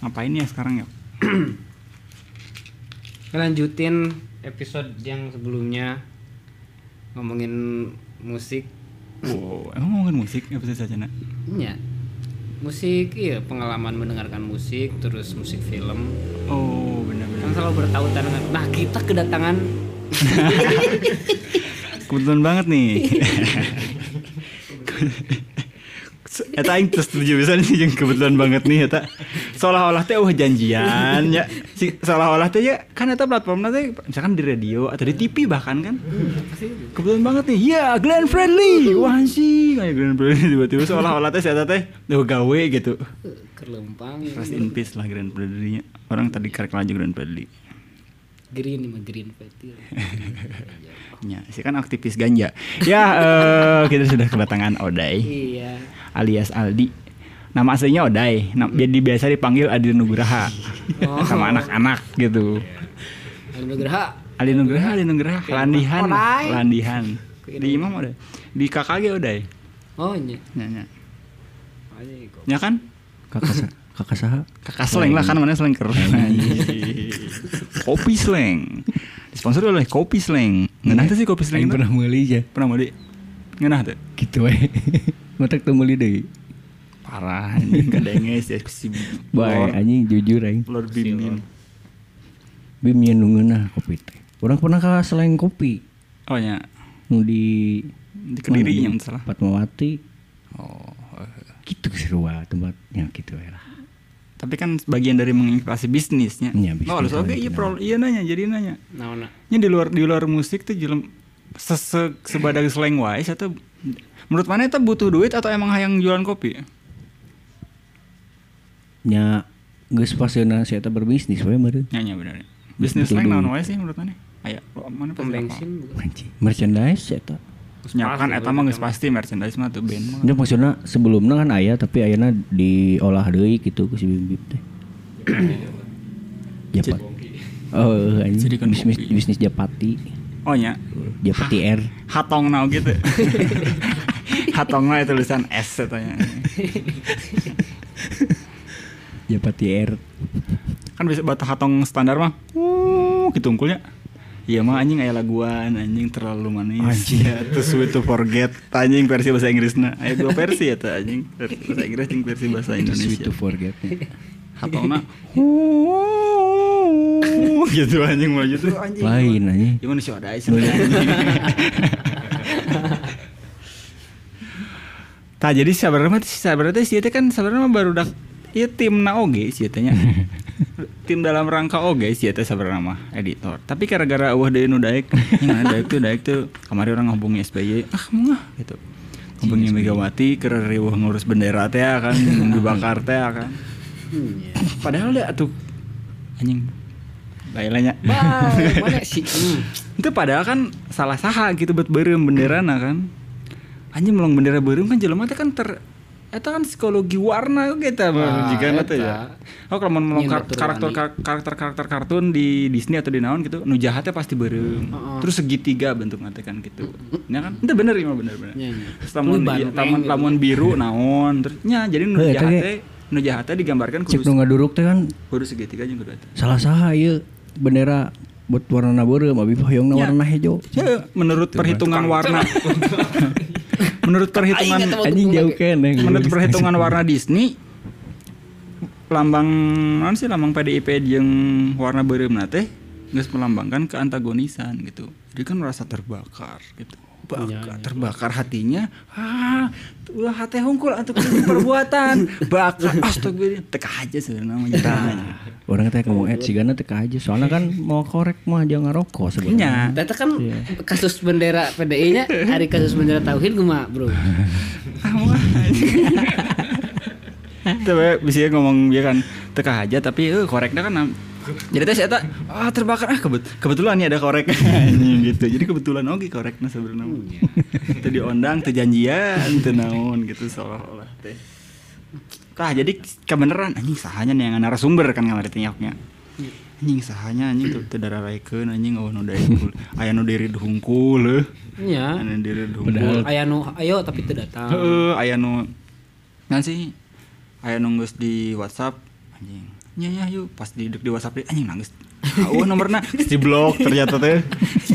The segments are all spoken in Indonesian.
Ngapain ya sekarang ya? Ngelanjutin episode yang sebelumnya ngomongin musik. Wow, emang ngomongin musik episode saja nak? Ya. Musik iya pengalaman mendengarkan musik terus musik film Oh benar-benar. kan selalu bertautan dengan nah kita kedatangan Kebetulan banget nih. Eta aing terus setuju bisa nih jeung kebetulan banget nih eta. Seolah-olah teh wah janjian ya. Si- Seolah-olah teh ya kan eta platformnya teh misalkan di radio atau di TV bahkan kan. Kebetulan banget nih. Ya, Glenn Friendly. Wah sih kayak Glenn Friendly tiba-tiba seolah-olah teh si eta teh duh gawe gitu. Eh, kerlempang Rest in peace lah Glenn Friendly-nya. Orang tadi karek laju Glenn Friendly. green mah green petir Ya, sih kan aktivis ganja. Ya, eh, kita sudah kedatangan Oday iya alias Aldi. Nama aslinya Oday. Nam- Jadi biasa dipanggil Adi Nugraha Oh. sama anak-anak gitu. Anugerah Adi Nugraha, Adi Nugraha, Oke, Landihan, Oday. Landihan. Oke, Di Imam Oday. Di KKG Oday. oh nya Ya, ya. aja kok Ya kan? kakak sa- kakak saha Iya. Kakak Sleng lah kan mana Sleng keren. Kopi Sleng. Disponsori oleh Kopi Sleng. Ngenah tuh sih Kopi Sleng. Aing itu? pernah meuli ya Pernah mau di? Ngenah tuh. gitu we ngotak teu meuli deui Parah anjing kadenge si si bae Lord- anjing jujur aing Lord Bim Bim. bim yen nu ngeunah kopi teh urang pernah ka selain kopi Oh ya. nu di Di Kediri mana, di yang salah. Fatmawati Oh. eh. gitu serua tempatnya gitu we lah Tapi kan bagian dari menginspirasi bisnisnya. Iya, Oh, harus bisnis oke lah, iya benar. pro iya nanya jadi nanya. naona Ini di luar di luar musik tuh jelem sese sebagai slang wise atau menurut mana itu butuh duit atau emang hayang jualan kopi? nya geus pasieuna si eta berbisnis we meureun Nyanyi benar. Bisnis Butuh slang naon duit. wae sih menurut mana? Ayo, lo mana pom bensin bukan anjing merchandise si eta Nyakan Pasti, eta mah bukan. geus pasti merchandise mah tuh band mah. nya maksudna sebelumna kan aya tapi ayana diolah deui gitu ku si bim bim teh Japat. Oh, anjing. Jadikan bisnis kopi. bisnis Japati. Oh nya. Japati Air. Hatong now gitu. Hatong now itu tulisan S katanya. Japati Air. Kan bisa batu hatong standar mah. Uh, gitu unggulnya. Iya mah anjing aya laguan, anjing terlalu manis. Anjing. Ya, too sweet to forget. Anjing versi bahasa Inggrisna. Aya dua versi ya tah anjing. Versi bahasa Inggris jeung versi bahasa Itu Indonesia. sweet to forget. Hatong now. Uh, gitu anjing mau gitu. Lain anjing. Gimana sih ada aja Tah jadi sabar mah sabar teh si eta kan sabarna mah baru dak ieu timna oge si eta nya. Tim dalam rangka oge si eta sabarna mah editor. Tapi gara-gara eueuh deui nu daek, nah daek tuh daek tuh kamari orang ngehubungi SBY, ah mah gitu. Ngehubungi Megawati keur riweuh ngurus bendera teh ya kan, dibakar teh ya kan. Iya. Padahal da atuh anjing. Bailanya. Bye, mana sih? Hmm. itu padahal kan salah saha gitu buat berem benderana kan anjing melong bendera berem kan jelema teh kan ter Eta kan psikologi warna gitu Ah, jika eta ya. Oh kalau mau melong Nyen kar- batur karakter kar- karakter karakter kartun di Disney atau di naon gitu, nu jahatnya pasti berem. Heeh. Terus segitiga bentuknya teh kan gitu. Ya kan? Itu bener ya bener bener. Iya, iya. Terus lamun Lu iya, banteng lamun gitu. lamun biru naon terus nya jadi nu Eh, eta ge. jahatnya nu jahatnya digambarkan Cek kudu nu ngaduruk teh kan kudu segitiga jeung kudu eta. salah saha ieu bendera buat warna beureum abi hoyongna Ya. warna hejo. Ya, menurut perhitungan warna. menurut perhitungan Aing kata- Anjing jauh keneh. menurut perhitungan warna Disney lambang non sih lambang PDIP yang warna beureumna teh geus melambangkan keantagonisan gitu. Jadi kan merasa terbakar gitu. Bakar, terbakar hatinya. Ah, ulah hati hungkul antuk perbuatan. Bakar. Astagfirullah. Teka aja sebenarnya namanya. namanya. Orang teh kamu et sigana teh aja soalnya kan mau korek mah aja Nya. ngarokok sebenarnya. Data kan iya. kasus bendera PDI-nya hari kasus bendera tauhid guma, Bro. Tapi bisa ngomong dia kan teka aja tapi eh, koreknya kan nam- jadi tes eta ah terbakar ah kebet kebetulan nih ada korek Anjing, gitu jadi kebetulan oke koreknya sebenarnya itu diondang teu janjian teu naon gitu seolah-olah teh tah jadi kebeneran anjing sahanya nih yang narasumber kan ngamari tinyaknya anjing sahanya anjing tuh teu dararaikeun anjing eueuh nu daengkul aya nu diri hungkul heuh Iya. anu diri hungkul Padahal Aya nu ayo tapi teu datang. Heeh, aya nu ngan sih aya nu geus di WhatsApp anjing. nya nya yuk pas di dek di WhatsApp deh, anjing nangis. Oh nomorna di blok ternyata teh.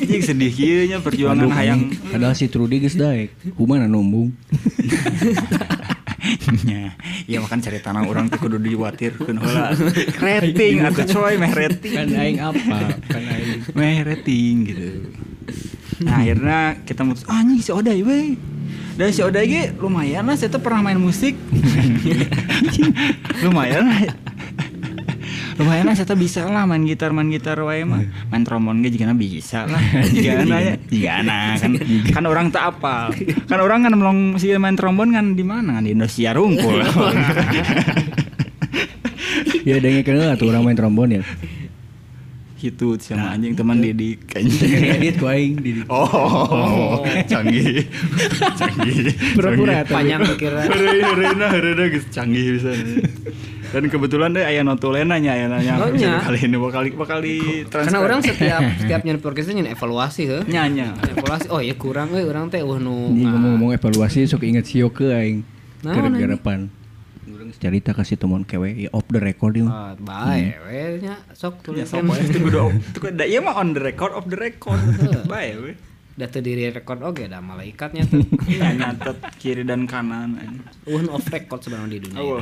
Anjing sedih kieu nya perjuangan Aduh, Iya, hayang. anjing. Padahal si Trudy geus daek. Kumana nombung? Nya, ya makan cari tanah orang tuh kudu diwatir kun heula. Rating atau coy meh rating. Kan aing apa? Kan aing. Meh rating gitu. Nah akhirnya kita mutus "Ah, anjing si Oday weh. Dan si Oday ge lumayan lah, saya tuh pernah main musik. lumayan lah. Lumayan lah, saya tuh bisa lah main gitar, main gitar wae mah. Main trombon ge jigana bisa lah. Jigana ya, jigana kan kan orang tak apa. Kan orang kan melong si main trombon kan di mana? Di Indonesia rungkul. Ya dengen kenal tuh orang main trombon ya. gitu sama anjing teman Dedik anjing. Edit ku aing di Oh, canggih. canggih. Pura-pura Canggih. Tapi- panjang pikiran Heureuy, heureuna, heureuna geus nah, canggih bisa. Dan kebetulan deh aya notulena nya aya nanya Oh, nya. kali ini bakal bakal di transfer. karena orang setiap setiap nyanyi podcast itu nyanyi evaluasi tuh Iya. nyanya. evaluasi oh ya kurang eh orang teh wah nu Ini nga- ngomong-ngomong evaluasi sok inget si Yoke aing. Nah, Ke nah, depan. Urang cerita ka si Tomon kewe ya off the record ieu. Ah, bae Hmm. we nya sok Iya, Ya tulisan sopo itu kudu itu kudu da ieu iya mah on the record of the record. Bae we. da teu diri record oge da malaikatnya tuh Nya Iya, nyatet kiri dan kanan. un of record sebenarnya di dunia Oh,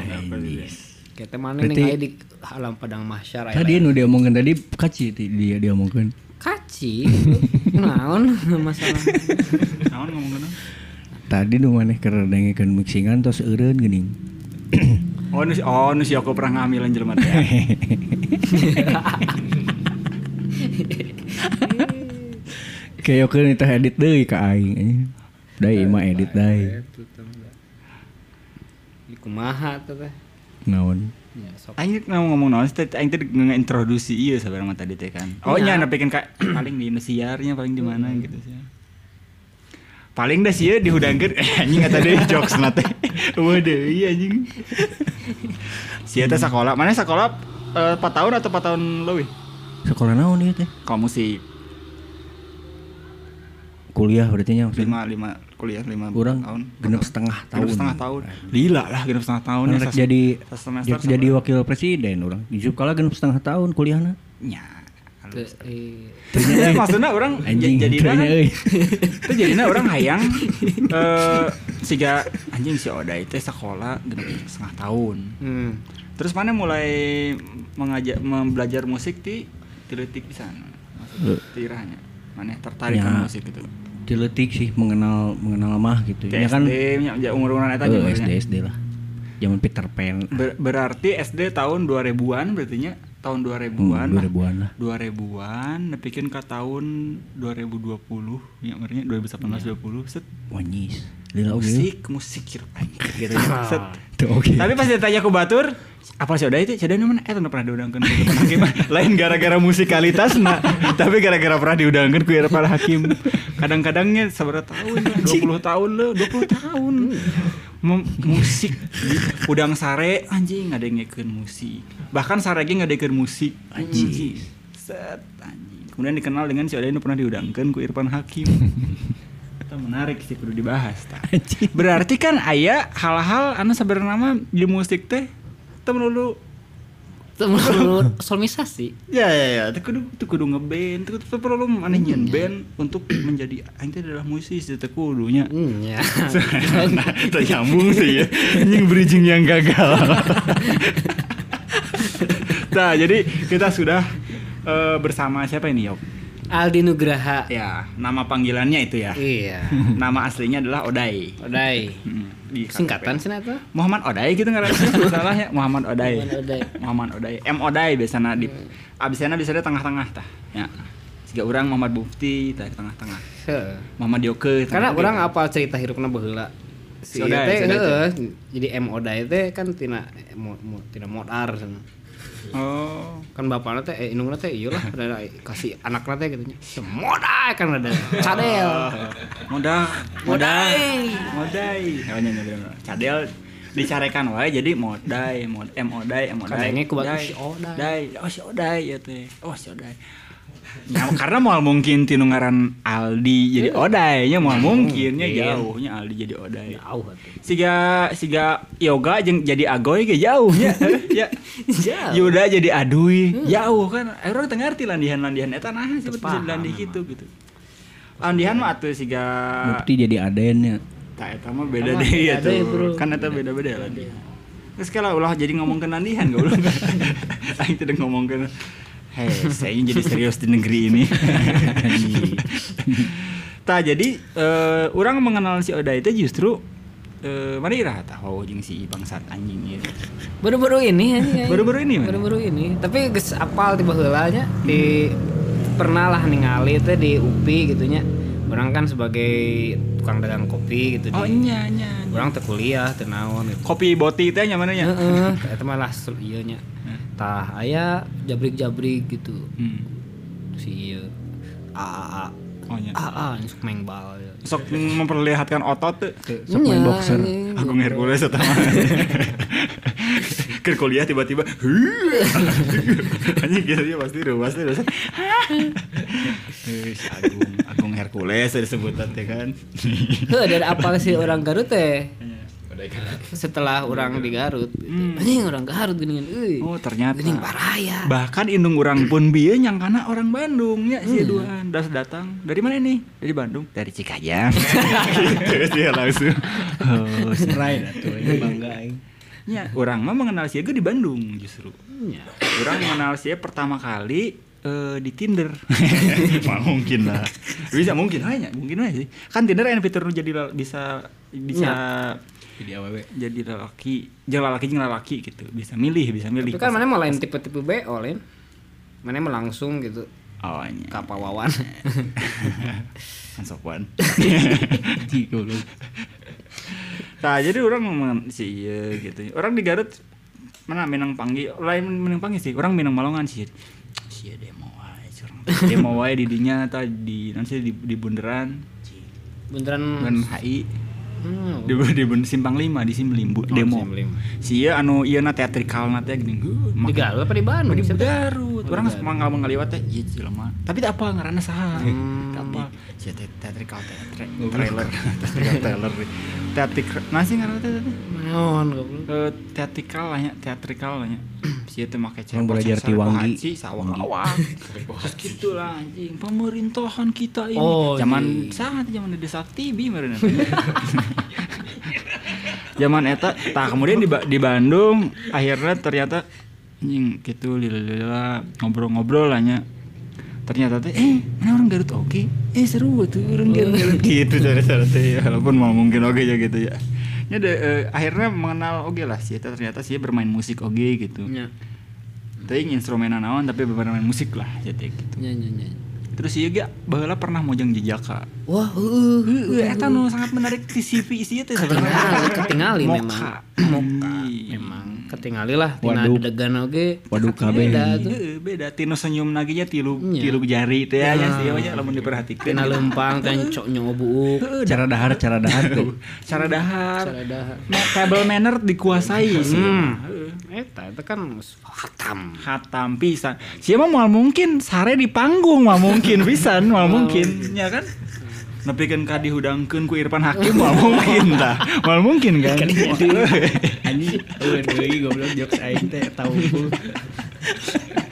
kita mana nih Berarti- aya di alam padang mahsyar aya Tadi nu diomongkeun tadi kaci ti- dia diomongkeun. kaci naon masalah naon ngomong kenapa? Tadi nu maneh keur dengekeun mixingan tos eureun geuning. Oh, nu si- oh, nu si aku pernah ngamilan jelema teh. Kayak Yoke nih teh edit deui ka aing. Dai mah edit dai. Di kumaha tuh teh Naon? ya sok Aing mau ngomong naon sih, tadi- aing tadi ngeintroduksi ieu sabar mah tadi teh kan. Oh nya Iya. anu pikeun ka paling di Indosiarnya paling di mana Hmm. gitu sih. Paling dah sih di hudangkeun eh, anjing eta deui jokes na teh. Wah deui anjing. Sia teh sekolah, mana sekolah eh, 4 tahun atau 4 tahun leuwih? Sekolah naon ieu teh? Kalau musik Kuliah berarti nya maksudnya. 5 5 kuliah 5 Kurang tahun. genep setengah tahun. Genep setengah tahun. Lila lah genep setengah tahun ya. Orang rek sas- jadi sas semester rek jadi wakil presiden orang. Hidup kala genep setengah tahun kuliahna. nya. teu eh, Ternyata maksudnya orang Anjing, eh. jadi teunya euy. itu jadinya orang hayang eh siga anjing si Oda itu sekolah genep setengah tahun hmm. terus mana mulai mengajak membelajar musik di tiletik pisan maksudnya tirahnya mana tertarik Ya. kan musik gitu Diletik sih mengenal mengenal mah gitu. Di Ya kan SD nya umur umuran eta eh, jeung SD urangnya. SD lah. Zaman Peter Pan. Ber- berarti SD tahun 2000-an berarti nya tahun 2000-an Hmm, lah. 2000-an lah. 2000-an nepikeun ka tahun 2020 ya merenya 2018 Iya. 20 set Wanyis. Lila oge. musik musik kira gitu ya. set Tuh oge. Tapi pas ditanya ke Batur, apa sih udah itu? Sudah mana? Eh, tanda pernah diundangkan ke Irfan Hakim. Lain gara-gara musikalitas nah, tapi gara-gara pernah diundangkan ke Irfan Hakim. Kadang-kadangnya seberapa tahun? lah, 20 tahun lo, 20 tahun. Mem- musik di udang sare anjing ada yang musik. Bahkan sare ge ngadekeun musik. Anjing. Set anjing. Kemudian dikenal dengan si Oda ini pernah diundangkan ke Irfan Hakim. Itu menarik sih perlu dibahas. tah. Anjing. Berarti kan aya hal-hal anu sebenarnya mah di musik teh teu melulu teu menurut solmisasi ya ya ya teu kudu teu kudu ngeband teu teu perlu maneh nyen band untuk menjadi aing teh adalah musisi teu kudunya. hmm, ya Nah, teu nyambung sih ya. Anjing bridging yang gagal. nah, jadi kita sudah eh, bersama siapa ini, Yok? Aldi Nugraha Ya, nama panggilannya itu ya. iya Nama aslinya adalah Oday. Odai Mm, di KTP. singkatan sih itu Muhammad Odai gitu ngarasnya salahnya Muhammad Odai. Muhammad Odai. Hmm. Muhammad Odai. M Odai biasanya di abisnya biasanya tengah-tengah tah. Ya. Siga orang Muhammad Bufti tah di tengah-tengah. Heuh. Muhammad Yoke. tengah-tengah. karena gitu. orang apa cerita hirupna baheula si Si Odai, teh si Odai teh. heuh, jadi M Odai teh kan tina mo, mo, tina modar sana. Oh. kan bapaknya teh eh, indungna teh ieu lah rada kasih anakna teh gitu nya modai kan rada cadel Modal, modal, Modai. modai. Oh, nya, nya, bener-bener. Cadel dicarekan wae jadi modai, mod M Odai, M Odai. Kadangnya ku batu Dai. si Odai. Dai, oh si Odai ya teh. Oh si Odai. Ya, karena moal mungkin tinu ngaran Aldi jadi Oday nya moal mungkinnya mungkin. jauhnya Aldi jadi Oday. Jauh atuh. Siga siga yoga jeung jadi agoy ke jauhnya. ya. Jauh. Yuda jadi adui. Jauh kan. Eh, Orang tengah ngerti landihan-landihan eta nah sebut bisa Tepaham, dilandih gitu gitu. Landihan mah atuh siga Bukti jadi ya. adennya. tak eta mah beda Sama, deh beda ya tuh. deh, bro. Kan eta beda-beda landihan. Terus kalau ulah jadi ngomongkeun landihan gak ulah. Aing tidak ngomongkeun Hei, saya ingin jadi serius di negeri ini. Tah jadi eh, orang mengenal si Oda itu justru eh mari irah tah wow jeung si bangsat anjing iya. ieu. Baru-baru ini anjing, anjing. Baru-baru ini, mana? Baru-baru ini. Tapi geus apal tiba heula nya di pernah lah ningali teh di UPI gitu nya. Orang kan sebagai tukang dagang kopi gitu Oh di. nya nya. Orang teh kuliah, teh naon gitu. Kopi boti teh nya mana nya? Heeh, eta mah lah sul- ieu nya. Tah aya jabrik-jabrik gitu. Hmm. Si ieu AA Oh nya. AA sok main bal. ya. Sok memperlihatkan otot tuh. Sok main Nya, boxer. anjing. Agung Hercules eta mah. Keur kuliah tiba-tiba "Huu." anjing gitu ya pasti udah pasti udah. Eh, si Agung Agung Hercules disebutan teh kan. Heh, dari apal si orang Garut teh. Setelah orang di Garut, gitu. anjing orang Garut gini kan, euy. Oh, ternyata. Gini paraya. Bahkan indung orang pun bieu nyangkana orang Bandung ya si Duan das datang. Dari mana nih? Dari Bandung, dari Cikajang. gitu dia langsung. Oh, Pride atuh ini bangga aing. Ya, orang mah mengenal Siaga di Bandung justru. Nya. Orang mengenal Sia pertama kali eh, di Tinder. Mah mungkin lah. Bisa mungkin hanya, mungkin aja sih. Kan Tinder ada fitur nu jadi lel- bisa bisa Iya. Jadi awewe. jadi lelaki, jadi lelaki jeung lalaki gitu. Bisa milih, bisa milih. Tapi kan mana mau lain tipe-tipe BO lain. Mana mau langsung gitu Awalnya. ke pawawan. Kan sopan. Ji, goblok. Nah, jadi orang ngomong sih iya gitu. Orang di Garut mana Minang Panggi, lain Minang Panggi sih. Orang Minang Malongan sih. Sia demo wae curang. Demo wae di dinya atau di nanti di, di bundaran Beneran dan HI hmm, di di bun simpang 5 di Simlimbu demo. Oh, Simpang Lima. Sia anu ieu na teatrikal na teh gini. "Huh, di make- Garut apa di Bandung? di Siapa? Garut. Orang Garut. mangga ngaliwat teh ieu jelema. iya Tapi teu apa ngaranna saha? Hmm. Teu apa? Iya, Sia teh teatrikal teh tra- trailer. Teatrikal trailer. Teatrikal. Nah sih ngaranna teh teh. Naon goblok. Eh, teatrikal lah ya, teatrikal lah ya. Sia teh make Orang belajar processor, di Wanggi. pohaci, sawang-awang. Terus Gitu lah anjing, pemerintahan kita ini. Oh, zaman iya. sangat zaman Dede Sakti bi meureun. Zaman eta tah kemudian di, Ba- di Bandung akhirnya ternyata anjing gitu lila ngobrol-ngobrol lah nya. Ternyata teh eh mana orang Garut oke. Eh seru tuh orang Garut. Garut. gitu cara-cara teh ya, walaupun mau mungkin oke ya gitu ya. Ya de, eh, akhirnya mengenal oke lah sih ternyata sih bermain musik oke gitu. Nya. Teuing instrumen naon tapi bermain musik lah jadi gitu. Nya nya nya. Terus ieu ge baheula pernah mojang jejaka. Wah, uh, heuh heuh. Heeh eta nu sangat menarik di CV sih teh Ketingali, sebenarnya. ketingali memang. Moka. Moka. Iya. Memang ketingali lah tina Waduh. degan oge. Waduh kabeh. Beda Iya, tuh. Heeh, Iya, beda tinu senyum naginya tilu Iya. tilu jari teh nya Nah. sih nya lamun diperhatikeun. Tina lempang dan cok uh. nyobuuk. Cara dahar, cara dahar tuh. Cara dahar. Cara dahar. Hmm. Ma- Table manner dikuasai sih. Eta eta kan hatam. Hatam pisan. Sia mah moal mungkin sare di panggung mah mungkin pisan, moal mungkin ya kan? Nepikeun ka dihudangkeun ku Irfan Hakim moal mungkin tah. Moal mungkin kan. Anjing, awewe deui goblok jokes aing teh tahu ku.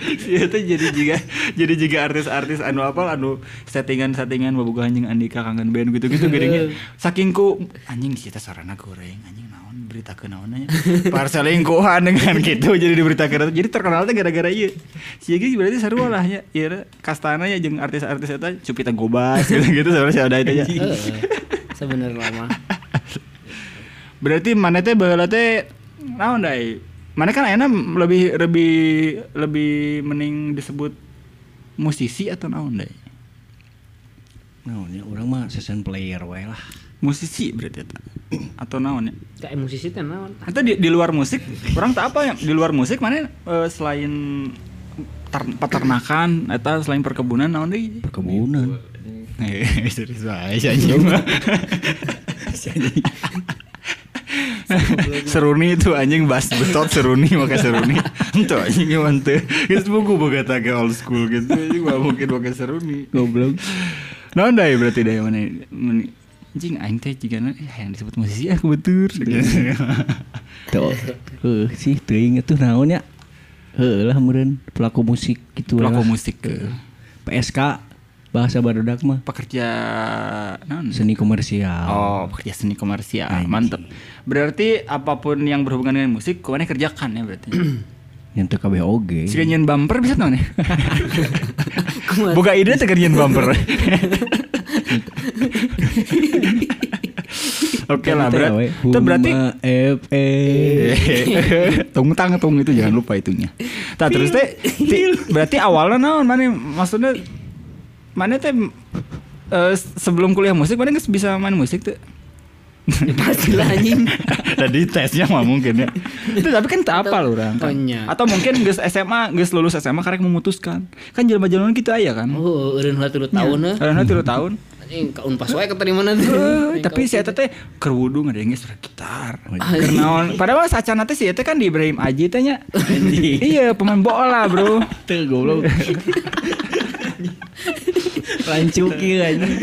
Iya tuh jadi juga jadi juga artis-artis anu apa anu settingan-settingan bobogoh anjing Andika kangen band gitu-gitu gedenya. Saking ku anjing kita sarana goreng anjing naon berita ke naonnya. Parseling kuhan dengan gitu jadi diberitakeun eta. Jadi terkenal teh gara-gara ieu. Si Egi berarti seru lah nya. Ieu na, kastana ya jeung artis-artis eta Cupita Gobas gitu-gitu sebenarnya si ada itu ya. Eh, Sebenarnya mah. Berarti mana teh baheula teh naon dai? Mana kan enak lebih lebih lebih mending disebut musisi atau naon dai? Nah, ini orang mah session player wae lah. Musisi berarti eta. Atau naon ya? Kayak musisi teh naon? Atau di, di luar musik, orang tak apa ya? Di luar musik mana eh, selain ter- peternakan atau selain perkebunan naon deui? Gitu. Perkebunan. Iya. Eh, serius wae si anjing mah. Seruni itu anjing bas betot seruni pakai seruni. Itu anjing gimana tuh? Geus buku boga tage old school gitu. Anjing mah mungkin pakai seruni. Goblok. Naon dai Nah, ya, berarti dai mana? mana- Anjing aing teh jigana eh, yang disebut musisi ah kebetul. Iya. Tuh, heuh sih teuing atuh naon nya? Heuh lah meureun pelaku musik gitu Pelaku lah. musik PSK bahasa barudak mah pekerja naon? seni komersial. Oh, pekerja seni komersial. Anjing. Mantep. Berarti apapun yang berhubungan dengan musik, kemana kerjakan ya berarti. Yang teu kabeh oge. Jika nyen bumper bisa tau nih. Buka ide teh keur nyen bumper. Oke lah ya, berat. Itu berarti E. FE. Eh, tung tang tung itu jangan lupa itunya. Tah terus teh ti- berarti awalnya naon mana maksudnya mana teh eh, sebelum kuliah musik mana geus bisa main musik tuh? Ya, pastilah anjing Tadi tesnya mah mungkin ya. Itu tapi kan tak apa loh orang. Oh, nya. Atau mungkin geus SMA, geus lulus SMA karek memutuskan. Kan jelema-jelema gitu aya kan. oh eureun heula tilu taun heuh. Karena tilu tahun. anjing ka unpas wae keterima nanti Eh, tapi si eta teh keur wudu ngadenge suara gitar. Oh, iya. Keur naon? Padahal sacana teh si eta kan di Ibrahim Aji teh nya. Iya, pemain bola, Bro. Teu goblok. Lancuk ieu anjing.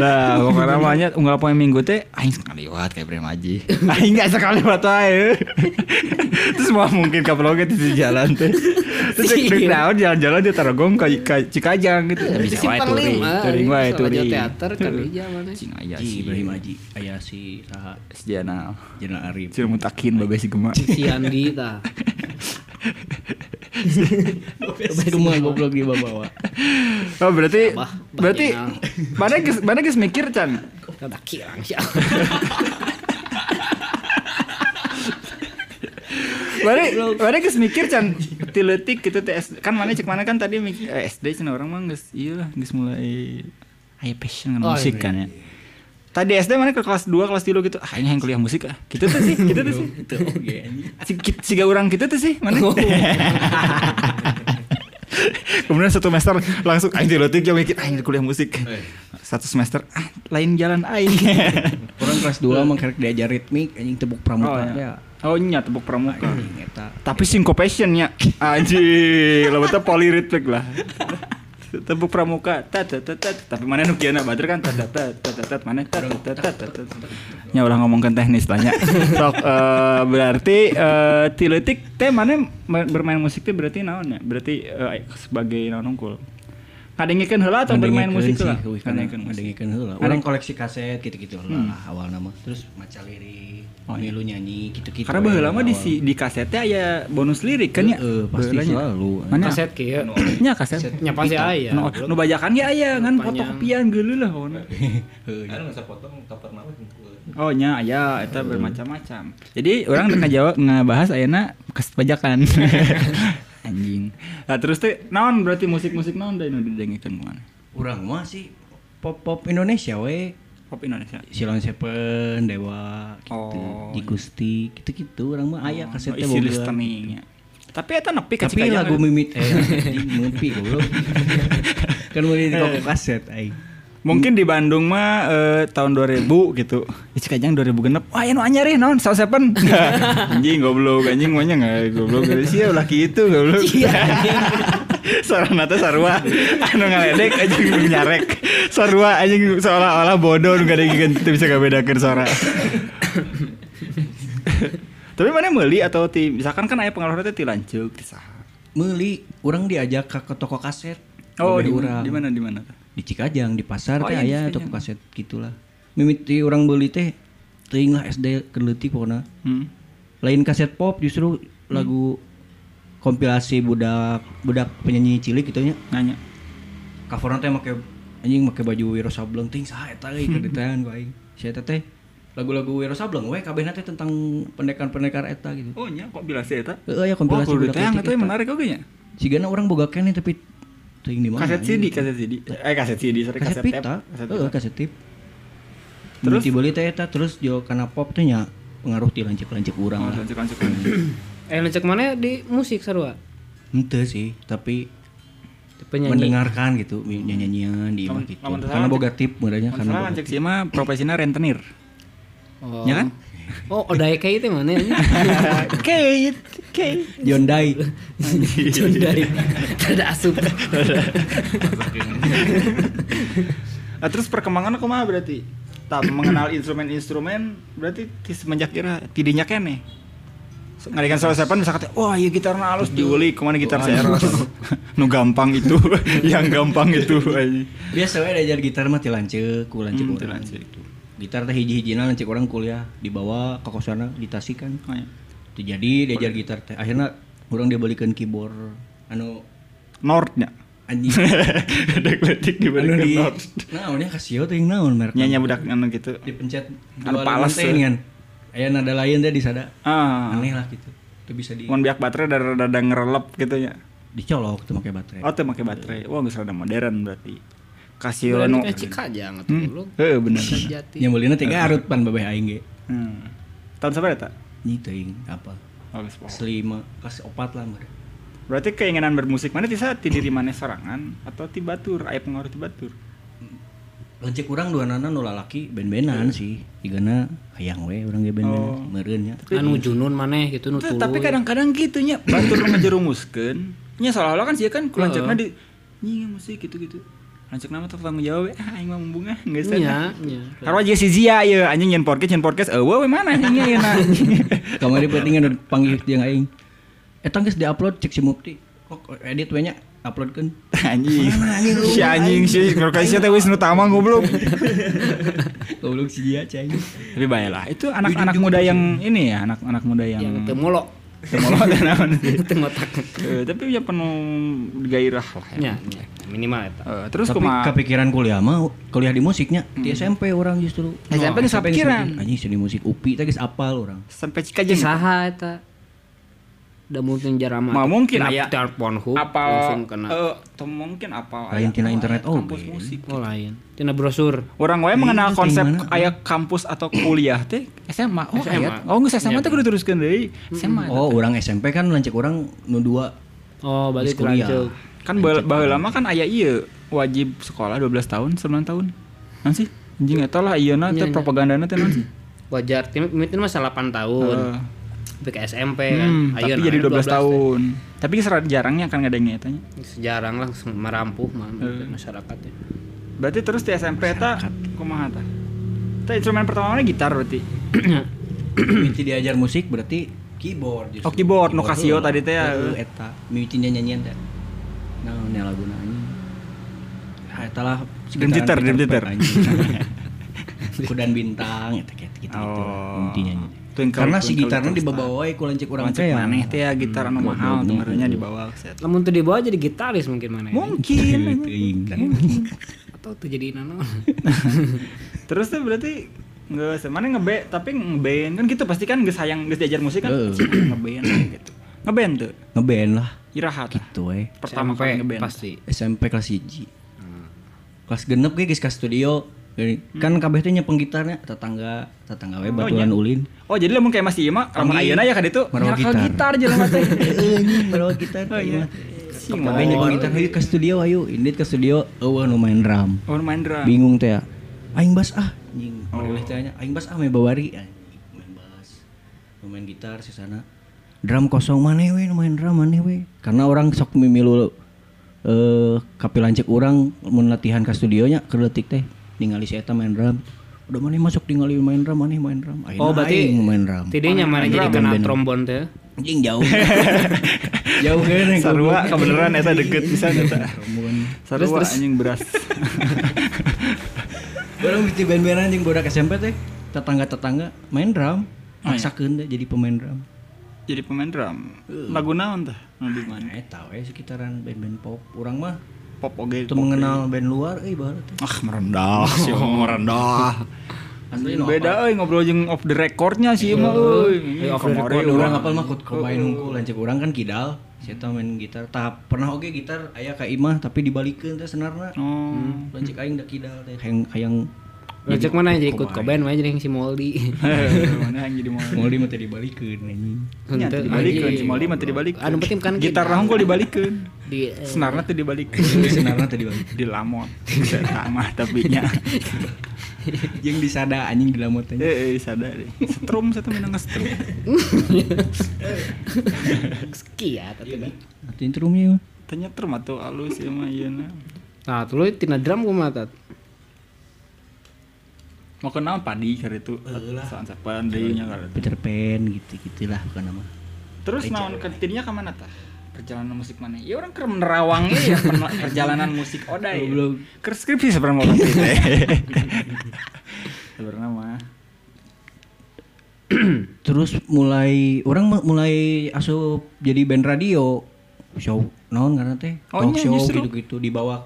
Nah, pokoknya namanya unggal poin minggu teh aing sekali lewat kayak Ibrahim Aji. Aing enggak sekali lewat ae. Terus mau mungkin ka vlognya di si jalan teh. Terus Iya. dek dek naon jalan-jalan di Tarogong ka ka Cikajang gitu. Ya, bisa wae touring. Touring wae touring. eh, teater kan iya mana Cing aya Ji si Ibrahim Ya Haji, aya si saha Sejana. Jenal Arif. Cuma ah. mutakin babe si gema. si Andi tah Cuma goblok di bawah. Oh berarti Abah, Abah berarti Jenal. mana geus mana geus mikir Chan. kada kirang sia Mana mana geus mikir Chan tiletik gitu TS kan mana cek mana kan tadi mik- eh, SD cenah orang mah geus ieu lah geus mulai aya passion dengan Oh, musik kan ya. Tadi SD mana ke kelas 2, kelas 3 gitu. Ah, ini yang kuliah musik ah. Gitu tuh sih, gitu tuh sih. Itu oge anjing. Si, ki- siga orang gitu tuh sih, mana? Kemudian satu semester langsung aing tiletik yang mikir aing kuliah musik. Satu semester ah lain jalan aing. Orang kelas 2 mah karek diajar ritmik anjing tebuk pramuka. Oh, ya. iya. Oh nya tepuk pramuka. Anjing eta. Tapi syncopation-nya anjing, lo betul polyrhythmic lah. Tepuk pramuka tat tat tat, tat tapi mana nu kieu na bader kan tat tat tat tat tat, tat mana tat tat tat tat, tat. Nya ulah ngomongkeun Ya teknis tanya. Sok eh, berarti eh, tiletik teh mana ma- bermain musik teh berarti naon ya? Berarti eh, sebagai naon unggul. Kadengikeun heula atau bermain musik heula? kan Kadengikeun musik. Kadengikeun heula. Orang koleksi kaset gitu-gitu lah awal nama. Terus maca lirik, milu nyanyi gitu-gitu. Karena baheula mah di si- di kasetnya aya bonus lirik kan ya? ya Heeh, pasti Baheulanya. selalu. iya. Mana? Nah. kaset kieu Nya kaset. nya pasti aya Nu, nu bajakan ge aya kan? ngan fotokopian geuleuh lah hona. Anu bisa potong cover nama jengkeun. Oh nya aya eta bermacam-macam. Jadi orang teu ngajawab ngebahas ayeuna kaset bajakan. Anjing. Nah, terus teh naon berarti musik-musik naon da nu didengikeun kumaha? Urang mah sih pop-pop Indonesia we. Pop Indonesia. Silon Seven, Dewa, gitu. Oh, Di Gusti, gitu-gitu orang mah aya Kaset kasetnya isi boga. listening. nya. Tapi eta nepi ka Tapi Cikajang. lagu mimit eh anjing, mimpi goblok. kan mulai di Eh. toko kaset aing. Mungkin di Bandung mah eh, tahun 2000 gitu. Ih Cikajang 2000 genep. Wah, anu anyar eh naon Sound Seven. anjing goblok anjing maunya enggak goblok geus sia ulah kitu goblok. Sarana teh sarua anu ngaledek anjing nu nyarek. Sarua anjing seolah-olah bodoh nu gadegikeun teu gitu, bisa kabedakeun suara. Tapi mana meuli atau ti misalkan kan aya pengaruhna teh ti lanceuk ti saha. Meuli, orang diajak ke, ke toko kaset. Oh, Bade di mana urang. di mana di mana? di Cikajang di pasar Oh, teh iya, di aya Cikajang. toko kaset gitulah mimit ti orang beli teh teuing lah SD keleutik pokona Hmm. lain kaset pop justru lagu kompilasi budak budak penyanyi cilik gitu nya Nanya. covernya teh make anjing make baju Wiro Sableng ting saha eta euy kedetan ku aing si eta teh lagu-lagu Wiro Sableng we kabehna teh tentang pendekar-pendekar eta gitu Oh nya kok bilasi eta? Heeh aya oh, kompilasi budak budak yang cilik. itu yang menarik oke nya. Sigana urang boga keneh tapi teuing di mana Kaset anjing. CD, kaset CD. Eh kaset CD, sorry Iya. kaset kaset, tape. pita kan Kaset heeh pita. kaset tip Terus? terus dibeli teh eta terus jo kana pop teh nya pengaruh ti lancip-lancip urang Oh, lah lanjut lanjut. kan eh lecek mana di musik sarua henteu sih tapi penyanyi mendengarkan gitu mi- nyanyian di imah Lamun- gitu lamun karena salah, boga tip meureunnya Masalah karena boga lanjut sih mah profesinya rentenir. oh Ya kan? Oh, Odae Kei itu mana ya? Kate, Kate. John Day. Jondai. Ada asup. Ah, terus perkembangan aku mah berarti tak mengenal instrumen-instrumen berarti ti semenjak era tidinya kene. So, Ngadikan salah siapa bisa kata, wah iya gitar na halus diulik kemana gitar saya Oh, iya. Nu gampang itu, yang gampang itu. anjing. Biasa we diajar gitar mah ti lanceuk, ku lanceuk Hmm, ti urang lanceuk. gitu. Gitar teh hiji-hijina lanceuk orang kuliah dibawa ke kosana ditasikan. Teu jadi diajar gitar teh. Akhirna urang dibalikeun keyboard anu Nordnya. anjing Dekletik di anu balik di Nord. naonnya Casio teh yang naon merek. Nyanyi budak anu gitu. dipencet Anu dua palas palas teh tuh. kan. Aya nada lain teh disada. Ah, Aneh lah gitu. Itu bisa di mun biak baterai dari dada ngerelep gitu ya. dicolok tuh pakai baterai. Oh, teu make baterai. Wah, geus rada modern berarti. Casio Berarti nu. kayak Cikajang atau Iya, Hmm, belum? Heeh, bener. Sejati. Nyambulina tiga arut pan babeh aing ge. Hmm. Tahun sabar eta? Nyi teuing apa? Oh, geus poho. Selima, kas opat lah mereka. Berarti keinginan bermusik mana bisa ti diri mana sorangan atau ti batur, aya pengaruh ti batur. Lancik kurang dua nana nu lalaki ben-benan sih. Tigana hayang we urang ge Oh. ben-benan. Meureun nya. Anu Junun maneh gitu nu Tuh, tuluy. tapi kadang-kadang gitu nya batur nu ngejerumuskeun. Nya seolah-olah kan sih kan kulancakna di nyi musik gitu-gitu. Lancak nama tuh tanggung jawab, we. ah aing mah membunga geus sana. Iya, iya. Karena aja si Zia ya, anjing nyen podcast, nyen podcast, eh we mana anjingnya ya na. Kamari pentingan panggil jeung aing. Eta geus diupload cek si Mukti. Kok edit we nya uploadkeun. Anjing, si anjing si Nurkaisya teh wis nu tamang goblok. Goblok si dia cai. Tapi baiklah, itu anak-anak muda yang ini ya, anak-anak muda yang yang teu molok, temolot dan naon sih. teu ngotak. Eh, tapi ya penuh gairah lah ya. Nya, nya. Iya, minimal eta. Eh, terus Terus Tapi kumaha? kepikiran kuliah mah kuliah di musiknya di SMP orang justru. SMP geus kepikiran. Anjing seni musik UPI teh geus apal orang. sampai cikajeng Saha eta? Da mungkin jarama. Mah mungkin aya. telepon hub apal langsung kena. eh, tuh mungkin apal aya- Lain tina oh, internet aya oge. kampus musik Oh lain. Tina brosur. orang wae mengenal itu konsep teh mana? aya kampus atau kuliah teh SMA oh SMA. aya oh geus SMA teh kudu teruskeun deui SMA Oh, orang SMP kan lanjut orang nu dua Oh, balik Geus kuliah. lanceuk. kan baheula- baheula mah kan aya ieu wajib sekolah 12 tahun 9 tahun naon sih anjing eta lah ieu Iya, teh propagandana teh naon sih Wajar, tim tim mah 8 tahun. Tapi ke Eh, SMP Eh. kan. Hmm, iya Ayeuna nah, tapi jadi 12 aya teh. tahun tapi serat jarangnya kan ngadengnya etanya Sejarang lah langsung merampuh mah Eh. masyarakatnya. Berarti terus di SMP eta kumaha tah? Tah instrumen pertama mana gitar berarti. Mimiti diajar musik berarti keyboard justru. Oh, keyboard, nu Casio heula. tadi teh eh. ya. Heeh, eta mimiti nya nyanyian teh. Nah, ini lagu na anjing. Ah, eta lah Dream Theater, Dream Theater. Kudan bintang eta kayak gitu gitu. Oh. Mimiti nyanyi. Twinkle, Karena si twinkle, gitarnya little dibawa wae ku lancik urang Lancip teh. maneh teh ya, gitar anu mahal tuh merenya dibawa ke set. Lamun teu dibawa jadi gitaris mungkin mana ya? Mungkin. Atau teu jadi nano. terus tuh berarti nggak mana nge tapi ngeband kan gitu pasti kan geus sayang geus diajar musik kan Heeh. ngeband gitu. Ngeband tuh. Ngeband lah Iraha tah. gitu we. Pertama kali SMP, ngeband. pasti. SMP kelas 1 kelas genep ge geus ka studio Jadi, Hmm. kan kabeh teh nyepeng gitarnya tetangga tetangga we nya. baturan ulin Oh jadi lamun kayak masih Ima, lamun Kami- ayeuna ya kan itu Merawat nyeraka gitar. gitar jelema teh. anjing bawa gitar Oh iya. Sing kabeh nyepeng gitar ayo ke studio ayo indit ke studio eueuh nu main drum Oh main drum. bingung teh ya. aing bass ah anjing mereleh teh nya, aing bass ah main bawari anjing main bass Nu main gitar sisana drum kosong maneh we nu main drum maneh we karena orang sok mimilu eh kapilancek orang mun latihan ka studionya ke detik teh ningali si eta main drum udah maneh masuk ningali main drum maneh main drum Akhirna Oh, berarti aing main drum Tidaknya mana jadi kena trombon teh. anjing jauh jauh kene Sarua kebeneran eta deket pisan eta. Sarua Terus, terus. anjing beras. Orang mesti band-bandan yang bodak SMP teh tetangga-tetangga main drum Oh, maksakeun teh jadi pemain drum Jadi pemain drum. Lagu naon Hmm, tah? Lagu mana? nah eta we sekitaran band-band pop orang mah Pop oge. itu pop. mengenal band luar euy barat teh Ah merendah sih merendah. asli nu Beda euy ngobrol jeung off the recordnya sih mah euy. Off the Kamari apal. urang orang apal mah kut kobain hungkul lanceuk urang kan kidal si eta main gitar tahap pernah oge gitar aya ka imah tapi dibalikeun teh senarna Oh. lanceuk aing da kidal teh hayang hayang Ngecek mana jadi ikut koben mana jadi si Moldi. Mana yang jadi mau. Mulai mah teh dibalikeun anjing Nya teu dibalikeun, kan, si Moldi mah teu dibalikeun. Anu penting kan gitar kita. rahungkul dibalikeun. Di eh, Senarna teu dibalikeun. senarna teh dibalikeun dilamot sama tapi nya yang disada anjing di lamot teh. Eh, eh sadar deh. Setrum saya tuh minang setrum. Ski ya tadi. Atau intrumnya mah. Tanya trum atau alus ya mah ieu na. Nah, tuluy tina drum kumaha tat? Mau kenal padi kali itu. Soal sapan deui nya kali itu. Peter Pan gitu gitulah bukan nama. kan. Terus naon ketinya ka mana tah? Perjalanan musik mana? Ya orang keur nerawang ya pen- perjalanan musik Oda ya. Goblok. Keur skripsi sebenarnya mau teh. Sebenarnya mah. Terus mulai orang mu- mulai asup jadi band radio show naon karena teh Oh, talk iya, show justru. gitu-gitu dibawa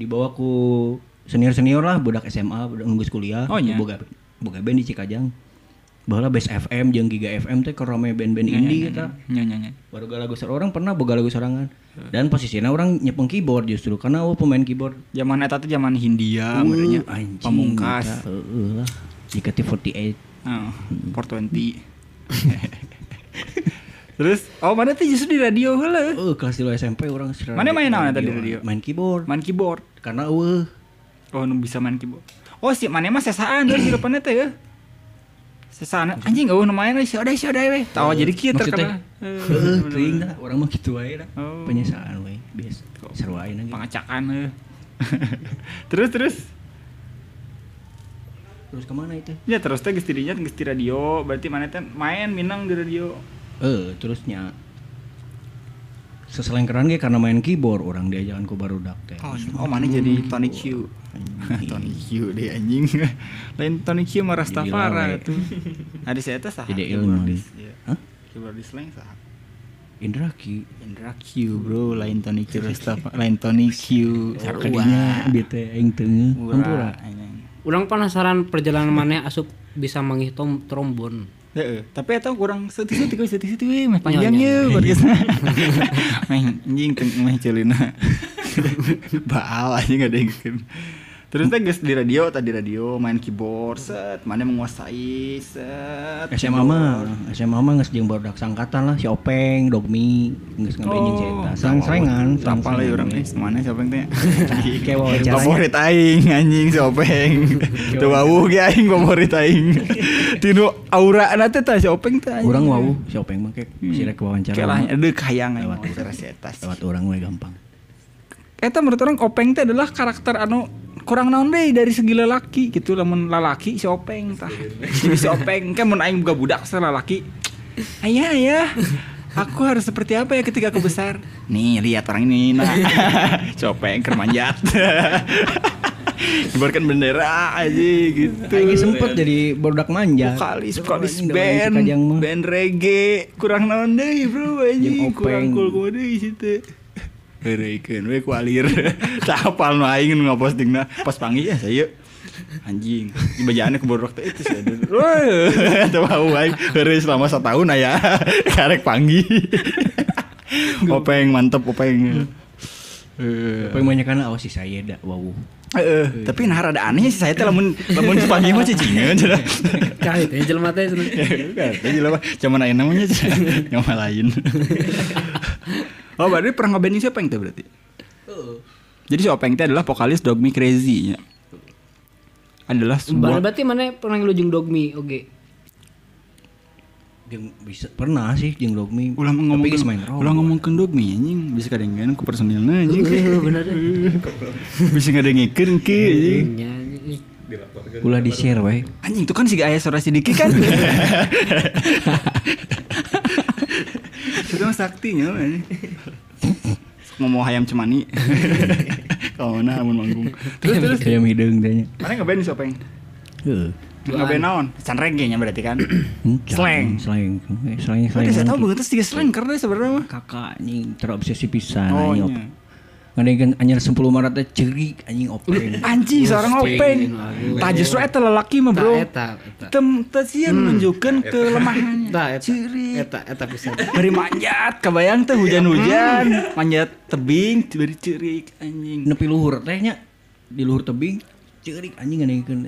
dibawa ku senior-senior lah budak SMA budak nunggu kuliah Oh, iya. boga boga band di Cikajang bahwa Base FM jeung Giga FM teh kerame Iya, band-band indie kita Nya nya nya. baru lagu seorang pernah boga lagu sorangan dan posisinya orang nyepeng keyboard justru karena awal pemain keyboard Zaman eta teh zaman Hindia, merenya Uh, anjing, pamungkas. eta, heueuh lah. JKT48 Oh, 420. Terus, oh mana tuh justru di radio heula. Eh, kelas dulu SMP orang sering Mana main naon eta di radio? main keyboard Main keyboard. karena eueuh Oh, nu bisa main keyboard. Oh, si mana mah sesaan terus di depannya teh ya. Sesaan anjing eueuh nu main si odai si odai we. Tahu Oh, jadi kieu terkenal. maksudnya heueuh teuing dah Eh, orang mah gitu wae dah Oh. penyesaan wae biasa seru aja lagi Eh, Pengacakan heuh. terus terus terus kemana itu ya terus teh geus di dinya geus di radio berarti mana teh main minang di radio eh terusnya seselengkeran ge karena main keyboard orang diajakan ku barudak teh oh, oh mana jadi Tony Q Anjing. Tony Q deh anjing lain Tony Q sama Rastafara lawe. tuh ada saya teh saha jadi ilmu keyboardis Iya. hah keyboardis lain saha Indra Ki Indra Q bro lain Tony Q Rastafara lain Tony Q kadinya bete aing tengah murah hampura anjing. Urang penasaran perjalanan maneh asup bisa mangih tom trombon. Heeh, tapi eta kurang seutik-seutik we seutik-seutik we meh panjang ye Nyonya. podcastna. Meh anjing teu meh celina. Baal aja enggak ada yang bikin. Terus teh geus di radio tadi radio main keyboard set, mana menguasai set. SMA mah, SMA mah geus jeung barudak sangkatan lah si Openg, Dogmi, geus ngabenying si Oh, eta. Sareng-sarengan, Tapal sareng-sarengan. ya orang guys. Mana siapa yang tanya? Kayak wawancaranya. Favorit aing anjing Sopeng. Tuh wawuh ge aing favorit aing. Tinu aura na teh tah Sopeng teh. anjing. Urang wau si Openg mah kayak Hmm. si rek wawancara. Kayak lah, mah. aduh kahayang aing Lewat. wawancara si eta sih. Lewat urang we gampang. Eta Eh, menurut orang Openg teh adalah karakter anu kurang naon deh dari segi lelaki gitu lamun lalaki si Openg tah. Jadi si Openg kan mun aing buka budak saya lalaki. Ayah ayah Aku harus seperti apa ya ketika aku besar? Nih lihat orang ini, nah, Si Openg kermanjat, kibarkan bendera aja gitu. Aing sempet jadi barudak manja. vokalis Tuh, vokalis anjing, band si Kajang mah. band reggae kurang naon deui bro anjing Jeung kurang Openg. cool cool deui situ Hereikeun we ku alir. Tah hafal nu aing nu ngapostingna pas panggil ya saya anjing di bajaannya keborok teh itu sih weh teu bau aing heureuy selama setahun aya karek panggil Openg mantep openg Eh, Openg banyak kana awas oh, si Sayeda wau. eh, tapi nah rada aneh sih saya teh lamun lamun panggil mah cicingeun cenah. Cai teh jelema teh cenah. Jadi lah cuman lain namanya aja, nama lain. oh berarti pernah ngebanding si Openg teh berarti? Jadi si Openg teh adalah vokalis Dogme Crazy ya. Adalah Bar- sebuah Berarti maneh pernah ngelujung dogmi oge. Jeung bisa pernah sih jeung Dogmi. ulang ngomong Tapi geus main rock. ulah ngomong ke Dogme anjing bisa kadang-kadang ku personilnya anjing. bener bisa ngadengikeun ke anjing. Iya, Nyanyi. Ulah di-share we. Anjing itu kan si ayah suara si Diki kan. Itu mah saktinya anjing. Ngomong hayam cemani. Kalau mana amun manggung. Terus terus. Kayak mideung tanya. Mana ngeband si Openg? Heeh. Ngeband naon? Can reggae nya berarti kan. Hmm, Slang. slang, Eh, slang, Oh, slang. dia saya tahu banget tiga slang karena sebenarnya mah. kakak anjing terobsesi pisan Oh, anjing iya. op- ngadengkeun anyar 10 Maret teh ceurik anjing openg Anjing seorang Openg. Tah justru eta lelaki mah, Bro. Bro. Eta eta. Tem teu nunjukkeun kelemahannya. Eta eta. Ciri. Eta eta pisan. Bari manjat, kebayang teh hujan-hujan, manjat tebing, bari cirik anjing. nepi luhur teh nya di luhur tebing ceurik anjing ngadengkeun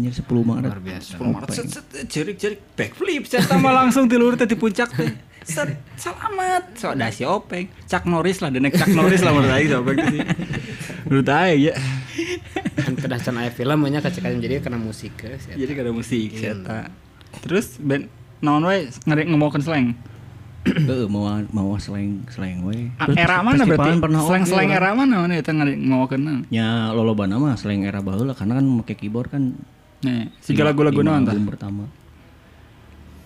anyar 10 Maret Luar biasa. 10 Maret set set jerik jerik backflip set sama langsung di luhur teh di puncak teh set selamat so dah si Openg iya. Chuck Norris lah denek Chuck Norris lah menurut aing si Openg teh sih menurut aing ya Kedah can aya film nya kacakan jadi kena musik ke. si eta. jadi kada musik si eta terus band naon wae ngarek ngomongkeun slang Heeh, mau mau slang slang we. Ah, era mana berarti slang slang era era? mana mana eta ngarek ngomongkeun naon? kan? Ya lolobana mah slang era baheula karena kan make keyboard kan nih siga lagu-lagu lima naon tah album pertama.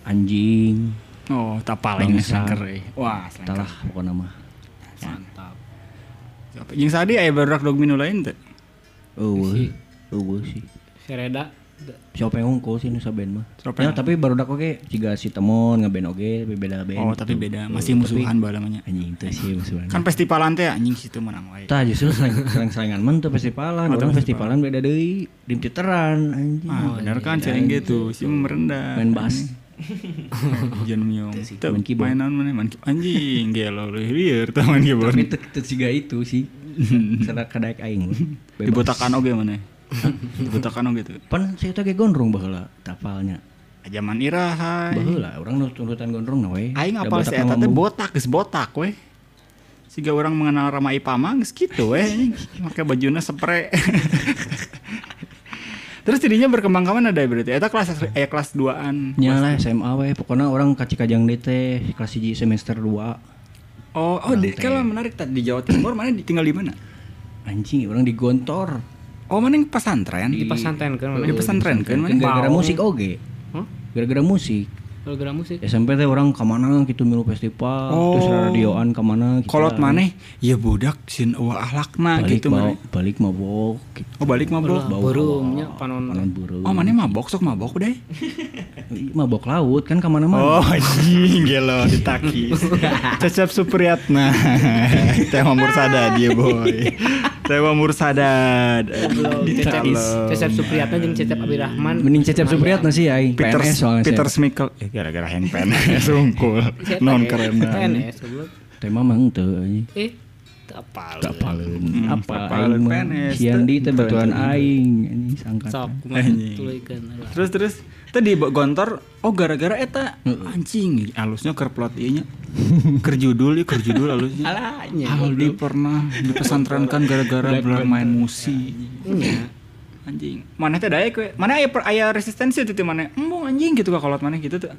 Anjing, oh tak paling Bangsa. sangker euy. wah slang talah pokoknya mah. Mantap. jeung sadi aya barudak dog minu lain teh Eueuh. Eueuh sih. Si Reda Siapa yang ngungkul sih nusa band mah? Siapa Ya, yang- tapi baru dak oke, jika si temon ngeband oke, tapi beda band. oh tapi gitu. beda masih musuhan bae lamanya Anjing itu sih musuhan. kan festivalan teh anjing situ menang wae Tah justru sering selingan men tuh festivalan, Oh, teu orang festivalan beda deui, di titeran anjing. ah bener kan cering gitu sih merendah Oh, Main bass. Jan Myung. Teu, main keyboard. Mainan mana main keyboard. Anjing, gelo lu lieur tah main keyboard. Tapi teu teu siga itu sih. Sana kadaek aing. Bebas. Dibotakan oge mana? Dibotakan oge tuh. Pan saya teh ge gondrong baheula tapalnya. Zaman iraha. Baheula urang nu turutan gondrong na we. Aing Da apal si botak eta teh ngomong. botak geus botak we. Siga orang mengenal Rama Ipama geus kitu we. anjing. Make bajuna spre. Terus tidinya berkembang kaman ada berarti. Eta kelas eh kelas 2-an. Nya lah SMA we, pokoknya orang kaci kajang deui teh kelas 1 semester 2. Oh, oh, di, kalau menarik tadi di Jawa Timur mana di- tinggal di mana? Anjing, orang digontor. Oh, mana yang pesantren? di pesantren kan mana? Di pesantren kan Kan mana? gara-gara Bau. musik oge. Hah? Gara-gara musik. Program musik. SMP teh orang kemana gitu milu festival terus Oh. radioan kemana gitu kolot maneh ya budak sin eueuh ahlakna balik gitu mah mau balik mabok gitu. oh balik mabok Ulah, burungnya panon. Panon burung oh maneh mabok sok mabok deh Ih, mabok laut kan kemana mana oh anjing gelo ditaki cecep Nah, supriyatna tema mursada dia iya, boy tema mursada Cecep Cecep Supriyatna jeung Cecep Abdurrahman. mending cecep supriyatna sih ay Peter PNS soalnya Peter Peter Smikel eh gara-gara handpan sungkul non ya? keren nah. PNS goblok. tema mah henteu anjing. Eh, apa? tak palen Hmm, apa tak palen, aing mah PNS, sian di teu. teh batuan aing anjing Sok, sangkatan kumaha Anjing. tuluykeun. terus terus tadi gontor oh gara-gara eta anjing alusnya kerplot ieu nya kerjudul ya kerjudul alusnya Alanya. Aldi pernah dipesantrenkan gara-gara belang main musik. Iya. Anjing. Mana teh daek we? Mana aya per- aya resistensi teh mana? Embung anjing gitu ka kolot mana gitu tuh.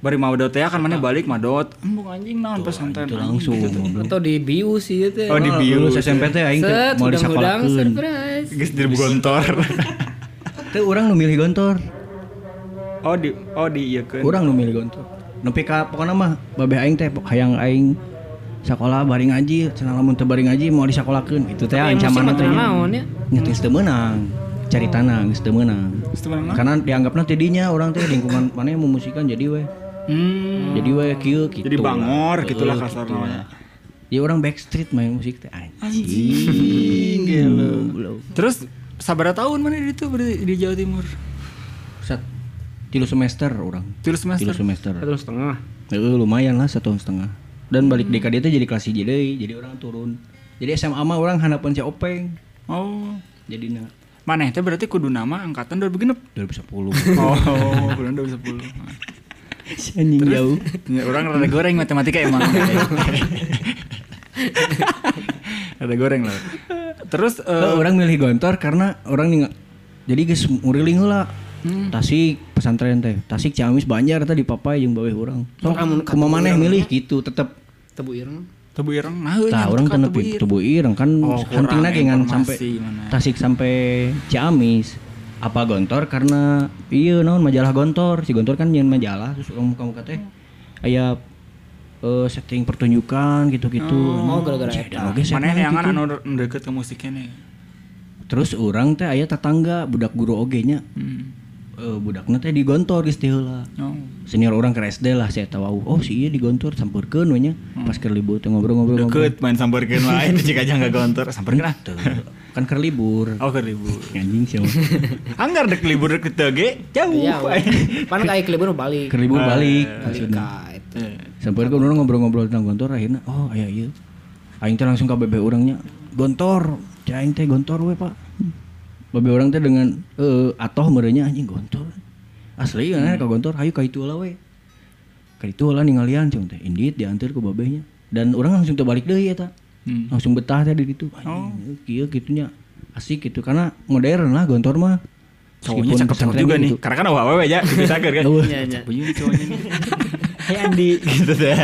Bari mau dot ya kan mana balik madot. Embung anjing naon pesantren. itu anjing, langsung gitu teh. goblok. Atau di bius sih teh. Oh, di bius. Lulus SMP teh aing teh Set, mau hudang-hudang disakolahkeun surprise. Geus di gontor. teh urang nu milih gontor Oh di oh di ieu kan. Orang nu milih gontor. Nepi ka pokona mah babeh aing teh pok- hayang aing sekolah bari ngaji, cenah lamun teu bari ngaji mau disakolahkeun. Itu teh Tapi emosi ancaman mah teh. teu naon ya. Nya geus teu meunang. Caritana geus teu meunang. Karena dianggapna teh dinya orang teh lingkungan mana yang memusikan jadi we. Hmm. Jadi we kieu gitu. Jadi bangor lah. gitulah Heuh, kasar gitu lah. namanya. Ya orang backstreet main musik teh Anjing, gelo. Belum. Terus sabar tahun mana di itu berarti di Jawa Timur? Sat tilu semester orang. Tilu semester. Tilu semester. Satu setengah. Heeh, lumayan lah satu tahun setengah. Dan balik DKD itu jadi kelas hiji deui, jadi orang turun. Jadi SMA mah orang hanapan si Openg. Oh. Jadi na Mana teh berarti kudu nama angkatan 2006. 2010. Oh, bulan 2010. si anjing jauh. Ya, orang rada goreng matematika emang. rada goreng lah. Terus eh, Eh, orang milih Gontor karena orang nih jadi geus muriling heula. Tasik pesantren teh. Tasik Ciamis Banjar tadi papai jeung baweh urang. Sok kumaha maneh milih gitu tetep. Tebu ireng. tebu ireng nah, naheun. Tah Nah, orang teu nepi tubuh ireng kan Oh, kurang hantingna ge ngan sampai informasi mana. Tasik sampai Ciamis. Apa Gontor karena iya naon majalah Gontor. Si Gontor kan nyeun majalah terus urang muka-muka teh aya eh, setting pertunjukan gitu-gitu. Oh, gara-gara Sia, eta. da oge Mana setna yang gitu. anu nu deket ke musiknya nih. Terus orang teh aya tetangga budak guru oge nya. Hmm. Eh, budakna teh di Gontor geus teh heula. Oh. Senior orang ke SD lah saya tahu. Oh si iya di Gontor sampurkeun we nya. Pas keur libur teh ngobrol-ngobrol. ngobrol. Hmm. Deket main sambarkeun wae itu jika aja enggak gontor, sambarkeun ah. Tuh, Kan keur libur. Oh, ke libur. anjing sih Anggar dek libur dek teu ge jauh. Iya. Pan kayak kelebur balik. Ah, kerlibur Nah, balik iya, Balik maksudnya ka eta. sampai ke orang ngobrol-ngobrol tentang gontor akhirnya oh iya iya aing teh langsung ke bebe orangnya gontor Cai aing teh gontor we pak bebe orang teh dengan eh atoh merenya anjing gontor asli Hmm. kan ke gontor ayo ka itu lah we ka itu lah ningalian cung teh indit diantar ke Hmm. babehnya dan orang langsung terbalik deui eta langsung betah teh di ditu anjing oh. eh, kieu kitunya asik gitu karena modern lah gontor mah gitu. Cowoknya cakep-cakep juga nih. Karena kan awe-awe ya, dipisakeun kan. Eueuh. Cakep juga cowoknya nih. Hai Andi. Gitu deh.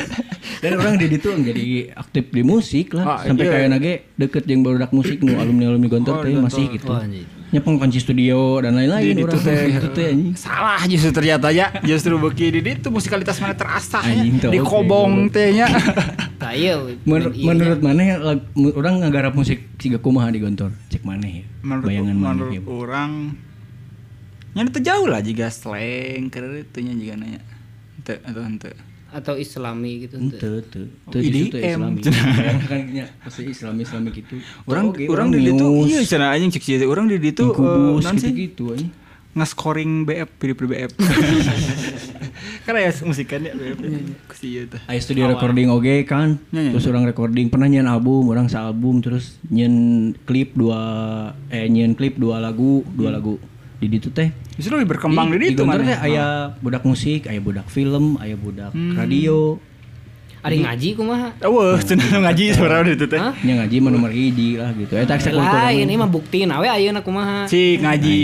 dan orang di ditu jadi aktif di musik Ah, lah sampai iya. kayak nage deket yang baru musik nu alumni alumni Oh, gontor teh Gontor. masih gitu Wah, anjing. nyepeng kunci studio dan Di lain-lain ditu orang teh. Di ditu teh anjing Salah justru ternyata ya. Justru beki di ditu musikalitas mana terasah ya. Anjing, tau, Di kobong teh ya. nya. Tayo. Menur- iya. menurut mana lag- mu- orang nggarap musik tiga kumaha di gontor cek mana ya Menurut bayangan mana menurut ya orang nya itu jauh lah jika slang keren itu nya jika nanya. Ente atau ente. atau Islami gitu. ente tuh tuh Oh, IDM. itu ya, islami bayangkan nya pasti islami islami gitu Orang Oke, orang di ditu news, iya cenah anjing cek sia orang di ditu eh, Incubus naon sih? gitu-gitu anjing nge-scoring BF pilih pilih BF karena ya musikannya BF kusi iya tuh Ayo studio recording oke kan Ya, ya. terus orang recording pernah nyen album orang album terus nyen klip dua eh nyen klip dua lagu dua lagu di ditu teh justru lebih berkembang Di- dari di Hmm. itu gontor teh mana Ah. aya budak musik aya budak film aya budak Hmm. radio Ada yang ngaji kumaha? Wah, cenah ngaji sebenarnya itu teh. Hah? nya ngaji mah nomor hiji lah gitu eta kultur Lah, ini mah buktiin awe ayeuna kumaha. Si ngaji.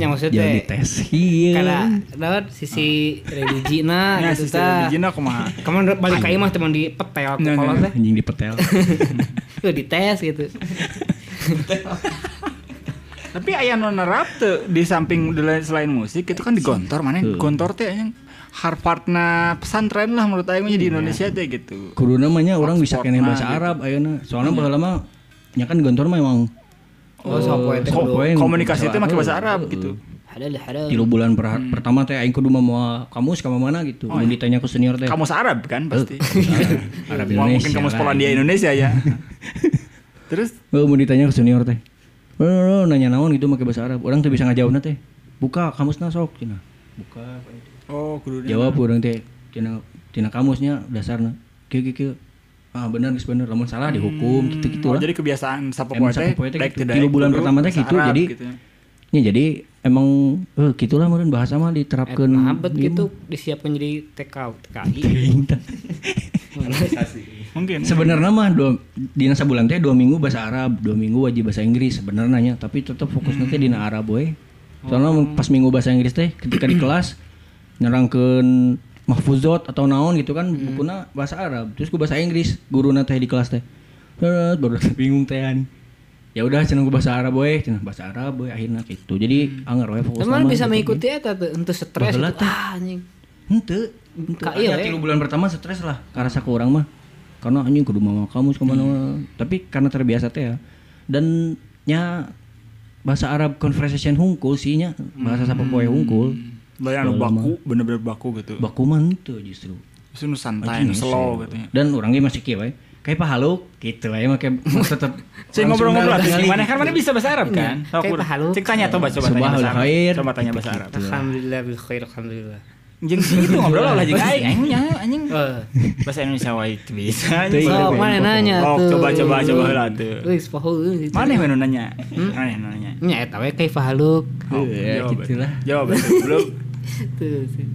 Nya maksud Iya. jadi teh. tes iya. ieu. Karena dapat sisi Ah, religina Nah, gitu si ta. Regina kumaha? Kamu balik ke imah teman di petel aku Nah, kalau nah. teh. anjing dipetel. Tuh di tes gitu. Tapi aya nu nerap teu di samping di lain- selain musik itu kan di Iya. gontor mana gontor teh yang Harvardna pesantren lah menurut aing mah Iya. di Indonesia teh gitu. Kudu namanya orang bisa Hotspot kene mah bahasa gitu. Arab ayeuna. Soalnya baheula lama nya kan gontor mah emang Iya. Oh, sok poe teh Ko- kudu. poe. Poeng, Komunikasi teh bahasa make bahasa Arab. Arab gitu. Hadal hadal. tilu bulan per- Hmm. pertama teh aing kudu mah moal kamus ka mana gitu. Mun ditanya ku senior teh. Oh, Kamus Arab kan pasti. Arab Wah, Indonesia. mungkin kamus lah. gitu. Polandia Indonesia ya. Terus Heuh, mun ditanya ku senior teh. "Eh, eh, nanya naon gitu make bahasa Arab. Orang teh bisa ngajawabna teh. Buka kamusna sok cenah. Buka. oh kudu Jawab orang teh tina tina kamusnya dasarna. Kieu kieu kieu. Ah bener geus bener lamun salah dihukum gitu-gitu Oh, Gitu lah. jadi kebiasaan sapopoe Emang teh sapopoe teh daek gitu. teu daek Tilu bulan kudu pertama teh bahasa gitu, Arab jadi- gitu ya. Ya jadi emang eh gitulah meureun bahasa mah diterapkeun. Eh, Abet ieu gitu disiapkan jadi TK TKI. Teuing tah. mungkin Sebenarnya mah dua dina sabulan teh dua minggu bahasa Arab, dua minggu wajib bahasa Inggris sebenarnya nya, tapi tetap fokus nanti dina Arab we. Soalnya mun pas minggu bahasa Inggris teh ketika di kelas nyerangkeun mahfuzot atau naon gitu kan bukuna bahasa Arab, terus ku bahasa Inggris guruna teh di kelas teh. Deret, Baru bingung teh an. Ya udah cenah ku bahasa Arab we, cenah bahasa Arab we akhirnya gitu. Jadi anger we fokus Teman nama bisa gitu. mengikuti eta tuh untuk stres Baheula gitu. teh. Ah anjing. Henteu. iya, eh. Henteu. Ka ieu Aya we. tilu bulan pertama stres lah karasa ke orang mah. Karena anjing kudu mama kamu kemana Hmm. Tapi karena terbiasa teh ya. Dan nya bahasa Arab conversation hungkul sih nya bahasa Hmm. sapopoe hungkul. Lain anu baku bener-bener baku gitu Baku mah henteu justru. terus nu santai nu iya slow gitu ya Dan orangnya masih kieu we. Kayak pahaluk gitu we make tetep Cek ngobrol-ngobrol terus gimana kan mana bisa bahasa Arab kan? Iya. Kayak pahalu. Cek tanya coba coba tanya Subahul bahasa Arab. khair. Coba tanya bahasa Arab. Gitu. Alhamdulillah bil khair alhamdulillah. Jeung sih itu ngobrol lah jeung aing aing nya anjing. Eh. Bahasa Indonesia wae teu bisa. Teuing, Sok teuing. mana nanya Oh, tuh. coba coba coba heula teu. Wis pahul gitu. Mana yang nu nanya? Mana yang nu nanya? Nya eta we kaifa haluk. Oh, Ya, jawab, gitu eh. lah. Jawab eh. belum. Tuh. sih.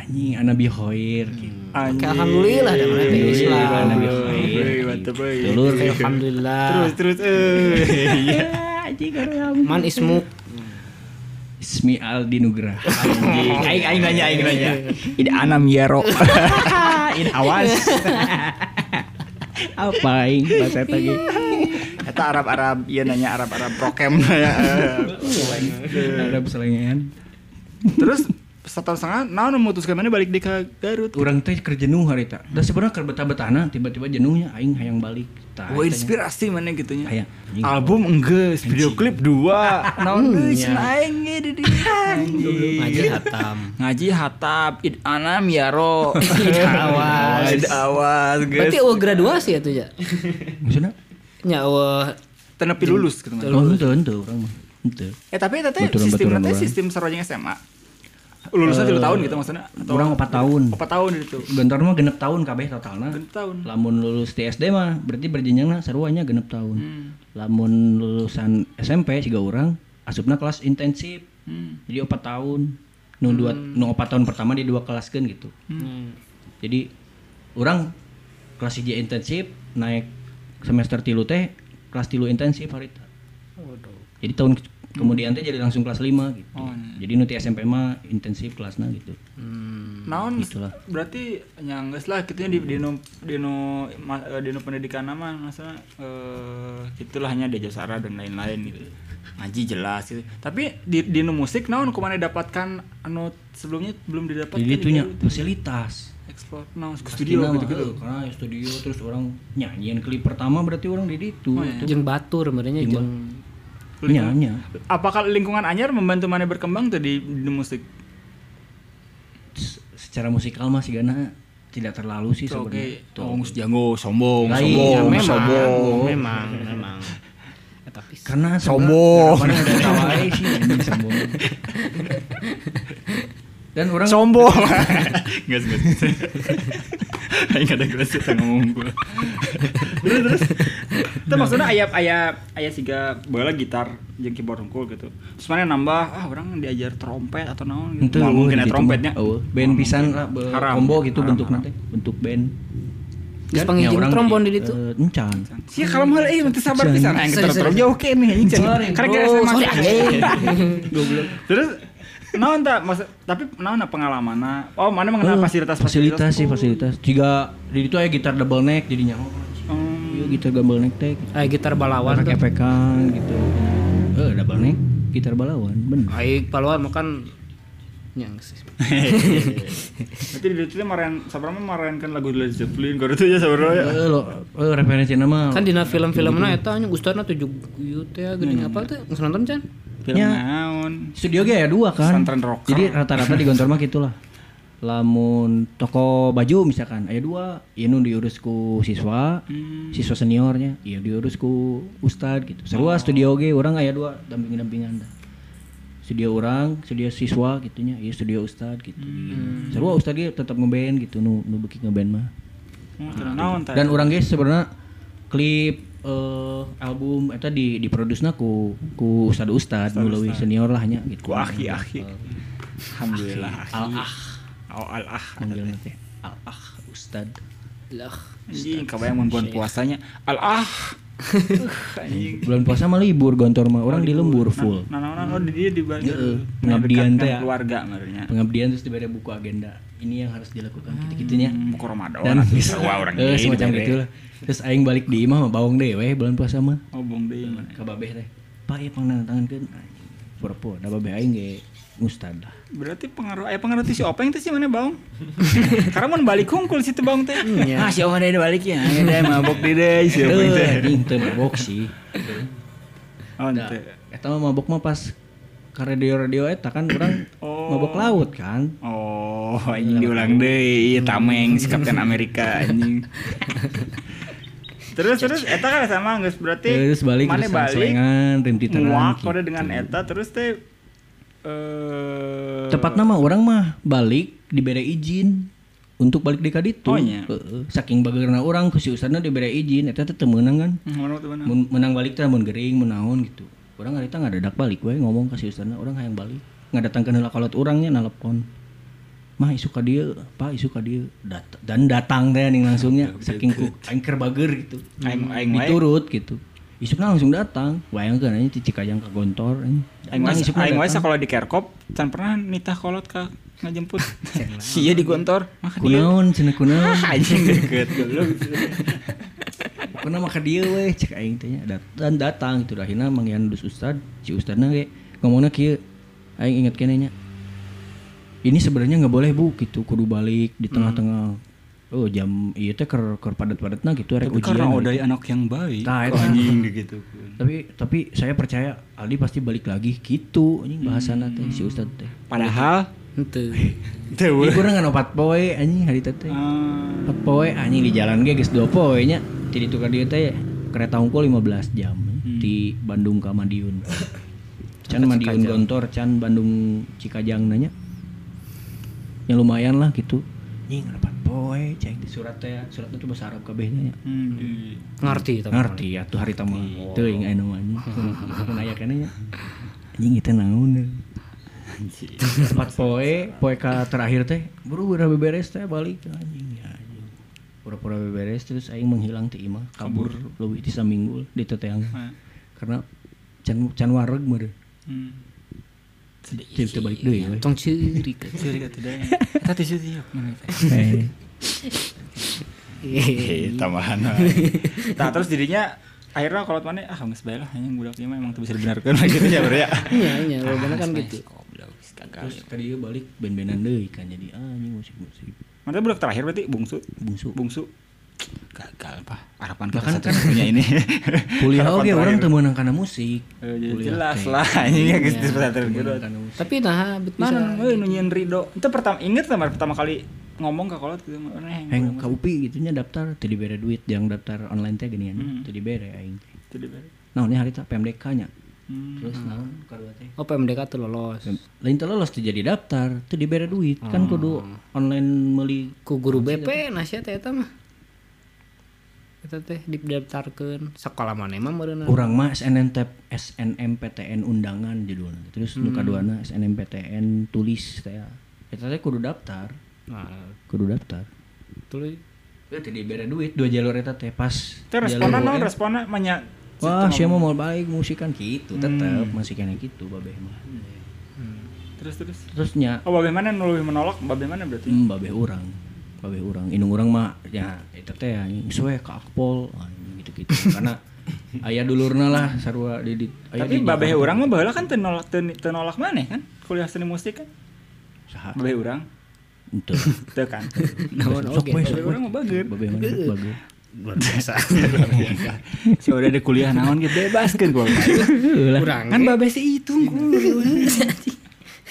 Anjing anabi hoir Hmm. gitu. Anjing. alhamdulillah dah, mana teh Islam. Alhamdulillah. Euy, mantep euy. Dulur Alhamdulillah. Terus terus eh. Iya. Man ismuk. Ismi Aldi Nugraha. Anjing, aing aing nanya aing nanya. Ida anam ya, yaro. In awas. Apa aing bahasa eta ge? Eta Arab-Arab, iya nanya Arab-Arab prokem ya. Ada selengean. Terus setahun setengah, naon memutuskan mana balik di ke Garut. Urang teh kerjenuh hari tak. Da sebenarnya keur betah-betahna tiba-tiba jenuhnya aing hayang balik. Ah, Tah. Wah inspirasi mana gitunya. Aya, anjing. Album enggak, video klip dua. Hmm, Naon geus cenah aing ge di dieu. Iya. Ngaji Anjing. hatam. Ngaji hatab id anam yaro. Id awas. Id awas geus. Berarti eueuh graduasi atuh ya. Maksudna? Nya eueuh Tenepi lulus gitu. mah. Oh, henteu henteu urang mah. Henteu. Eh tapi eta teh Baturan-baturan sistemna teh orang. sistem sarojeng SMA. Lulusnya tilu tahun gitu maksudnya. Eh, Urang 4 tahun. 4 tahun itu. Gentor mah genep tahun kabeh totalna. Genep tahun. Lamun lulus TSD mah berarti berjenjangna saruanya genep tahun. Hmm. Lamun lulusan SMP siga urang asupna kelas intensif. Hmm. Jadi 4 tahun. Nu dua nu 4 tahun pertama di dua kelaskeun gitu. Jadi orang kelas hiji intensif naik semester tilu teh kelas tilu intensif hari itu. Waduh. Jadi tahun ke- kemudian teh jadi langsung kelas 5 gitu. Oh. Jadi nu teh SMP mah intensif kelasna gitu. Naon Itulah. Hmm. berarti nyangges lah kitunya di dino dino ma, eh, dino pendidikan nama maksudnya eh itulah hanya di jasara dan lain-lain gitu. Ngaji jelas gitu. Tapi di dino musik naon kumana dapatkan anu sebelumnya belum didapatkan Jadi juga itunya gitu. fasilitas. Explore naon ke studio Pastina gitu gitu. mah, eh, Karena studio terus orang nyanyian klip pertama berarti orang di ditu. Oh, iya. Jeung batur merenya jeung Nyanyi. Apakah lingkungan anyar membantu mana berkembang tuh di di musik? S- Secara musikal mah sih gana tidak terlalu sih sebenarnya. ya? Oke. Tuh. Oh, geus jago, sombong, Lain, Ya, sombong, memang, sombong. memang, memang. Eta pisan. Karena Sombong. sebenarnya ada tawa aja sih anjing, sombong. Dan orang sombong nggak sih Aing ada gue sih ngomong gue terus terus itu maksudnya ayah ayah ayah siga bola gitar jeung keyboard hungkul gitu terus mana nambah ah orang diajar trompet atau naon gitu Itu Moal mungkin ya gitu trompetnya mah. Oh, band Moal pisan mungkin. lah be- Haram. combo gitu Haram, bentuk haram. nanti bentuk band. Kan ya Geus panggil jeung trombon di ditu. Eh, encan. sih kalau mau eh nanti sabar pisan Nah, aing Sorry, terus sorry, terus jauh oke nih anjing Sorry, karena bro. kira SMA Sorry, anjing. Goblok. terus naon tak maksud tapi naon pengalaman oh mana mengenal Eh, fasilitas fasilitas sih fasilitas. Jika di ditu aya gitar double neck jadinya. Oh, Hmm. Iya gitar double neck teh. gitu. Aya gitar balawan tuh. Pakai pekan gitu. Eh double neck gitar balawan bener. Aing balawan makan nyang sih. Nanti di itu maren sabrama marenkan lagu Led Zeppelin kalau itu ya sabrama ya. Eh lo eh, referensi nama. Kan dina film-filmna eta nya gustarna 7 guyu teh geuning ya, apa teh? Geus nonton Can? Film Ya. naon? Studio ge ya dua kan. Pesantren rocker. Jadi rata-rata di kantor mah gitulah. Lamun toko baju misalkan aya dua, ieu nu diurus ku siswa, siswa seniornya, ieu diurus ku ustad gitu. Sarua studio ge urang aya dua dampingan-dampingan dah. Studio orang, studio siswa gitunya, ieu studio ustad gitu. Sarua ustad ge tetap ngeband gitu nu nu beuki ngeband mah. Hmm, film naon tadi? Dan orang guys sebenarnya klip eh, album eta di diprodusna ku ku ustad ustad nu leuwih senior lah nya ku gitu. akhi akhi. Alhamdulillah. Al ah Au al ah. panggilna teh. Al ah ustad. Lah. Anjing kabayang mun bulan puasanya al ah. Uh, Anjing. Bulan puasa mah libur gontor mah orang di lembur full. Nah, nah, nah, oh di dia di bagi Heeh, pengabdian teh ya. keluarga merenya. Pengabdian terus diberi buku agenda. Ini yang harus dilakukan gitu-gitunya. Hmm, Buku Ramadan. Ya. Dan bisa wah orang Eh, gini, semacam dibere. gitulah. Terus aing balik di imah mah bawang deh weh bulan puasa mah. Oh bong deui mana. Ka babeh teh. Pak ieu pangdang tangankeun. Anjing. Pura-pura da babeh aing ge ustad lah. Berarti pengaruh eh pengaruh ti si Openg teh si mana Baung? Karena mun balik hungkul si teu Baung teh. Hmm. Ah si Openg deh balik ya. Ya deh mabok di deh si Openg teh. Teh anjing teu mabok sih. Oh, Nah, teh. Eta mah mabok mah pas ka radio-radio eta kan orang Oh. mabok laut kan. Oh, anjing diulang deh, tameng si Kapten Amerika anjing. terus terus eta kan sama geus berarti Terus balik mana terus balik selengan rim titeran. nguak gitu. kode dengan eta terus teh eh Tepat nama orang mah balik diberi izin untuk balik di kaditu. Oh, nya. Heeh. Saking bageurna orang ku si ustadna diberi izin eta teh teu meunang kan. Hmm, mana tuh, mana? Mun- Menang balik teh mun gering mun naon gitu. Orang ngarita ngadadak balik we ngomong ka si ustadna orang hayang balik. Ngadatangkeun heula kolot urangnya nalepon. Mah isu ka dieu, Pak isu ka dieu. Dat- dan datang teh ning langsungnya saking ku aing keur bager gitu. aing aing wae Diturut gitu. Isukna langsung datang. Wayangkeun anjing ti Cikajang ka Gontor anjing. aing wae Datang, isukna aing wae datang. sakola di Kerkop can pernah nitah kolot ka ngajemput sia di kantor mah ka dieu. kunaon cenah kunaon Ah, anjing deket goblok kuna maka dia weh cek aing teh nya. Dat- dan datang gitu akhirnya manggihan dus ustad si ustadna ge ngomongna kieu aing inget kene nya ini sebenarnya nggak boleh bu gitu kudu balik Hmm. di tengah-tengah oh jam iya teh ker ker padat-padatna gitu tapi rek ujian karena hari. odai anak yang baik Tah, eta. anjing gitu tapi tapi saya percaya Aldi pasti balik lagi gitu anjing bahasana teh si ustad teh padahal Henteu. Hmm. teh Ieu kurang kan opat poe anjing hari teh teh. Ah, Empat poe anjing di jalan ge geus 2 poe nya. Jadi tukar dia teh kereta unggul 15 jam di Bandung ke Madiun. Can Madiun Gontor, can Bandung Cikajang nanya. Ya lumayan lah gitu. Nying empat poe cek di surat teh, surat itu bahasa Arab kabeh nya. hmm, di- Ngerti tapi. Ngerti atuh hari tamu. Teuing aya namanya. kan, Mun aya keneh nya. Anjing itu naon deh. Empat poe, poe ka terakhir teh, buru udah beberes teh balik anjing ya anjing. eh, Pura-pura beberes terus aing menghilang ti imah, kabur leuwih ti saminggul di teteang. Karena can can wareg meureun. Hmm. Jadi teu balik deui. we. tong ciri ke Sorry kata dia. Eta ti sieu tiup. Eh, Iya, Iya, tambahan. Tah Nah, terus dirinya akhirnya kalau mana ah geus bae lah anjing budak ieu mah emang teu bisa dibenarkeun lah gitu ya bro ya. iya iya lo bener kan gitu Terus tadi dia balik ben-benan deui kan jadi anjing musik-musik. Mana budak terakhir berarti bungsu. Bungsu. Bungsu. Gagal pak. Harapan kita Bahkan kan- satu-satunya ini. Kuliah Harapan oge orang terakhir. teu meunang kana musik. Eh, jadi Kuliah jelas teh. lah anjing ya geus Iya. di pesantren Teu gitu. meunang kana musik. tapi nah bisa Mana Eh. euy nunyin Rido. Itu pertama inget sama pertama kali ngomong ke kolot gitu mana Heng ka UPI gitunya daftar teu dibere duit yang daftar online teh Hmm. genian teu dibere aing. Jadi bari. Nah, ini hari teh PMDK nya. gitu, Hmm. Terus naon kadua teh? oh PMDK tuh lolos Lain teu lolos teu jadi daftar, teu dibere duit. Ah. Kan kudu online meuli ku guru BP nasihat eta mah eta teh didaftarkeun sekolah mana mah meureun Urang mah SNMPTN SNMPTN undangan judulnya. Terus Hmm. nu kaduana SNMPTN tulis kayak eta teh kudu daftar, nah kudu daftar. tuluy Ya tadi bere duit dua jalur eta teh pas. Terus responan naon responan banyak. Iya, Wah, siapa mau balik musikan gitu Hmm. tetep masih kena gitu babeh mah. Terus terus. Terus nya Oh, babeh mana nu lebih menolak? Babeh mana berarti? hmm, babeh urang. Babeh urang, indung urang mah ya eta teh anjing suwe ka Akpol anjing gitu-gitu. Karena aya dulurna lah sarua di, di aya Tapi di babeh Jakarta. urang mah baheula kan teu nolak teu teu nolak maneh kan? Kuliah seni musik kan. Saha? Babeh urang. Henteu. Teu kan. naon oge Sok we, Babeh sok we. urang mah bageur. Babeh mana? Babeh. luar biasa Si udah ada kuliah naon gitu bebaskeun gua. kurang Kan babeh si itu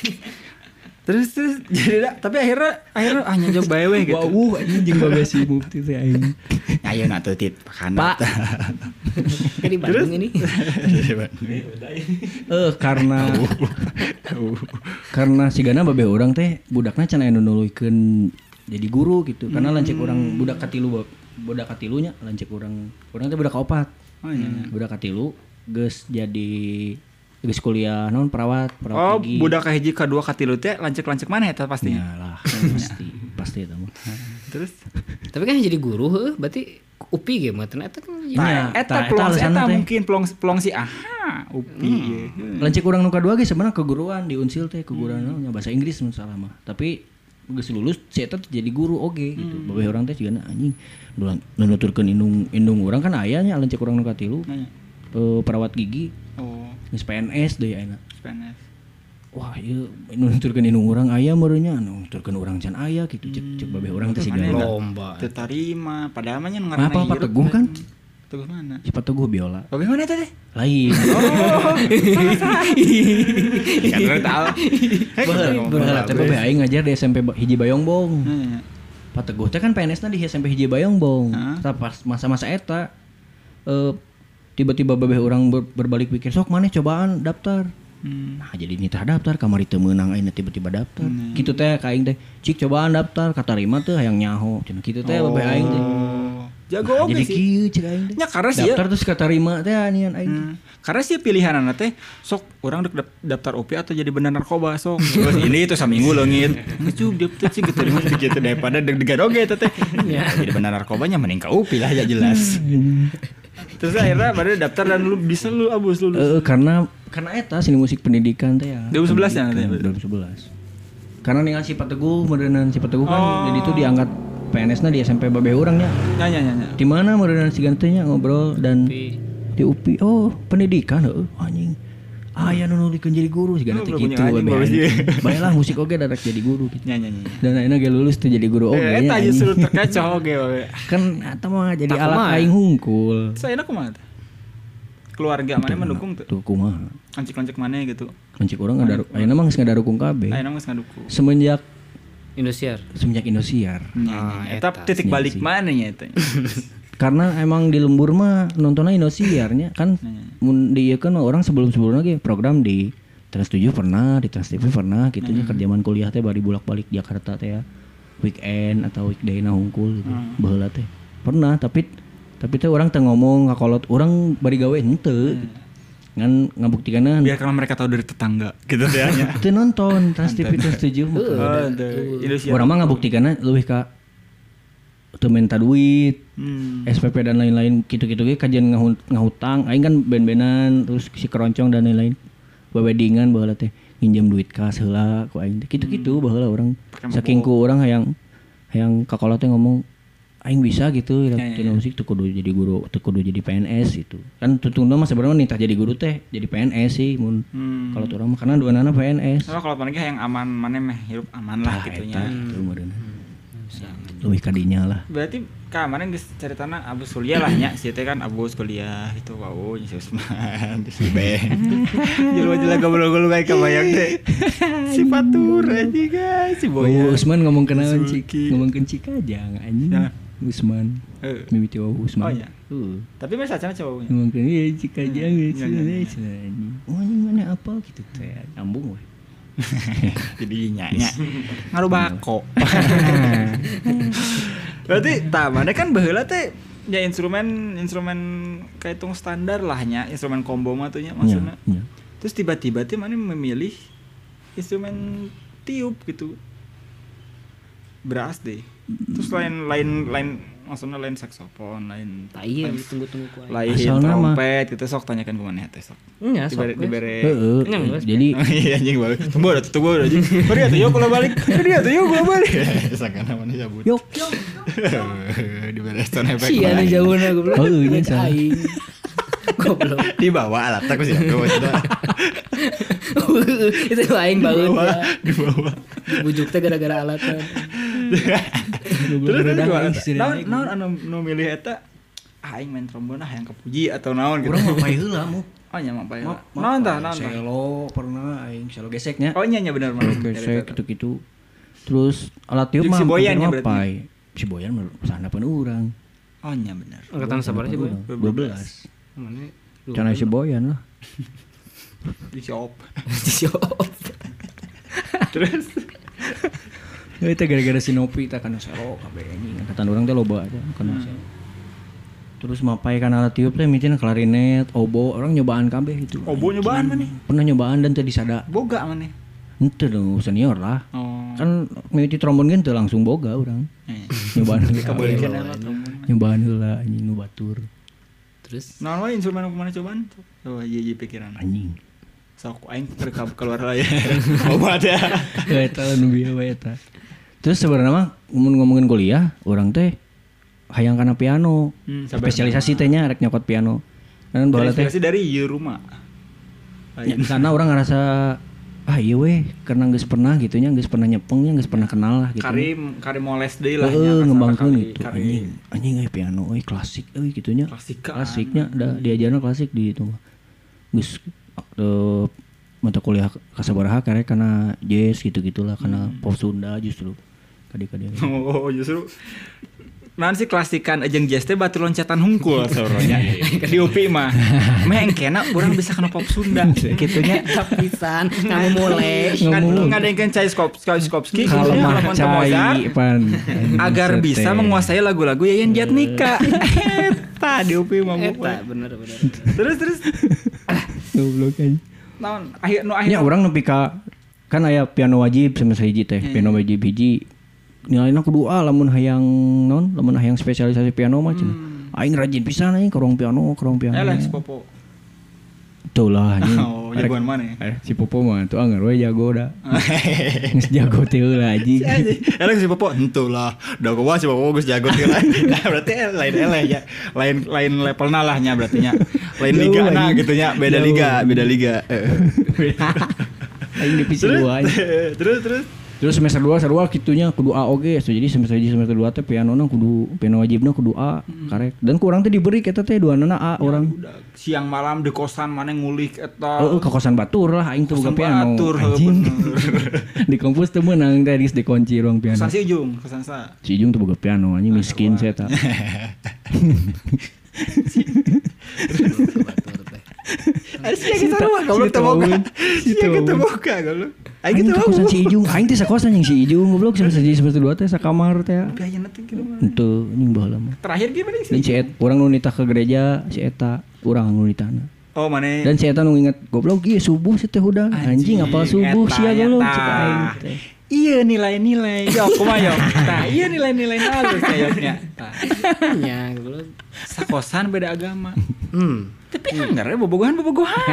Terus terus jadi dah. tapi akhirnya akhirnya ah nyonjok bae we gitu. Wah, anjing jeung babeh si mukti teh aing. Ayo na teu tit pakan. Pak. kan di Bandung ini Eh karena karena sigana babeh urang teh budakna can aya nu nuluykeun jadi guru gitu. Karena Hmm. lancip orang budak katilu bab- budak katilunya lancip orang orang teh budak kaopat. Oh, iya, iya. Budak katilu geus jadi geus kuliah non perawat, Oh, perawat gigi. budak kahiji kadua katilu teh lancek-lancek mana eta pastinya. Yalah, pasti pasti eta mah. Terus tapi kan jadi guru heuh berarti UPI ge mah ternyata kan jadi- Nah, Nya, eta Hmm. tah, eta peluang si alasanna eta teh. mungkin peluang peluang si aha upi Iya, ye. Lancik kurang nuka dua ge sebenarnya keguruan di Unsil teh keguruan nya bahasa Inggris mun salah mah. Tapi geus lulus si eta teh jadi guru oge gitu. Babeh urang teh sigana anjing nu- nu nuturkeun indung indung urang kan aya nya lancik urang nuka tilu. Nanya. Eh, perawat gigi Oh, geus PNS deui ayeuna. PNS. Wah, ieu nu nuturkeun indung urang aya meureunnya nu nuturkeun urang can aya gitu cek cek babeh urang teh sigana. lomba Teu tarima padahal mah nya nu Apa apa teguh kan? Teguh mana? Siapa teguh biola. Oh, mana teh? Lain. Kan orang tahu. Baheula baheula teh babeh aing ngajar di SMP Ba- hiji Bayongbong. Pak Teguh teh kan PNS-na di SMP Hiji Bayongbong. Heeh. Tah pas masa-masa eta eh, tiba-tiba babeh orang ber- berbalik pikir sok mana cobaan daftar. Hmm. Nah, jadi ini tah daftar kamari teu meunang ayeuna tiba-tiba daftar. Gitu teh ka aing teh, cik cobaan daftar katarima teh hayang nyaho. Cenah kitu teh babeh aing teh. Oh. Jago Nah, oge jadi sih. kieu cek aing teh. Nya karena sih ya. Daftar terus katarima teh anian aing teh. Hmm. Karena sih pilihan anak teh sok orang dek dap- daftar OP atau jadi benar narkoba sok. Terus ini itu saminggu leungit. Ngecup dia teh sih gitu Iya. mah gitu daripada deg-degan oge eta teh. Jadi benar narkobanya mending ka UPI lah ya jelas. Terus akhirnya baru daftar dan lu bisa lu abus lu. Eh, karena karena eta seni musik pendidikan teh ya. 2011 ya, nanti ya? Pendidikan, 2011. Karena dengan si Teguh, merenan si Oh. Teguh kan jadi itu diangkat PNS-na di SMP Babe Urangnya. Nyanyi nyanyi. Di mana merenan si gantenya ngobrol dan Di- di UPI. Oh, pendidikan heuh anjing. Ah, ya nu nulikeun jadi guru si Oh, ganteng belum punya gitu. anjing, Babe bagus anjing. sih. Baiklah musik oge dadak jadi guru gitu. Nyanyi nyanyi. Dan akhirnya ge lulus tuh jadi guru oge. Eh, nya, eta anjing. justru terkecoh oge bae. Kan eta mah jadi Tak kumaha. alat aing hungkul. Terus akhirnya kumaha teh? Keluarga mana mendukung tuh? Tuh kumaha. Kancik-kancik mana gitu. Mencik orang nggak ada, ayeuna mah geus ngadukung kabeh. Ayeuna mah geus ngedukung. semenjak Indosiar semenjak Indosiar Nah, eta titik balik mana nya eta? karena emang di lembur mah nontonnya Indosiarnya kan mun di ieu kan mah orang sebelum sebelumnya ge program di Trans 7 pernah di Trans TV pernah gitu nya kerjaan kuliah teh bari bolak balik Jakarta teh ya weekend atau weekday na hungkul gitu baheula teh pernah tapi tapi teh orang teh ngomong ngakolot orang bari gawe henteu ngan ngabuktikeunna Biarkanlah mereka tahu dari tetangga gitu teh nya. teu nonton Trans TV Trans 7 mah Oh, the Indosiar. Orang mah ngabuktikeunna leuwih ka teu minta duit Hmm. SPP dan lain-lain gitu-gitu ge kajian ngahun- ngahutang aing kan ben-benan terus si keroncong dan lain-lain wewedingan baheula teh nginjem duit kas heula ku aing teh. gitu-gitu baheula urang saking ku urang hayang hayang kakola teh ngomong aing bisa gitu ya, musik tuh kudu jadi guru tuh kudu jadi PNS gitu kan tutung mah sebenarnya nitah jadi guru teh jadi PNS sih mun Hmm. kalau tuh orang mah karena dua nana PNS Soalnya kalau panggil yang aman mana meh hirup aman lah Tah, gitunya. Ah, eta gitu meureunna. lebih kadinya lah Berarti kemarin geus ceritana abus kuliah lah nya, si teh kan abus kuliah itu wow nya si Usman, si Ben. Jelema jelema goblok-goblok kayak kebayang teh. Si Fatur aja guys, si Oh, Boyan. Usman ngomong kenal Cik, Suzuki. ngomong ke Cikajang anjing. Jangan. Usman. Ya. Eh. Mimiti Wawu Usman. Oh, iya. Heeh. Tapi mah sacana cowoknya. Ngomong ke ya Cikajang Hmm, ya iya, iya, iya. Cina anjing. Oh, anjing mana apa gitu teh. Nyambung weh. Jadi nyanya. Ngaruh bako. Berarti tah mana kan baheula teh ya instrumen instrumen kaitung standar lah nya, instrumen combo mah tuh nya maksudnya. Iya, iya. Terus tiba-tiba teh mana memilih instrumen tiup gitu. Beras deh. Terus lain lain lain maksudnya lain saksofon, lain Tak iya lain- tunggu-tunggu ku aing. ya. lain Asal nama. trompet gitu sok tanyakan kemana teh sok. Dibere, Nya Iya, sok. we. dibere Heeh. eh, Kenyang, Bos. Jadi Iya anjing balik. Tunggu ada tunggu ada anjing. Pergi atuh yuk kalau balik. Pergi atuh yuk kalau balik. Sakana mana cabut. Yok. Iya. Di ya, Stone Effect. Sia balik. nih jauhna goblok. Oh, iya, salah. Aing. Goblok. Di bawah alat aku sih. Di bawah. Itu aing banget ya. Di bawah. Bujuk teh gara-gara alatan. Terus terus gimana? Naon naon anu nu milih eta ah, aing main trombon ah yang kepuji atau naon gitu. Urang mah pae heula mu. Oh nya mah pae. Mah- mah Naon tah pae. naon tah. Selo pernah aing selo geseknya. Oh nya nya bener mah. gesek gitu-gitu. Terus alat tiup Jeung mah si Boyan hampir ya mah berarti. pae. Si Boyan mah sandapan urang. Oh nya bener. Angkatan sabar sih, Bu. Sandapan urang. 12. Mana? Cana si Boyan lah. Di shop. Siop. Terus Ya itu gara-gara si Nopi tak kena selo kabeh anjing. Angkatan orang teh loba aja kena selo. Terus mapai kan alat tiup teh mitin klarinet, obo, orang nyobaan kabeh itu. obo nyobaan Oh, mana? Pernah nyobaan dan tadi sada. Boga mana? Henteu dong senior lah. Oh. Kan mimiti trombon kan teu langsung boga orang. Iya. Nyobaan Kabalik heula. lah trombon. Nyobaan heula anjing nu batur. Terus Nah, wae instrumen anu kemana cobaan? Coba iya iya pikiran. Anjing. Sok aing rekam keluar lah ya. Obat ya. Ya, eta lah nu bieu we eta. Terus sebenarnya mah mun ngomongin kuliah, orang teh hayang kana piano. Hmm, sabar. Spesialisasi teh nya rek nyokot piano. Dan baheula teh Inspirasi dari ieu rumah. Ya, di sana orang ngerasa ah iya weh karena nggak pernah gitu nya nggak pernah nyepeng nya nggak pernah kenal lah gitu Karim Karim Moles deui lah. ya, nya, Heeh, kasar ngembangkeun kali- gitu kali anjing anjing euy piano euy klasik euy gitu nya Klasika. klasiknya da diajarna klasik di itu mah geus eh, mata kuliah kasabaraha karena karena jazz gitu gitulah karena Hmm. pop Sunda justru kadi-kadi Oh, justru Nanti klasikan aja jazz teh batu loncatan hungkul soronya di UPI mah. Meh engkena urang bisa kena pop Sunda gitu nya. pisan kamu mulai. Kan Ngomong. ngadengkeun Tchaikovsky Tchaikovsky kalau gitu nya, mah Monte Mozart. cai pan agar bisa Seteh. menguasai lagu-lagu Yayan Jatnika. Iya. Eta di UPI mah Eta bukan. bener bener. Terus terus goblok anjing naon akhir nu akhir Nya orang nepi ka kan aya piano wajib sama hiji Hmm. teh, piano wajib hiji. Nilainya kudu A lamun hayang non, lamun hayang spesialisasi piano mah cenah. Aing rajin pisan aing ke ruang piano, ke ruang piano. eh lah Hmm. si Popo. Tuh lah anjing. Oh, jagoan mana ya? Eh, si Popo mah tuh anger we jago da. Geus jago teh heula anjing. Eleng si Popo entuh lah. Da gua si Popo geus jago teh lah. Nah, berarti eh, lain eleh ya. Lain lain level lah nya berarti nya. Lain liga Jauh, nah anjing. gitu nya, beda Jauh. liga, beda liga. Eh. Aing divisi Terus dua anjing. terus terus Terus semester 2 sarua kitunya kudu A oge so, jadi semester hiji semester 2 teh pianona kudu piano wajibna kudu A Hmm. karek. Dan kurang teh diberi eta teh duanana Ya A orang. Udah, siang malam di kosan mana ngulik Oh, eta. ke kosan batur lah aing tuh Kosan boga piano. Batur, heuh, anjing. bener. di kampus teu meunang teh geus dikunci ruang piano. Kosan si Ujung, kosan sa. Si Jung tuh boga piano anjing miskin saya tak. Ada sih kita mah goblok teu boga. Sia kita boga goblok. Ayo Aing kita teh boga. kosan si Ijung, aing teh sakosan jeung si Ijung goblok semester hiji semester 2 teh sakamar teh. Tapi ayeuna teh kitu mah. Henteu anjing baheula mah. Terakhir gimana sih? Dan si Et, orang nu nitah ke gereja si eta urang nu nitahna. Oh mana? Dan si Eta nu inget goblok ieu subuh si teh udah anjing apal subuh eta, sia goblok eta. cek aing teh. Iya nilai-nilai. Yok kumayok. Tah, iya nilai-nilai halus sayoknya. Ya, goblok. Sakosan beda agama. Hmm. Tapi anggar ya bobogohan bobogohan.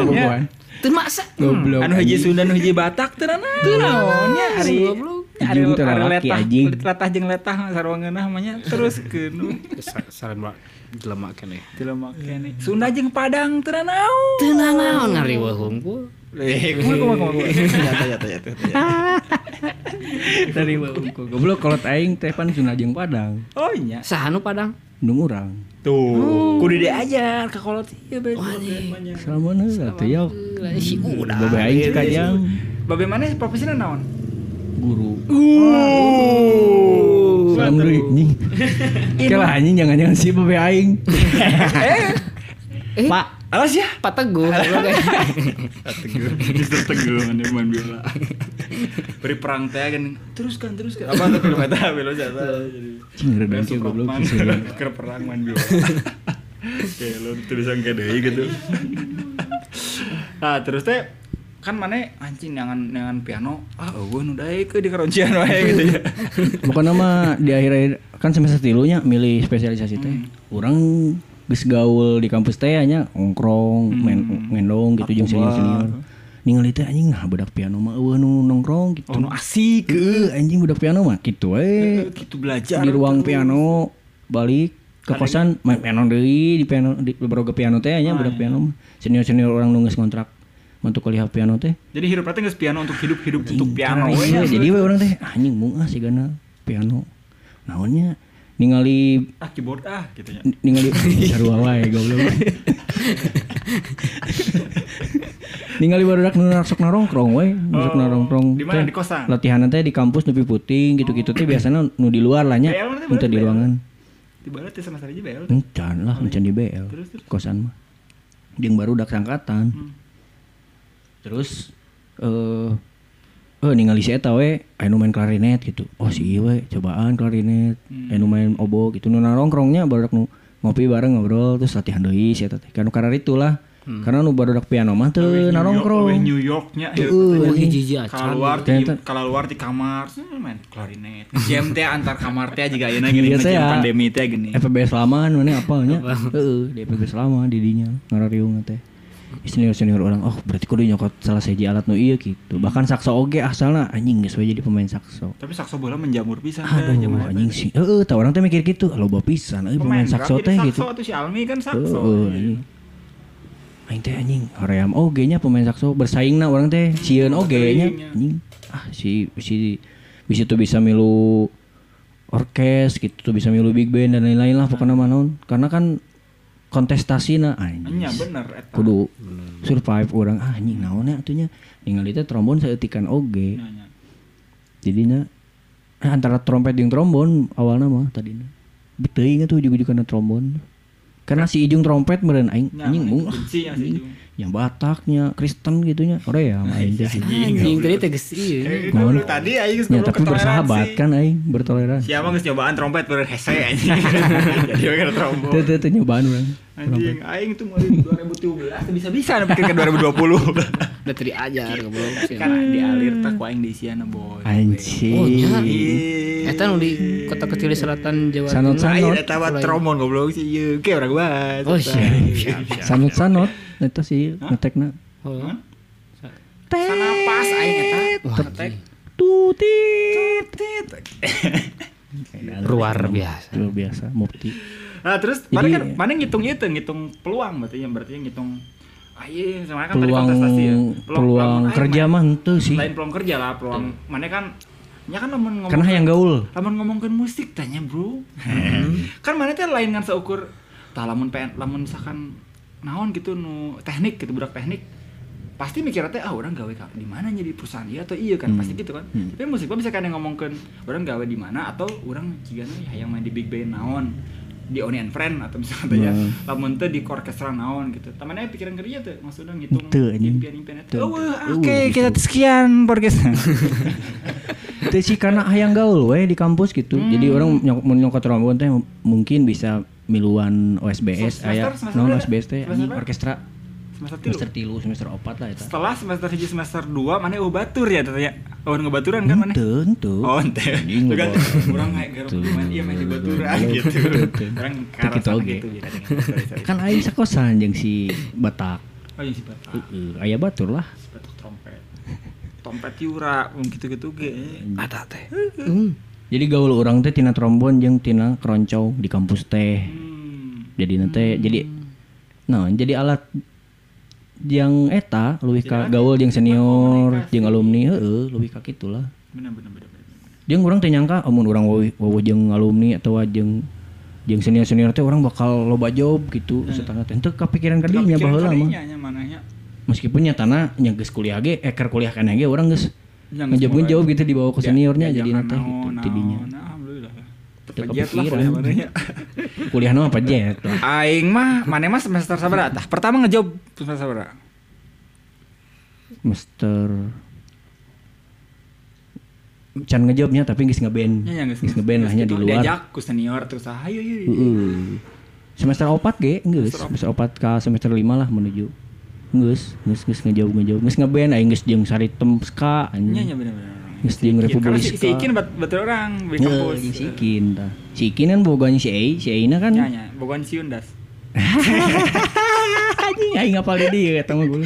Bobogohan. Teu maksa. Goblok. Anu hiji Sunda nu hiji Batak teu naon. Teu naon nya ari Goblok. ari Hiji teu ari lalaki, letah anjing. letah jeung letah sarwangeunah mah nya teruskeun. Saran mak lemak kan ya. Jelema kene. Sunda jeung Padang teu naon. Teu naon ngari wehung ku. Eh, kumaha kumaha kumaha. Nyata nyata nyata. Dari bangku goblok kalau aing teh pan Sunda jeung Padang. Oh nya. Saha nu Padang? Nu urang. Tuh, kudu diajar ka kolot ieu bae. Salamun heula teh yok. Hmm. Si udah. Babe aing cek hayang Babe mana profesina naon? guru. Uh. Salam deui anjing. Kelah anjing jangan-jangan si babe aing. Eh, Pak. Alas ya. Pak Teguh. goblok, eh. Teguh, Mister Teguh mana main bola. Beri perang teh kan. Teruskan, teruskan. Apa tuh film eta bela jasa. Cing redan sih goblok sih. Ke perang main bola. Oke, lu tulisan ke deui gitu. Nah, terus teh kan mana anjing dengan dengan piano ah eueuh nu daek ke di karoncian wae gitu ya. Bukan nama di akhir-akhir kan semester tilunya milih spesialisasi teh. Hmm. Orang geus gaul di kampus teh nya Hmm. nongkrong, main ngendong gitu jeung senior-senior. Ningali teh anjing nah budak piano mah eueuh nu nongkrong gitu. Oh, nu asik. Eh, Heeh, anjing budak piano mah gitu we. Gitu belajar. Di ruang piano balik ke kosan main piano deui di piano di beberapa piano teh Ah, iya. nya budak piano mah. Senior-senior orang nu geus ngontrak untuk kuliah piano teh. Jadi hidup teh geus piano untuk hidup hidup untuk piano. Karena we. iya, jadi we orang teh anjing mung ah sigana piano. Naonnya ningali Ah keyboard ah gitu ya. ningali sarua wae goblok. ningali barudak nu sok narongkrong we, nu sok Oh, narongkrong. di mana? teh. Di kosan? Latihanan teh di kampus nepi puting gitu-gitu teh biasanya nu di luar lah nya, BL mana teh, nu teu di berarti ruangan. Di barat teh sama saja bel. Encan lah, encan di BL. Terus, terus. Kosan mah. Jeung barudak sangkatan. Hmm. Terus eh eh ningali si eta we, anu main klarinet gitu. Oh si ieu we cobaan klarinet, Hmm. anu main obo gitu. Nu nongkrongnya barudak nu ngopi bareng ngobrol terus latihan deui si eta teh. Kan karena itulah. Hmm. Karena nu barudak piano mah teu Leuwih narongkrong. New Yorknya Heeh, Lagi anjing. jijik acan. kalau luar di Ternyata- kalau luar di kamar hmm, main klarinet jam teh antar kamar teh juga ayeuna gini Iya, saya. ngejam pandemi teh gini FPB selaman mana apalnya heeh di FPB selama didinya ngarariung teh senior senior orang oh berarti kudu nyokot salah seji alat nu iya gitu bahkan sakso oge asalna anjing geus we jadi pemain sakso tapi sakso bola menjamur pisan teh aduh anjing sih heeh tah orang teh mikir gitu loba pisan euy pemain sakso teh gitu sakso atuh si Almi kan sakso heeh iya. anjing. aing eh, teh anjing hoream oge nya pemain sakso bersaingna orang teh sieun oge nya anjing ah si si bisa tuh bisa milu orkes gitu tuh bisa milu big band dan lain-lain lah pokoknya mah naon. karena kan kontestasi na ah, nya anjing bener eta kudu survive orang ah anjing naonnya atunya ningali teh trombon saeutikan oge Nya, nya. jadinya eh, antara trompet jeung trombon awalnya mah tadinya beteuing tuh juga karena trombon karena si ijung trompet meren aing Nya, anjing mung ah, Nah, benci yang si anjing. Jung. yang Bataknya Kristen gitunya Korea mah aing teh sih Anjing tadi teh geus ieu. Eh, itu Mohon. dulu tadi aing geus Iya, ya ngobrol tapi ke bersahabat toleransi. kan Iya. aing bertoleransi siapa geus nyobaan trompet beureun hese anjing jadi we kena trombon teu teu teu nyobaan urang anjing aing tuh mulai 2017 tuh bisa-bisa nepi ke 2020 Udah tadi ajar goblok. Hmm. sih. kan dialir teh ku aing diisiana boy Oh, nya. anjing Eta nu di kota kecil di selatan Jawa Sanot, Timur. Ayo Sanot. eta mah trombon goblok sih ieu. Ke urang bae. Oh, siap. sanot sanot eta sih ngetekna Oh. Sana pas aing eta. Tetek. tutit Tit. Luar biasa. luar biasa mufti Nah, terus mana kan mana ngitung itu, ngitung peluang berarti yang berarti ngitung Ah iya, sebenarnya kan tadi peluang kontestasi ya. peluang lamun aing kerja mah. mah henteu sih Lain peluang kerja lah, peluang. Mana kan nya kan lamun ngomong karena yang gaul lamun ngomongkeun musik tanya, Bro. Mm-hmm. kan mana teh lain ngan seukur tah lamun PN lamun misalkan naon gitu nu teknik gitu budak teknik pasti mikirnya teh ah orang gawe ka- di mana nya, di perusahaan dia atau iya Mm-hmm. kan pasti gitu kan tapi musik mah bisa kan yang ngomongkeun orang gawe di mana atau orang jigana yang main di big band naon di Oni and Friend atau misalnya teh ya Mm-hmm. lamun teh di orkestra naon gitu tamannya pikiran kerja teh maksudnya ngitung Teu, anjing. impian-impian teh Teu, oh oke teu. Uh, kita gitu. sekian podcast Teh sih karena hayang gaul we di kampus gitu. Hmm. Jadi orang nyok mun nyokot trombon teh mungkin bisa miluan OSBS Semester- aya semester non berapa? OSBS teh Semester anjing berapa? orkestra semester tilu semester tilu semester opat lah itu setelah semester hiji semester dua mana eueuh batur ya tanya oh ngebaturan kan mana Henteu, henteu. Oh, ente. Anjing, Juga gua- kurang naik garuk Tuh. main iya main di baturan Tuh. gitu. Tuh. Orang Tuh, karena gitu oge. gitu. jadi. Sorry, sorry. kan aing sekosan jeung si Batak. Oh, yang si batak. Heeh, aya batur lah. Si batak trompet. Trompet Yura, um, gitu-gitu ge. Ada teh. Jadi gaul orang teh tina trombon jeung tina keroncong di kampus teh. Hmm. Jadi nanti jadi nah jadi alat yang eta leuwih ka gaul jeung senior, jeung alumni, heeh, leuwih ka kitu lah. Benar benar benar. benar. Jeung urang teh nyangka amun urang wawe wawe jeung alumni atawa jeung jeung senior-senior teh orang bakal loba job gitu setengah teh. Henteu kapikiran ka Hmm. Kepikiran dinya Kan baheula mah. kadinya nya mananya. meskipun nyata na nya geus kuliah ge eh keur kuliah kana ge urang geus Yang ngejawab semua- jawab gitu dibawa ke Ya, seniornya ya jadi jangan nata gitu naon, tidinya naon. Nah, Alhamdulillah. Teu Pegiat lah kepikiran. kuliah mananya. kuliah nama apa jet lah Aing mah, mana mah semester sabaraha? Tah, pertama ngejob semester sabaraha? Mister can ngejawabnya tapi geus ngeband Nya yang Ya, geus geus ngeband lah nya di gitu, luar Diajak ku senior terus ah ayo ayo. ayo. Heeh. semester opat ge geus semester opat ka semester lima lah menuju geus geus geus ngejawab ngejawab geus ngeband aing geus jeung sari temska Nya anjing nya benar-benar. geus jeung Iya, Karena si, republika si Ikin bat, batur orang di Ya, kampus. Iya, jeung si Ikin tah. Si Ikin kan boganya si Ei, si Eina kan Nya nya, bukan si Undas. anjing aing ngapal dia kata mah gue.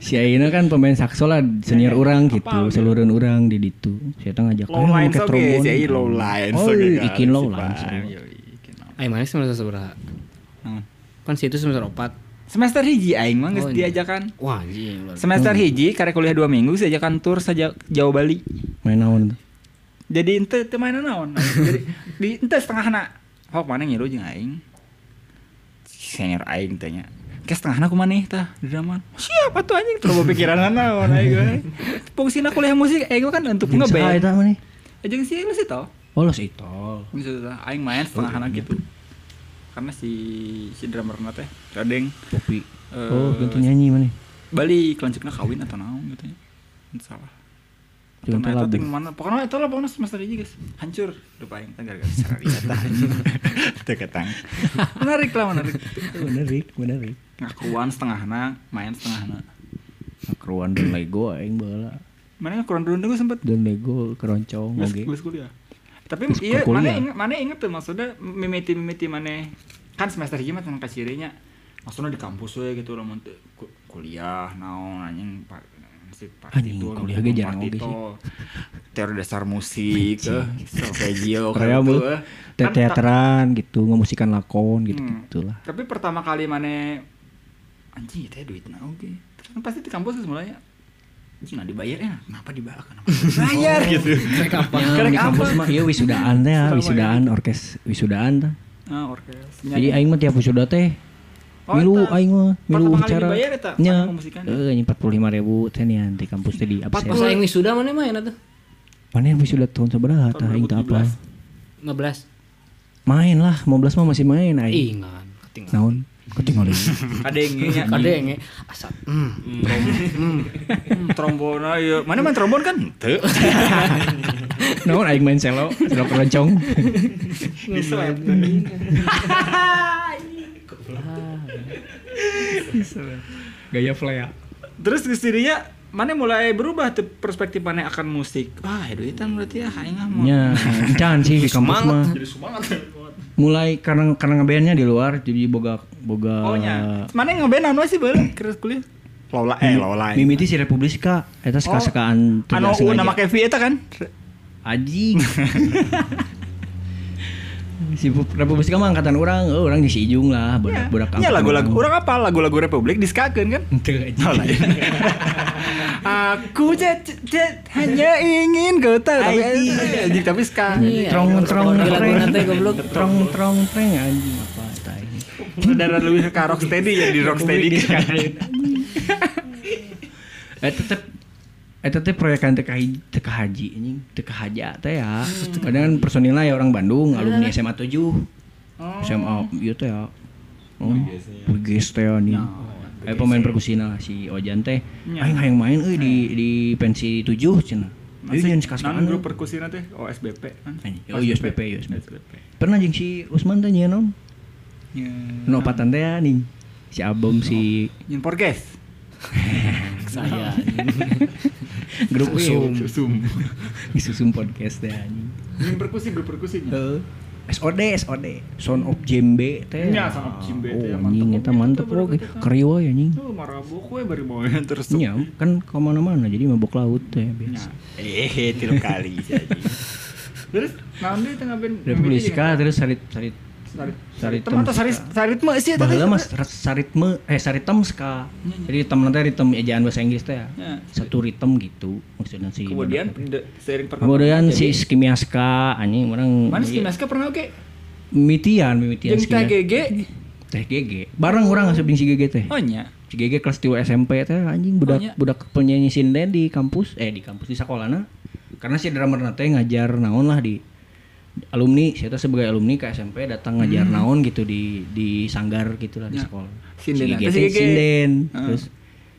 Si Aina kan pemain sakso lah senior orang gitu, seluruh orang di ditu. Saya tengah ngajak "Ah, Low "Ayo, lines pakai oke, trombon." si Ei low lines Oh, oge kan, ikin iya. low si lines. Pan, yo, Ikin low. Ayo mana semester seberapa? Naon? Kan situ semester 4. Nah, Semester hiji aing mah geus Oh, iya. diajakan. Wah, anjing. luar Semester Hmm. hiji karek kuliah 2 minggu diajakan tur saja Jawa Bali. Main naon tuh? Jadi ente teu mainan naon. Jadi di ente setengahna hok mana ngilu jeung aing. Senior aing tanya. Ke setengahna kumaneh tah di Daman. Siapa tuh anjing terlalu pikiran naon aing we. Fungsina kuliah musik aing mah kan untuk Jeung saha ngeband. Eh, eta mah nih? Jeung si lu sih tau. Oh, los itol. Maksudnya aing main setengah anak gitu. Karena si si drummer na teh Radeng Kopi. Eh, Oh, ganti nyanyi mana? nih? Bali lanjutnya kawin atau naon gitu ya. Nggak Salah. Atau Jangan nah, telat, eta ting Bu. mana? Pokoknya itu lah pokoknya semester ini guys. Hancur hidup aing teh gara-gara secara wisata. Teu ketang. Menarik lah menarik. Menarik, menarik. Ngakuan setengahna, main setengahna. Keruan dan Lego aing baheula. Mana kurang dulu gue sempet Dan Lego keroncong Geus- oge. geus kuliah. Tapi Geus iya kuliah. mana ingat mana ingat tuh maksudnya mimiti-mimiti mana kan semester hiji mah tentang kasirinya maksudnya di kampus we gitu lah mun teu ku- kuliah naon anjing pa- si partitur Anjing, kuliah ge jarang oge sih. partitur, teori dasar musik eh solfeggio Kayak gitu, mah eh. teh Kan ta- teateran gitu, ngemusikan lakon gitu Hmm. gitulah. tapi pertama kali mana anjing teh duitna oke. Terus kan pasti di kampus geus mulanya. Anjing nah dibayar ya. Kenapa dibayar? Kenapa dibayar gitu. Krek apa? Ya, Kerek di kampus apa? mah iya wisudaan teh, Sama, wisudaan orkes wisudaan teh. Ah, orkes. Jadi aing mah tiap wisuda teh Oh, milu eta. aing mah milu Pertama kali upacara. dibayar eta, Nya. mana pembusikan? Heeh, anjing 45.000 teh nian di kampus teh di Pas absen. pas aing wisuda mana main atuh? Mana yang wisuda tahun sabaraha tah aing teh apa? 15. Main lah, 15 mah masih main aing. Ingan, ketinggalan. Naon? Ketinggalan. Kadeng nya. Ada yang asap. Hmm. Hmm, trombon ayo. Mana main trombon kan? Teu. Naon aing main selo, selo keroncong. Bisa. Gaya flea. Terus kesirinya mana mulai berubah tuh perspektif mana akan musik. Wah, duitan berarti ya aing mah mau. Nya, encan sih di kampus mah. Mulai karena karena ngebandnya di luar jadi boga boga Oh eh, nya. Mana ngeband anu sih bae keras kuliah. Lola eh Lola. Mimiti si Republika eta Oh. suka-sukaan Anu u nama Kevi eta kan? Aji. si Republika mah angkatan orang, eh, orang di si Ijung lah, Ya, budak-budak ya lagu-lagu orang apa lagu-lagu Republik diskakeun kan? Itu aja. Aku cet cet hanya ingin kau tahu tapi iya. anjing tapi sekarang Trong trong Lagu treng. nanti goblok. Trong trong treng anjing apa eta ini. saudara lebih ke rocksteady ya di rocksteady Iya, kan. Eta teh Eta teh eh, proyekan TK hij- TK Haji anjing, TK Haja teh ya. Hmm. Kadang kan personilnya ya orang Bandung, alumni SMA 7. Oh. SMA ieu teh ya. Oh, Bugis teh ya, nih. Eh pemain perkusina si Ojan teh. Nya. Aing hayang main euy di di pensi 7 cenah. Ieu Masih ngan non sekasian. grup perkusina teh OSBP kan. Oh, USBP, USBP. Pernah jeung si Usman teh nyieun om. Ya. Nu opatan teh ya, nih. si Abom si Yang podcast. saya grup Susum Susum Susum podcast teh anjing Yang perkusi grup perkusi. Heeh. SOD SOD Sound of Jembe teh Nya, Sound of Jembe oh, teh, mantep. anjing eta mantep bro keri we anjing Tuh marabok we bari mau terus. tuh. Nah, Nya, kan kemana-mana jadi mabok laut teh Nya. biasa Eh, tiru kali jadi. Terus naon deui tengah ben. Republika terus sarit sarit Sarit. Sarit. Sarit Atau sarit Temska. sarit mah sih Baheula mah saritme eh saritem ska. Jadi ritem nanti ritem ejaan bahasa Inggris teh. Ya. Satu ritem gitu maksudnya si. Kemudian de- seiring kemudian perkembangan jadi- si Iya. skimiaska anjing orang Mana si Naska pernah oke? mitian mitian Jeung skimiaska. TGG. Teh GG. Bareng orang ngasup jeung si GG teh. Oh nya. Si GG kelas 2 SMP teh anjing Oh, nya. budak budak penyanyi sinden di kampus eh di kampus di sekolahna. Karena si drummer teh ngajar naon lah di alumni, saya teh sebagai alumni ke SMP datang ngajar Hmm. naon gitu di di sanggar gitu lah di Ya. sekolah. Sinden si lah. GG Terus si Ah. teh GG. sinden. Heeh. Terus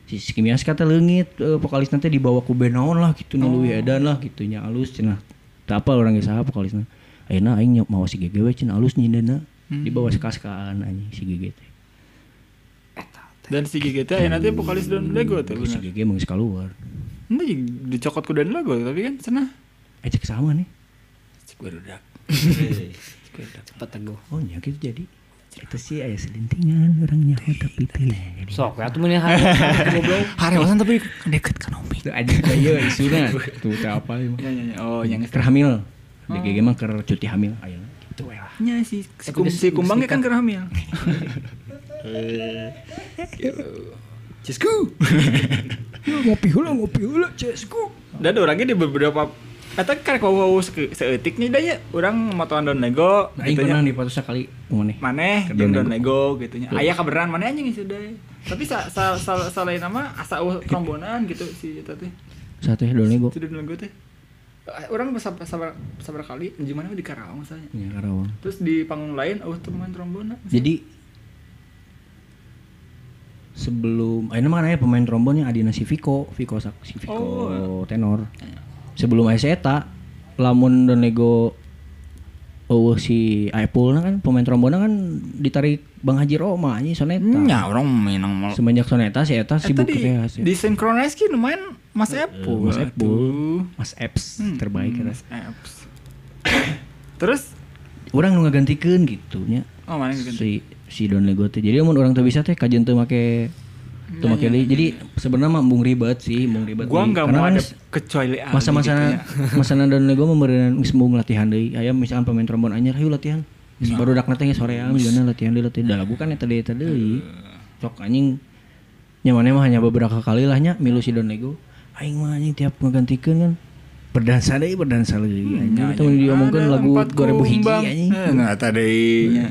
si Skimias kata leungit eh, vokalis nanti dibawa ku band naon lah gitu Oh. nu leuwih edan lah gitu nya alus cenah. Teu apa orang ge saha vokalisna. Ayeuna aing nyok mawa si GG we cenah alus nyindenna. Hmm. Dibawa sekaskaan anjing si GG teh. Dan si GG teh aya nanti vokalis dan lagu teh. Tapi Iya, si bener. GG mah geus keluar. Ini dicokot ku dan lagu tapi kan cenah. Ejek sama nih. Cik barudak. cepat teguh Oh, nya gitu jadi. Itu sih aya selintingan orang nyaho tapi teu jadi. sok ya tuh mending hari goblok Harewasan tapi deket kan Itu aja ieu isuna. Tuh teh apa Hmm. ieu mah. Ya, ya, ya. Oh, yang Keur hamil. Di GG mah keur cuti hamil ayeuna. Gitu we lah. nya si Iya si, kum, si kumbang kan kena hamil. Cisku. Ya, Ngopi heula, ngopi heula, cesku. Dan orangnya di beberapa Eta karek wow seetik nih danya Orang motoan don lego Aing gitu nya. pernah dipotong sekali maneh. Maneh Ke jeung don Don lego gitu nya. Aya kaberan maneh anjing sudah. Tapi sa sa sa, sa lain nama asa uh, trombonan gitu si eta teh. Satu ya donego. Si don lego teh. Eh, Orang sabar sabar sabar kali gimana di Karawang misalnya. Ya Karawang. Terus di panggung lain oh teman trombonan. Jadi sebelum ayeuna mah aya pemain trombonnya Adina Siviko, Viko sak Siviko Oh. tenor. Sebelum aya si eta, lamun Don Lego eueuh si Aepulna kan pemain trombonnya kan ditarik Bang Haji Roma anjing soneta. orang menang mal. Semenjak soneta si eta Eta sibuk gitu ya, di teh hasil. di synchronize Eh, ki lumayan Eh, Mas Epo. Mas Epo. Aduh. Mas Eps Hmm, terbaik hmm, ya, eta. Mas Eps. Terus Urang nu ngagantikeun gitu nya. oh mana yang ganti? si si Don Lego teh. Jadi mun orang teu bisa teh kajian teu make teu make li. Jadi sebenarnya mah mung ribet sih, mung ribet. Gua deui. nggak Karena mau kan ada s- kecuali Ali masa-masa gitu ya. masa Don Lego memberikan geus mung latihan deui. Aya misalkan pemain trombon anyar, hayu latihan. Iya. Geus baru dak teh sore ya, misalnya latihan deui latihan. Da lagu kan eta deui eta deui. Cok anjing nyamannya mah hanya beberapa kali lah nya milu si Don Lego. Aing mah anjing tiap ngagantikeun kan berdansa deui berdansa deui. Anjing itu diomongkeun Ada lagu empat 2000 hiji kumbang. anjing. Eh, Nah, tadi.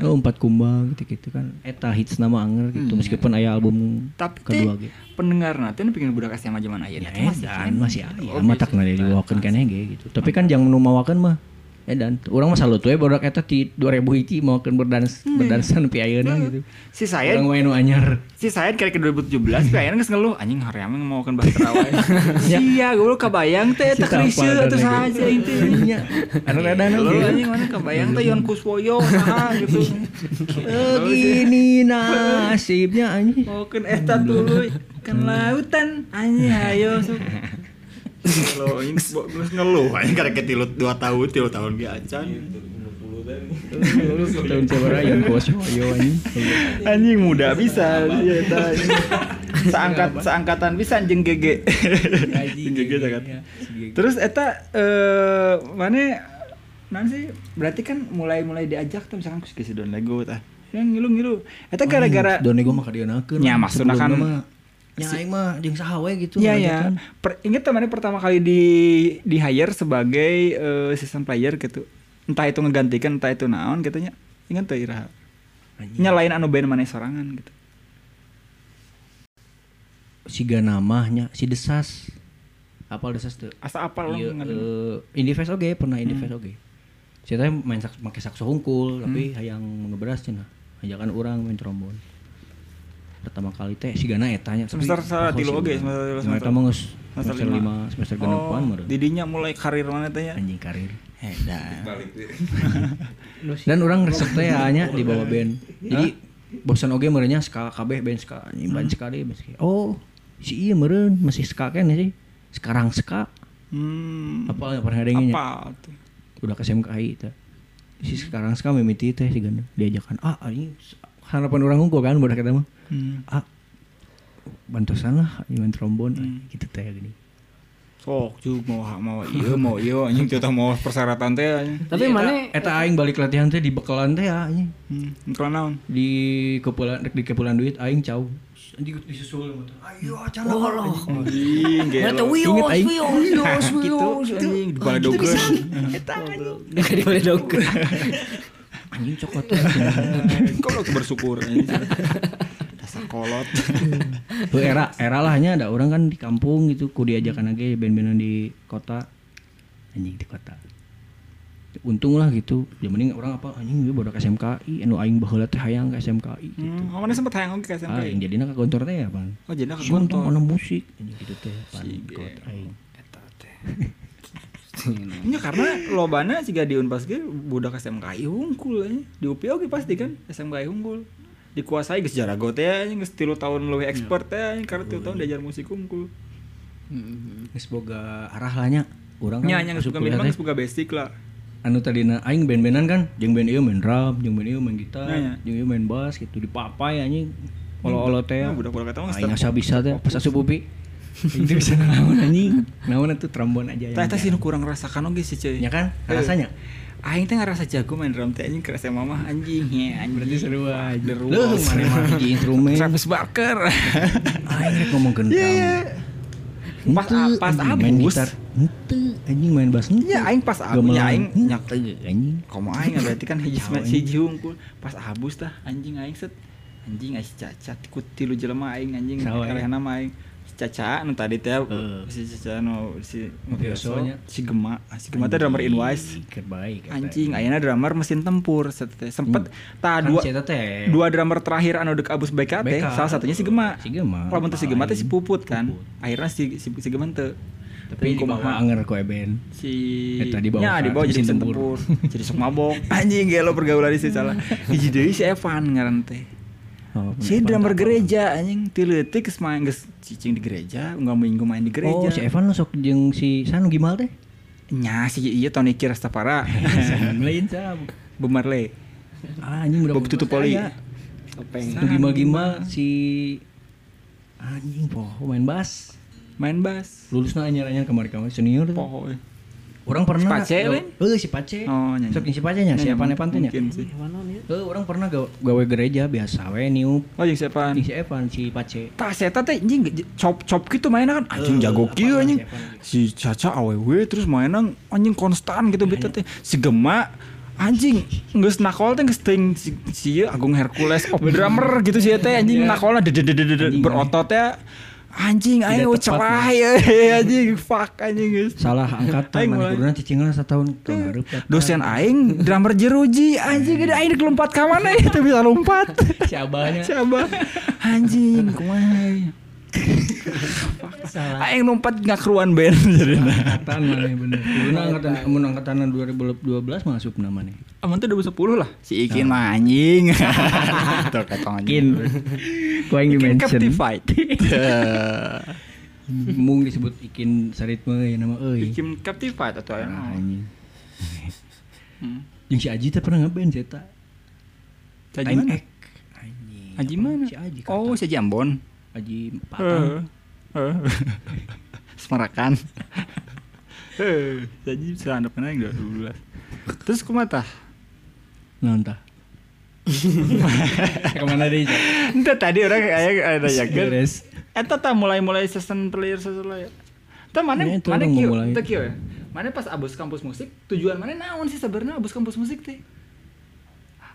Oh, empat kumbang gitu-gitu kan. Eta hits nama anger gitu meskipun aya album Tapi teh kedua gitu. pendengar nanti nu pengen budak SMA zaman ayeuna. Ya teh masih edan keren. masih aya mah tak nade diwakeun keneh ge gitu. Tapi kan jangan nu mawakeun mah edan. Urang mah salut we barudak eta ti 2000 hiji mawakeun berdans berdansan pi ayeuna gitu. Si Hmm. saya Urang wae nu anyar. si saya kali ke 2017 kayaknya geus ngeluh anjing haream mau kan bahas terawih. Sia, gue kebayang teh Si tak kriseu tapal dan atuh ego. saha aja intinya. Nya. Anu edan Lu ge. anjing mana kebayang teh Yon Kuswoyo saha gitu. Eh, Begini nasibnya anjing. Maukeun eta tuluy Hmm. kan lautan anjing hayo sok. Kalau ini geus ngeluh anjing karek tilut 2 tahun, 3 tahun ge acan. Lulus tahun sabaraha yang bos hoyo anjing. Anjing muda bisa ya eta. Seangkat seangkatan bisa jeung GG. Jeung GG seangkat. Terus eta eh mana naon sih? Berarti kan mulai-mulai diajak tuh misalkan ku si Don Lego tah. Yang ngilu-ngilu. Eta gara-gara Oh, Don Ego mah kadieuneukeun. Ya, maksudna kan- nya aing mah jeung saha we gitu. Iya ya. ngajakan. Per, ingat temannya pertama kali di di hire sebagai eh, assistant player gitu. Entah itu ngegantikan, entah itu naon katanya. Ingat tuh Ira. Anjing. Nyalain anu band mana sorangan gitu. Siga namanya si Desas. Apal Desas tuh. Asa apal Hmm. Iya, lo ngadeng. eh, Indie Fest oge, pernah Indie Fest oge. Si teh main sak make sakso hungkul, Hmm. tapi hayang ngeberas cenah. Ajakan urang main trombon. Pertama kali teh si Gana etanya. Semester satilu oge, semester tilu, semester- Mereka mah geus Semester semester lima. 5, semester Oh, genepan meureun. didinya mulai karir ya? mana tanya? Anjing karir. Edan. Balik deh. Dan orang resep teh ya, nya dibawa band. Jadi bosan oge merenya ska kabeh band ska anjing band ska deh, band ska. oh si iya meren masih ska kan sih sekarang ska Hmm. apa yang pernah dengannya Apa? tuh? udah ke SMKI teh si sekarang ska mimiti teh si ganda diajakan ah anjing harapan orang unggul kan budak kita mah Hmm. ah bantosan lah anjing main trombon anjing, gitu teh gini Sok juga mau mau iya mau iya anjing teu tah mau persyaratan teh anjing. Tapi Iya, mana eta eta aing balik latihan teh di bekalan teh ya anjing Hmm, kalau naon? di kepulan di kepulan duit aing cau anjing disusul sama teh. ayo acara oh, Anjing Eta gelo. wios, Ingat, Aing. wios, wios, Gitu wios. anjing di bala dogeun. Dia gak diboleh dong. anjing cokot Kalau bersyukur anjing. Dasar kolot. Tuh era era lahnya ada orang kan di kampung gitu ku diajakan aja band-bandan di kota anjing di kota untung lah gitu ya mending orang apa anjing gue bodak SMKI anu aing baheula teh hayang ke SMKI gitu Hmm, mana sempat hayang oge ka ah yang SMP. jadinya ke kantor teh apa Oh, jadinya ke Siung kantor. mana musik anjing gitu teh pan kot aing Nya Iya, karena lobana siga di Unpas ge budak SMKI hungkul anjing. Di UPI oge pasti kan SMKI hungkul. Dikuasai geus jarago teh anjing geus 3 tahun leuwih expert teh anjing karena 3 tahun diajar musik hungkul. geus boga arah lahnya urang Nya nya geus masuk buka kuliah minimal teh. geus buka basic lah. anu tadi na aing band-bandan kan jeung band ieu main drum jeung band ieu main gitar Ya, ya. jeung ieu main bass gitu di papai anjing olo-olo teh Ya, budak-budak eta mah aing start- asa bisa teh pas asup upi itu bisa naon anjing naon tuh trombon Tah Iya. aja eta yang- sih nu kurang rasakan oge sih cuy. ya kan rasanya Aing teh ngerasa jago main drum teh anjing kerasa mamah anjing ya anjing. berarti seru aja Deru. lu mana mah hiji instrumen Travis Barker. aing rek ngomong kentam Iya, iya. Pas Henteu, pas anjing main abus. gitar henteu anjing main bass henteu. Iya, aing pas abus, Gamelan, ya, aing henteu, nyak- anjing Komo aing berarti kan hiji Tahu, anjing. hiji hungkul. Pas abus tah anjing aing set anjing aing cacat ku tilu jelema aing anjing Sawa, ya. kalehna mah aing Si caca nu tadi teh si caca nu si Mutioso nya. si gema Ah, si gema teh drummer in wise terbaik eta. anjing ayeuna drummer mesin tempur set teh sempet tah ya. Kan dua si eta teh. dua drummer terakhir anu dek abus BK teh BK. salah satunya si Gema. Si Gema. Lamun teu si Gema teh si Lain. Puput kan. Akhirnya si si, si Gema teu. tapi di bawah anger ku eben si Eta di bawah ya, kan, di bawah jadi mesin mesin tempur. tempur. jadi sok mabok. Anjing gelo pergaulan sih salah. Hiji deui si Evan ngaran teh. Oh, Si Evan drummer tak gereja anjing ti leutik geus main geus cicing di gereja, enggak minggu main di gereja. Oh, si Evan lo sok jeung si Sanu gimal teh. Nya si ieu Tony Kirastapara. Lain sam. Bemarle. Ah, anjing udah Bob tutup poli. Topeng. Itu gimal-gimal si anjing poho main bass. Main bass. Lulusna anyar-anyar kamari-kamari senior. tuh. Pohoy. Orang pernah Si Pace, gawe- Len? Heuh, si Pace. Oh, nyanyi. Sok jeung si Pace nya, si Nyanyi, Evan Evan teh nya. mungkin sih. Heuh, orang pernah gawe, gawe gereja biasa we niup. Oh, jeung si Evan. Ih, Si Evan si Pace. Tah seta teh anjing cop cop gitu mainan kan anjing Eh, jago kieu anjing. Si Caca awewe terus mainan anjing konstan gitu beta teh. Si Gema anjing geus nakol teh geus teuing si, si ieu Agung Hercules of drummer gitu sih teh Iya. anjing nakolna dedededed berotot ya. Anjing aing Tidak we tepat, celah Mas. ya anjing fuck anjing geus. Salah Aing angkatan mana mulai. guruna cicingan satahun tahun hareup. Dosen aing drummer jeruji anjing gede aing kelompat ka mana ya teu bisa lompat. si abahnya. Coba anjing kumaha. ya? Salah Aing lompat ngakeruan band jadi angkatan mana bener. Guruna angkatan mun angkatanan 2012 masuk namanya. Aman tuh 2010 lah. Si Ikin mah anjing. Gitu, Tuh Ikin. Gua yang dimention. Captified. gitu. Mung disebut Ikin Saritme ya nama euy. Ikin Captified atau Ah, apa? Anjing. Hmm. Jeung si Aji teh pernah ngeband saya tak. Aji mana? Ek. Anjing. eh, Aji mana? Si Aji. Oh, Oh, si Jambon. Aji Patang. Heeh. Semerakan. Heeh. Si Aji bisa andap aing 2012. Terus kumaha tah? Nah, entah. Kemana deh? Cak? Entah tadi orang kayak ada yakin. Beres. Eta tah mulai-mulai season player season player. Eta mana Ya, itu mana orang kieu? memulai. Eta kieu ya. Mana pas abus kampus musik, tujuan mana naon sih sebenarnya abus kampus musik teh?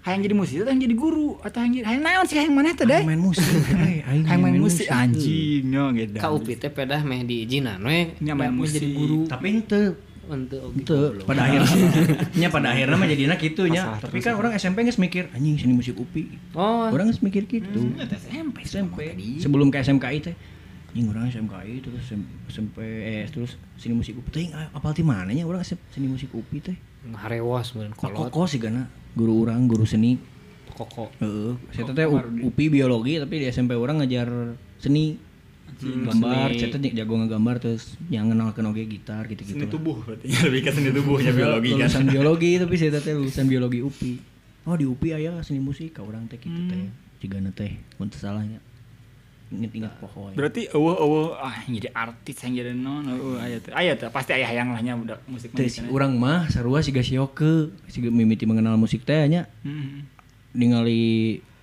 Hayang jadi musisi atau hayang jadi guru atau hayang jadi hayang naon sih hayang mana teh Aing deh? main musik. eh, aing Hayang main musik anjing nya gitu. Ka UPI teh pedah meh diijinan we. Nya main Meh musik. jadi guru. Tapi ente Henteu oge. Itu pada akhirnya, Nah. nya pada akhirnya mah jadinya gitu nya. Tapi kan orang SMP nggak mikir anjing seni musik UPI. Oh, Orang nggak mikir gitu. SMP SMP sebelum ke SMKI teh anjing orang SMKI terus sem- SMP eh terus seni musik UPI teh ah, apal ti mana nya orang sem- seni musik UPI teh. ngarewas mun kolot. Koko sih gana guru orang guru seni koko Heeh, saya teh U- UPI biologi tapi di SMP orang ngajar seni. gambar, seni. saya teh jago ngegambar terus yang kenal kenal gitar gitu-gitu. lah. Seni tubuh berarti lebih ke seni ya, Iya, tubuhnya biologi kan. Lulusan biologi tapi saya teh lulusan biologi UPI. Oh di UPI aya seni musik ka urang teh kitu teh. Jigana teh mun teu salahnya. Ingat-ingat pokoknya. Berarti eueuh eueuh ah yang jadi artis yang jadi non eueuh aya teh. Aya teh pasti aya hayang lahnya kan budak musik Teh musik. si urang mah sarua siga sioke, siga mimiti mengenal musik teh nya Hmm. ningali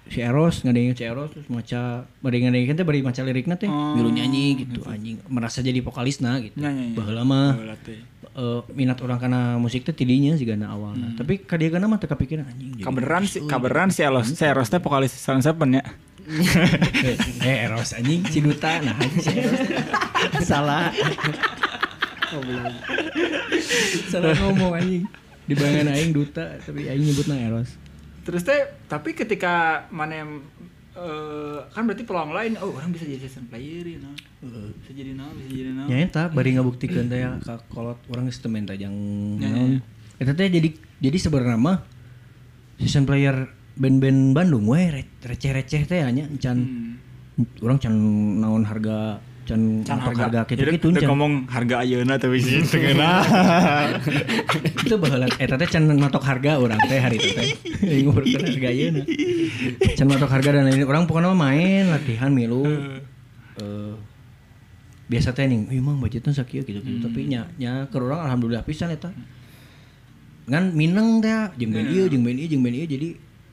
si Eros ngadengin si Eros terus maca bari ngadengin teh bari maca lirikna teh Oh. milu nyanyi gitu anjing merasa jadi vokalisna gitu Ya, ya, ya. baheula mah Heula teh. eh, minat orang karena musik teh tidinya sih gana awalna tapi kadia kana mah teu kepikiran anjing jadi- Hmm. Kaberan si kaberan si Eros, si Eros teh vokalis Silent Seven ya. eh eh, Eros anjing si Duta nah anjing si Eros salah salah ngomong anjing di bayangan aing Duta tapi aing nyebutna Eros Terus teh tapi ketika mana yang eh, kan berarti peluang lain oh orang bisa jadi session player ya no. bisa jadi no bisa jadi no Ya eta bari ngabuktikeun teh ya, ka kolot urang geus teu main tajang Ya, ya, ya. naon. Eta teh jadi jadi sebenarnya mah season player band-band Bandung we re- receh-receh teh nya can Hmm. urang can naon harga can Kan harga gitu, Jadi kitu-kitu teu can. Iya, ngomong harga ayeuna Iya, tapi sih Gitu, teu ngeunah. Itu baheula eta teh can matok harga urang teh hari itu teh. Aing ngukurkeun harga ayeuna. Can matok harga dan lain-lain urang pokona mah main latihan milu. Eh, biasa teh nih, emang budgetnya sakieu gitu-gitu tapi nya nya keur urang alhamdulillah pisan eta. ngan Mineng teh jeung band ieu jeung band ieu jeung band ieu jadi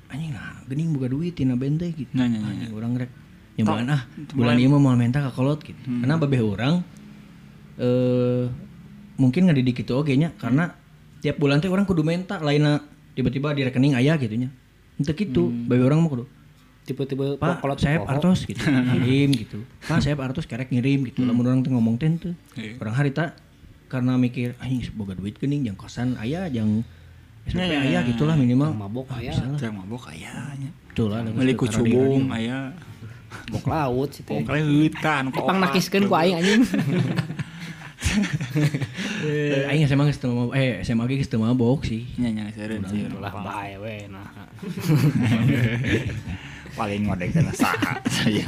anjing nah geuning boga duit tina band teh gitu. Nah, nya, nya, Anjing urang rek nyobaan ah bulan ieu mah moal menta ka kolot gitu. Karena babeh urang eh mungkin ngadidik itu oge nya karena tiap bulan teh orang kudu menta lainnya tiba-tiba di rekening aya gitu nya. Henteu kitu babeh urang mah kudu tipe-tipe Pak, pokolot saya poho. artos gitu, ngirim gitu. Pak, saya artos kerek ngirim gitu. Hmm. Lamun orang teu ngomong teh teu. Iya. Orang harita karena mikir anjing boga duit geuning jeung kosan aya jeung Iya, SPP aya gitulah minimal. Ah, mabok aya gitu. Teu mabok aya nya. Betul lah. Meuli ku cubung aya. mabok laut sih teh Pokoknya hutan kok. pang nakiskeun ku aing anjing Iya. Aing SMA geus teu mabok. Eh, SMA ge geus teu mabok sih. Nya nya seureun sih. lah bae we nah Paling ngodek karena saha Iya. saya.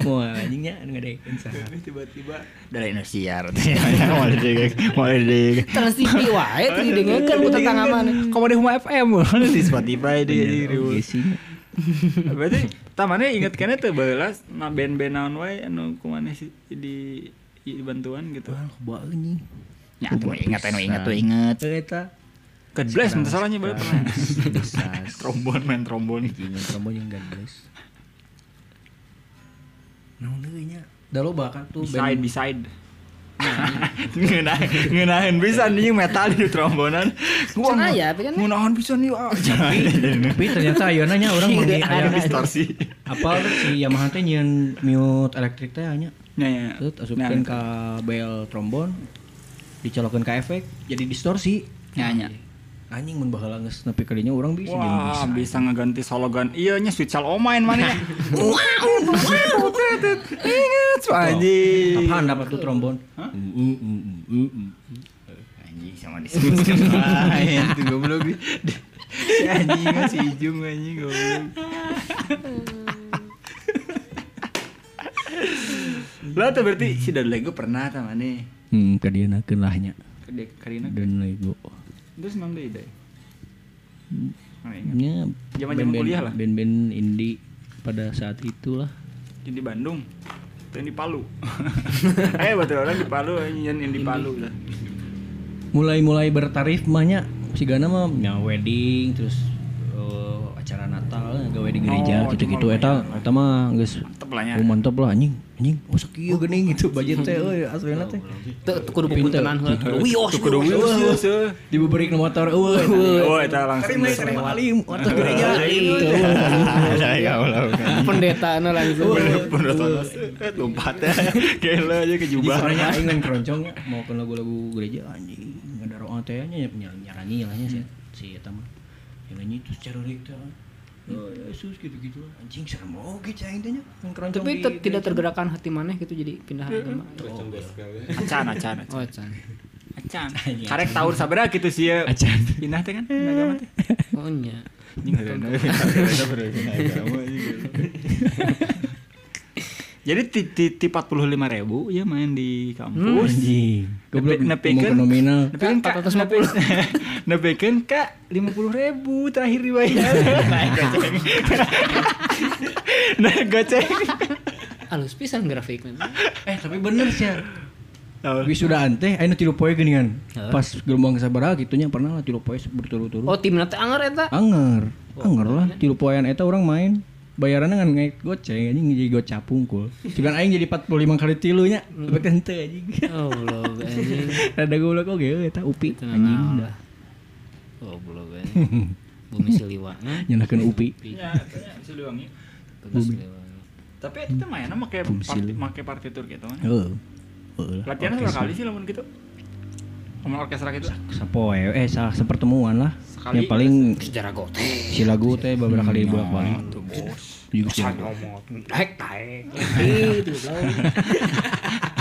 Moal anjingnya anu ngadekeun saha. Tiba-tiba Dari Indonesia Iya. Mau didegek, mau didegek. terus TV wae teu didengeurkeun ku tetangga mana Kamu di Huma FM di Spotify Iya, Iya, di di- di- Oge sih. Berarti tamane inget kene teu baheula na band-band naon wae anu kumaneh si- di di bantuan gitu. Coba anjing. eh, Ya, tuh ingat, tuh ingat, tuh ingat. Teu eta. Kedbles mun teu salahnya bae pernah. Desas. Trombon main trombon. Jingan trombon yang gadles. Naon deui nya? Da loba kan tuh Beside beside. Ngeunaheun ngeunaheun pisan anjing metal di trombonan. Gua Cenah nge- ya, tapi kan- eh. ngeunaheun pisan ieu. ah. tapi ternyata ayeuna nya urang mah Ada aya distorsi. Apal si Yamaha teh nyieun mute elektrik teh nya. Nya nya. Terus nah, asupkeun ka bel trombon, dicolokeun ka efek jadi distorsi. Nya nya. Anjing mun baheula geus nepi ka dinya urang bisa jeung Nah, Wah, bisa. bisa ngeganti slogan. Iya nya Sweet Shall Oh Mine mana ya. Wow, wow, tet, tet. Ingat so, anjing. Apaan dapat tuh Mm, trombon? mm, Anjing sama disebutkan lain. Itu goblok nih. Si anjing mah, si Ijung anjing goblok. Lah tuh berarti si Dadle gue pernah sama nih. Hmm, ka dieu lahnya Kede Karina. dan lego. Terus nang deh deh. Mana ingat? Nya Zaman-zaman band-band- kuliah lah. Band-band indie pada saat itulah. Jadi di Bandung. Tuh di Palu. Eh betul orang di Palu anjing yang di Palu lah. mulai-mulai bertarif mahnya si Gana mah ya wedding terus eh, acara Natal gawe di gereja Oh, itu gitu-gitu mah eta eta mah geus Mantep lah nya. oh, mantep lah anjing anjing oh sakieu geuning gitu budget teh euy aslina teh teu teu kudu puntenan heula kudu wios Tuh kudu wius wius, eh. dibeberi ke motor euy Oh, itu langsung Terima alim, motor gereja. Gitu, Ya Allah. pendeta anu langsung Bener Eh lompat ya. Gila aja ke Jadi jubah. sorenya aing lain keroncong ya, mau ke lagu-lagu gereja anjing, ngadaroa teh nya ny- nyaranyi lahnya si si eta mah. Nyanyi terus cererik teh. Oh, Yesus gitu-gitu lah. anjing serem oge cah aing teh nya. Lain keroncong tapi di te- tidak gereja. tergerakkan hati maneh gitu jadi pindah agama acan acan. acan. oh can Acan. Karek tahun sabera gitu sih ya. Acan. Pindah teh kan, pindah agama teh. oh nya Anjing, heureuh na- heureuh na beresin agama, anjing, gitu. Jadi ti ti ti 45 ribu ya main di kampus. Anjing. Goblok Nepe- nepeken- ngomong ke nominal. nepeken Kak, ka- 450. nepe- Nepeken kak 50 ribu terakhir dibayar. Naik goceng. Naik goceng. Alus pisan grafik men. Eh, tapi bener sih. Oh. Wisudaan teh ayeuna tilu poe geuningan. Heeh. Pas gelombang sabaraha gitunya pernah lah tilu poe berturut-turut. Oh timna teh anger eta. Anger. Anger lah tilu poean eta orang main. Bayarannya ngan ngek goceng anjing jadi gocap pungkul. Cuman aing jadi 45 kali tilunya. Tapi kan teu anjing. Oh blog anjing. Ada goblok oge eta upi Teu anjing. naon dah. Oh blog anjing. Bumi Siliwa. Nah, Nyalakeun upi. Ya, bisa diwangi. Bumi Siliwangi. Tapi itu mainnya pakai parti- pakai partitur gitu kan. Heeh. Heeh lah. Latihan berapa kali sih lamun gitu? Sama orkestra gitu. Sapoe eh sa- sepertemuan lah. Sekali. Yang paling Sejarah gote. si lagu teh beberapa kali bolak-balik. Juga sih. ngomong. Naik naik. Gitu blog.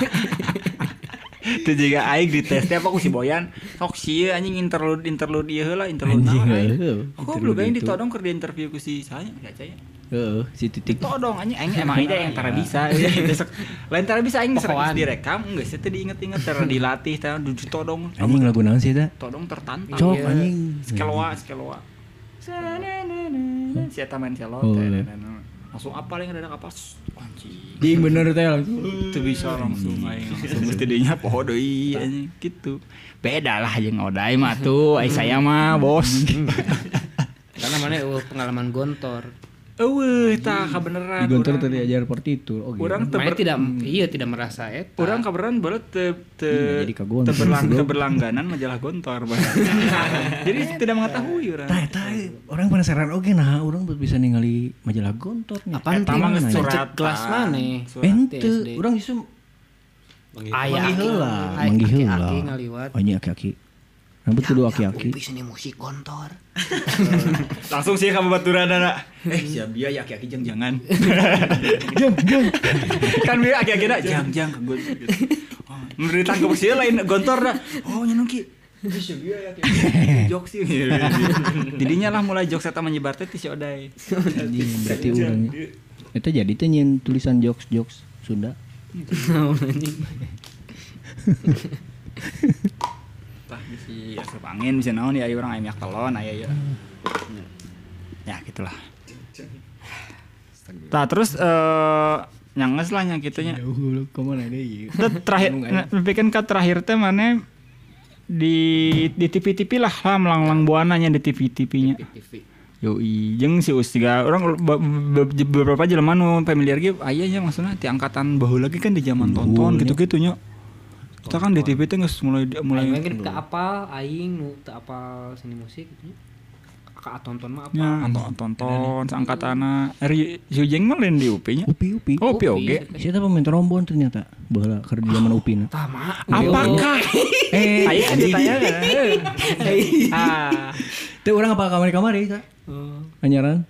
Itu juga aing ditesnya apa ku si Boyan. Sok sieun anjing interlude interlude ieu heula interlude Anjing. naon aing. heeh. Aku belum bayang ditodong keur Oh, eh, di interview ku si saya enggak caya. Heeh, si titik. Todong anjing aing emang iya. aja yang tara bisa. Besok lain tara bisa aing sering Pokoan. direkam enggak sih teu diinget-inget tara dilatih tara ditodong. Anjing lagu naon sih eta? Todong tertantang. Cok Iya. anjing. Skeloa, skeloa. Si eta main selo. Oh, teh, Langsung apa yang ada apa? Anjing. Ding bener teh langsung. itu bisa langsung aing langsung mesti dinya poho deui anjing gitu beda lah jeung odai mah tuh aing saya mah bos Karena mana eueuh pengalaman gontor. eueuh tah kabeneran Digontor urang. tadi ajar partitur. Oh, Urang teu Mana ber- tidak iya tidak merasa eta. urang kabeneran balet teu Hmm, teu jadi kagontor. teu berlang- teu berlangganan majalah gontor Bang. jadi tidak mengetahui urang Tah eta orang penasaran oge nah urang bisa ningali majalah gontor nya. Apaan Eta mah tuh? geus Cek suratan. kelas mana? ya? Suratan. Ente, TSD. urang justru Ayah Manggih heula. Manggih Manggih heula. Aki ngaliwat. Ya, anjing Oh, aki-aki. Rambut kudu aki-aki. Upi seni musik gontor. langsung sih kamu baturan anak eh siap dia ya aki-aki jang jangan Jeng, jeng. kan dia aki-aki nak jang jang ke gontor gitu. Oh, menurut tangkap sih lain gontor dah oh nyenengki Eh, siap dia ya aki-aki. Jok sih Didinya lah mulai jok serta menyebar teh ti si Odai. Anjing berarti urang. Eta jadi teh nyen tulisan jokes-jokes Sunda. Lah si asup angin bisa naon ya ieu urang aya minyak telon aya ya. Ya gitulah. Tah terus eh nyanges lah nya kitunya. goblok komana deui. Teh, terakhir bikin ke terakhir teh mana di di TV TV lah lah melanglang buananya di TV TV nya TV. yoi jeng si us tiga orang be- be- be- beberapa jelema nu familiar ge ayahnya maksudnya ti angkatan bahu lagi kan di zaman tonton gitu gitunya kita kan di TV teh geus mulai mulai Aing mungkin ke apal aing nu teu apal seni musik gitu. Ka tonton mah apa? nya Ah, tonton eh, tonton seangkatana Eri Sujeng mah lain di UP nya Upi-upi. oh UP oge Si eta pemain trombon ternyata. Baheula keur di zaman Upina. Tama. apakah nah. Eh, Ayo kan ditanya kan ah teh orang apa kamari-kamari ta? Anyaran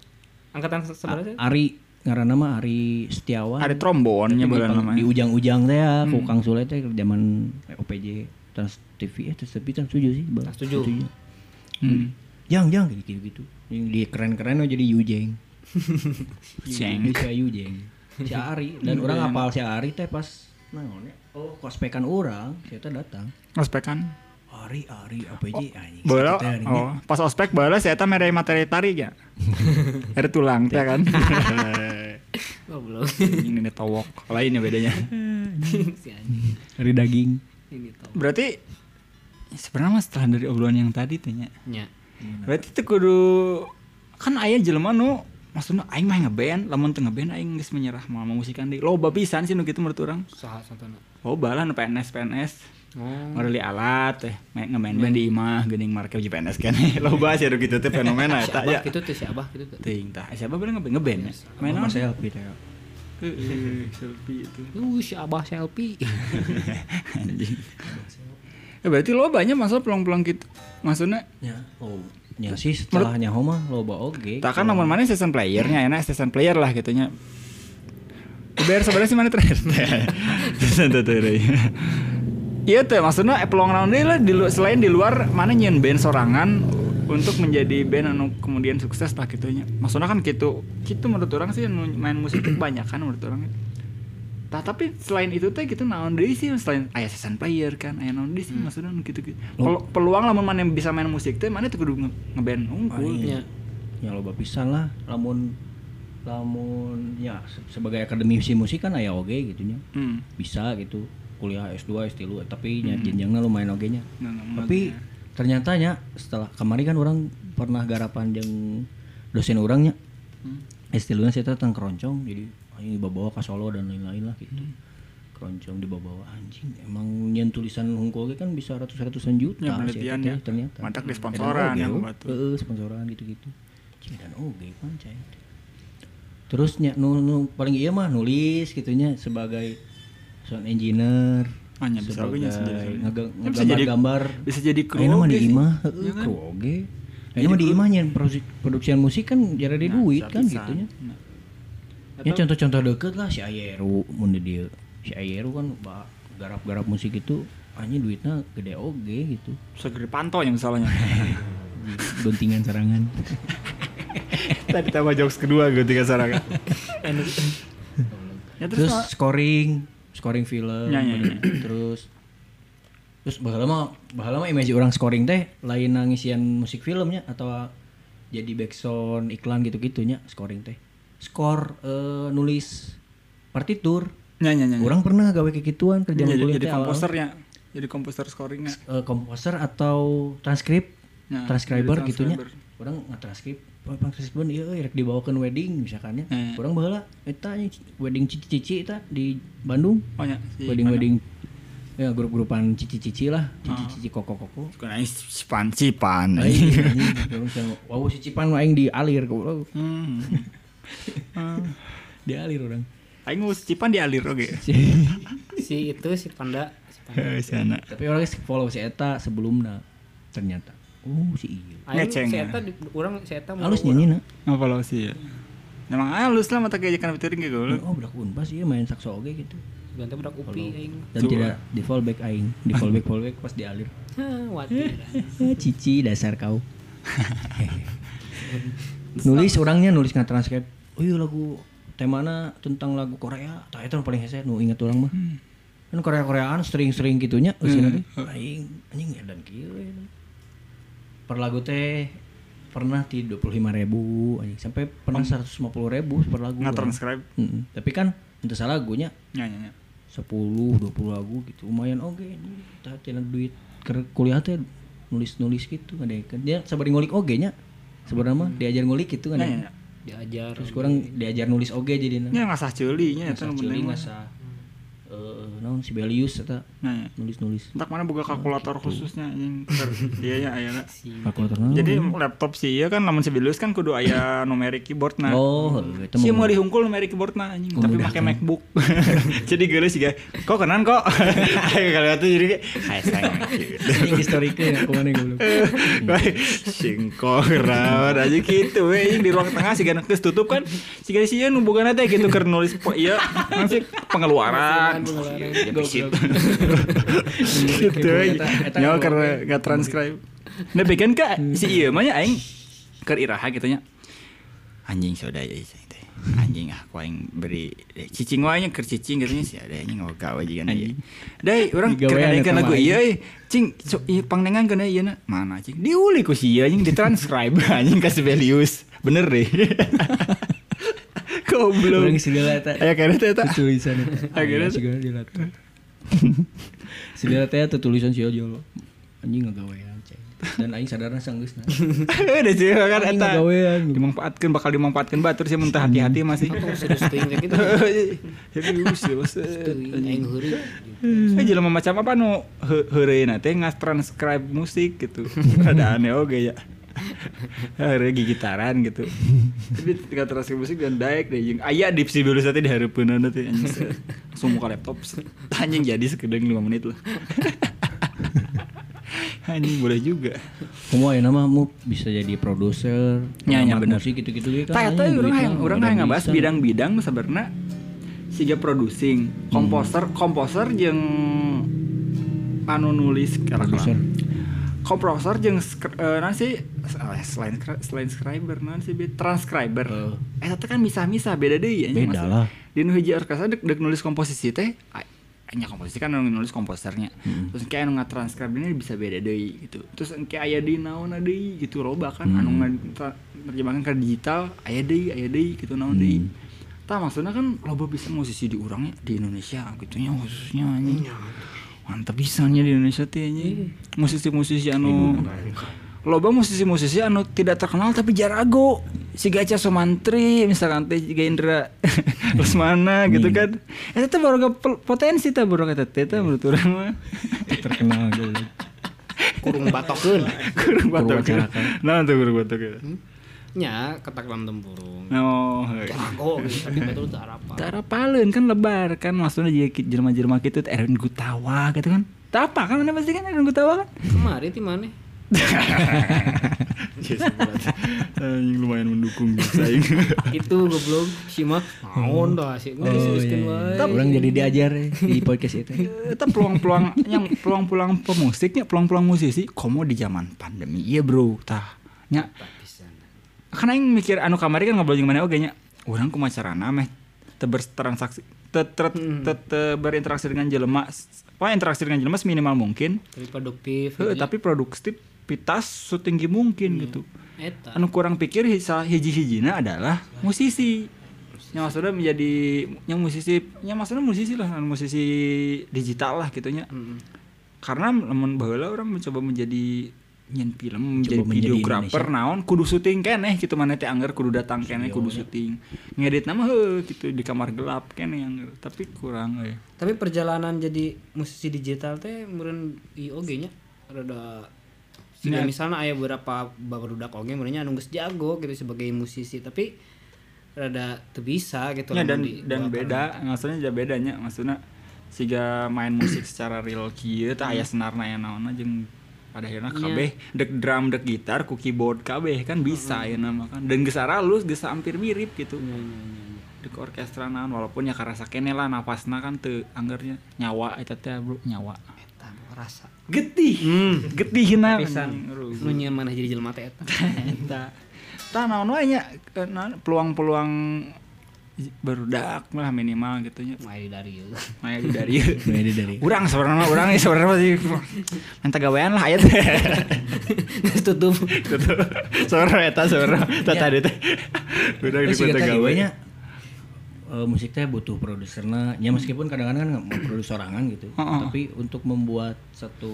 Angkatan se- ya? sebelah sih? Ari ngaranna mah Ari Setiawan. ada trombonnya Tapi bulan peng- namanya Di ujang-ujang teh ya, ku Kang Sule teh zaman OPJ Trans TV eh Trans TV Trans 7 sih, Bang. Trans 7. Hmm. Jang jang gitu gitu. Yang di keren-keren mah jadi Yujeng. Jeng. Jadi Si Yujeng. Si Ari dan orang apal si Ari teh pas naonnya. Oh, kospekan orang, si teh datang. ospekan Ari Ari OPJ anjing. Bola, Teh anjing. oh, pas ospek bola saya eta mere materi tari ya. Ada tulang teh kan. Oh, belum. Ini nih towok, lain ya bedanya. si anjing. Ari daging. Ini tau. Berarti sebenarnya mas setelah dari obrolan yang tadi ya, tanya. Nya. Berarti itu kudu kan aya jelema nu maksudnya aing mah ngeband, lamun teu ngeband aing geus menyerah mah musikan deui. Loba pisan sih nu kitu menurut urang. Saha santana. Loba lah nu PNS PNS. Oh. Ngareli alat teh, main ngemain band di imah, geuning market di PNS kan. Loba sih anu kitu teh fenomena Si eta Abah ya. gitu tuh si Abah gitu tuh. Ting tah, siapa boleh ngeband? Ngeband ya. Main Main naon? selfie teh. ya. Heeh, selfie itu. Uh, si Abah selfie. Anjing. Ya berarti lo banyak masa peluang-peluang gitu. Maksudnya, Ya. Oh, nya sih setelahnya homa loba oge. tak kan nomor mana season playernya, enak season player lah gitunya. Bayar sebenarnya sih mana terakhir? Season terakhir. Iya tuh, maksudnya eh, peluang naon deui lah di lu- selain di luar mana nyen band sorangan untuk menjadi band anu kemudian sukses lah kitunya maksudnya kan gitu gitu menurut orang sih anu main musik banyak kan menurut orang Tah tapi selain itu teh gitu naon deui sih selain aya season player kan aya naon deui sih maksudnya anu gitu-gitu. Pel- peluang lamun mana bisa main musik teh mana teh kudu nge- ngeband unggul. Ya. Ya loba pisan lah, lamun lamun ya se- sebagai akademisi musik kan aya oge gitu nya. Hmm. Bisa gitu kuliah S2, S3 tapi nya jenjangna lumayan oge nya. Nah, nah, Tapi ternyata nya setelah kemarin kan orang pernah garapan jeung dosen orangnya. Hmm. S3 nya saya tentang keroncong jadi "Ah, ini bawa ke Solo dan lain-lain lah gitu. Hmm. Keroncong dibawa anjing emang nyen tulisan hungkul oge kan bisa ratus-ratusan juta Ya, sia penelitian teh, ya. ternyata. Mantak di Edan sponsoran oge, yang oh. batu. Heeh, sponsoran gitu-gitu. Cih, dan oge pan cai. Terus nya nu, nu paling iya mah nulis gitunya sebagai sound engineer. Ah, nya bisa oge nya sebagai sendiri. Ya, ngege- bisa ngegambar- jadi- gambar. bisa jadi kru Ayeuna mah oge di sih. imah, Ya heeh, kan? kru oge. Ayeuna mah di imah Nah, nya produksi- produksian musik kan jadi ada duit kan gitunya. Nah. Ya contoh-contoh deket lah si Ayeru mun di dia. Si Ayeru kan ba- garap-garap musik itu hanya duitnya gede oge gitu. Segede panto yang misalnya. Guntingan serangan. Tadi tambah jokes kedua gue tiga sarang. ya terus, terus scoring, scoring film. Ya, ya, ya. Terus terus bakal mah bakal mah image orang scoring teh lain nangisian musik filmnya atau jadi backsound iklan gitu-gitunya scoring teh. Skor eh, nulis partitur. nya nya nya. nya. Orang pernah gawe kekituan kerja Ya, jadi, kuliah jadi teh awal-awal. komposernya. Jadi komposer scoringnya. eh, komposer atau transkrip Nah, transcriber jadi gitunya transcriber. orang ngetranskrip "Oh, Pak Krisbon iya euy, rek dibawakan wedding misalkannya Hmm. orang baheula eta nya wedding cici-cici eta di Bandung Oh nya. si- wedding wedding ya grup-grupan cici-cici lah cici-cici koko-koko Suka nangis sipan sipan. Aing, anjing, orang sama, wow si Cipan mah aing dialir kok Hmm. dialir orang Ah. Aing mau sipan dialir oge. si itu si panda si panda Heh, si anak. tapi orang geus follow si eta sebelumnya ternyata oh si iya Aing Ngeceng, si ya. eta di- orang si eta halus mulu- nyanyi na Apa lo sih ya? Emang halus lah mata kayak kan featuring kayak gue. oh budak unpas iya main sakso oge gitu Ganti budak upi aing. dan tidak di fallback aing di fallback fallback pas dialir Hah, wati. Eh, cici dasar kau nulis orangnya nulis nggak transkrip oh iya lagu temana tentang lagu Korea tah itu paling hese nu ingat orang mah kan Korea Koreaan string string gitunya usina teh aing anjing ya dan kieu per lagu teh pernah di dua puluh ribu anjing sampai pernah seratus lima puluh ribu per lagu Nggak transcribe. Mm-mm. tapi kan untuk salah lagunya Nya nya nya. 10 20 lagu gitu lumayan oke kita tina duit ke kuliah teh nulis-nulis gitu ada dia sabar ngulik oge nya sebenarnya Hmm. mah diajar ngulik gitu kan Nya nya. ya. nya. Diajar. terus kurang diajar nulis oge jadi Nya nah ngasah ceuli nya eta ngasah nu celi penting. mah. ngasah eh naon Sibelius eta Nya nya. nulis-nulis Entak mana boga kalkulator khususnya anjing. Ter- Dia ya ayeuna. kalkulator naon Oh, Jadi laptop sih ya kan lamun sebelus kan kudu aya numeric keyboard nah. oh itu Sih mau mah dihungkul numeric keyboard nah anjing, tapi pakai MacBook. jadi geuleuh sih, kok kenan kok. Ayo kali atuh jadi kayak hai sayang. anjing historiknya aku mana goblok Singkong rawan aja gitu we Ini di ruang tengah sih kan terus tutup kan Si gana sih nu boga teh gitu keur nulis po iya nanti pengeluaran. Ya pisit. Gitu we. Nyawa keur enggak transcribe. Nah bikin ka si ieu mah nya aing keur iraha gitu nya. Anjing saudara ya aing teh. Anjing ah ku aing beri eh, cicing wae nya keur cicing gitu nya si ada anjing oga we jigan ieu. Deui urang Digawean keur ngadekan eta mah lagu anjing. ieu euy iya, cing so, ieu pangnengan kana ieu na iya, mana cing diuli ku si ieu anjing ditranscribe anjing ka Sibelius bener deh goblok orang segala eta aya kana teh eta tulisan itu Akhirnya tuh- segala di laptop segala teh tuh tulisan si Ojo anjing ngagawean cek dan aing sadarna sanggeus nah udah sih kan Anjing eta ngagawean. dimanfaatkeun bakal dimanfaatkeun batur sih mun teu hati-hati masih Atau serius ting kayak gitu. serius ya buset. Teuing, aing heureun. Eh jelema macam apa nu he- heureuna teh ngas transcribe musik gitu. Ada aneh oge ya. Heureuh gigitaran gitu. Tapi tinggal transcribe musik dan daek deh jeung aya di Sibelius teh di hareupeunna teh anjing. set. Langsung muka laptop set. anjing jadi sekedeng 5 menit lah. anjing boleh juga. kamu ayo nama mu bisa jadi produser Ya, ya, pengamat bener. musik gitu gitu Tah eta urang hayang urang hayang ngabahas bidang-bidang nu sabenerna siga producing, Hmm. komposer, komposer jeung anu nulis kira-kira. produser komposer jeung skr- eh, naon sih s- oh, selain kra- selain scriber naon sih Bi? transcriber. Eh eta kan misah-misah beda deui anjing. Oh. Beda maksud- lah. Dinu hiji orkestra dek, dek nulis komposisi teh a- anya komposisi kan anu nulis komposernya. Terus engke anu ngatranskrib ini bisa beda deui gitu. Terus engke aya di naon deui gitu loba kan anu nerjemahkan ke digital aya deui aya deui gitu naon deui. Tah maksudnya kan loba bisa musisi diurangnya di Indonesia gitunya khususnya anjing. Mantep pisannya di Indonesia teh anjing. Musisi-musisi anu loba musisi-musisi anu tidak terkenal tapi jarago si Gaca Sumantri misalkan teh juga Indra Lesmana gitu kan eta teh baru potensi teh baru kata teh teh menurut urang mah terkenal gitu. kurung batokeun kurang batok nah tuh kurang batok nya ketaklan tempurung oh aku tapi betul itu harapan cara palen kan lebar kan maksudnya jadi ki- jelema-jelema gitu teh Erwin Gutawa gitu kan tak apa kan mana pasti kan Erwin Gutawa kan kemarin di mana anjing lumayan mendukung saing itu goblok si mah naon dah sih Oh, nggak iya. kan, diseriuskan wae Orang jadi diajar eh, di podcast itu. itu peluang-peluang yang peluang-peluang pemusiknya peluang-peluang musisi komo di zaman pandemi iya bro tah nya karena yang mikir anu kamari kan ngobrol jeung mana oge nya urang kumacarana meh teu bertransaksi teu ter, teu teu berinteraksi dengan jelema apa interaksi dengan jelema minimal mungkin tapi produktif Heuh, gitu nya. tapi produktivitas setinggi mungkin gitu eta anu kurang pikir hisa hiji-hijina adalah musisi yang maksudnya menjadi yang musisi yang maksudnya musisi lah anu musisi digital lah gitunya Mm. karena lamun baheula orang mencoba menjadi nyen film menjadi menjadi videografer naon kudu syuting keneh gitu mana teh anggar kudu datang keneh kudu syuting ngedit nama heuh gitu di kamar gelap keneh anggar tapi kurang euy tapi perjalanan jadi musisi digital teh meureun di OG nya rada Iya. Sehingga misalnya aya beberapa barudak oge meureun nya anu geus jago gitu sebagai musisi tapi rada teu bisa gitu Ya, lamun dan di- dan beda maksudnya aja bedanya maksudnya siga main musik secara real kieu teh Hmm. aya senarna aya naonna jeung pada akhirnya kabeh dek drum dek gitar ku keyboard kabeh kan bisa ya nama kan dan geus halus geus hampir mirip gitu Iya, dek orkestra naon walaupun ya karasa kene lah napasna kan teu anggernya nyawa eta teh bro nyawa Eta, rasa getih getihna pisan Aduh. nu nyeun mana jadi jelema teh eta Eta. Tah naon wae nya eh, naon, peluang-peluang barudak lah minimal gitu nya. mah dari ieu Maya di dari Maya di dari. Urang sebenarnya urang ya sebenarnya sih. Minta gawean lah ayat. Geus tutup Sebenarnya eta sebenarnya eta tadi teh. Urang di Terus juga kota tadi gawe. nya eh, musik teh butuh produsernya. Ya meskipun kadang-kadang kan nggak mau produser sorangan gitu, Heeh. tapi untuk membuat satu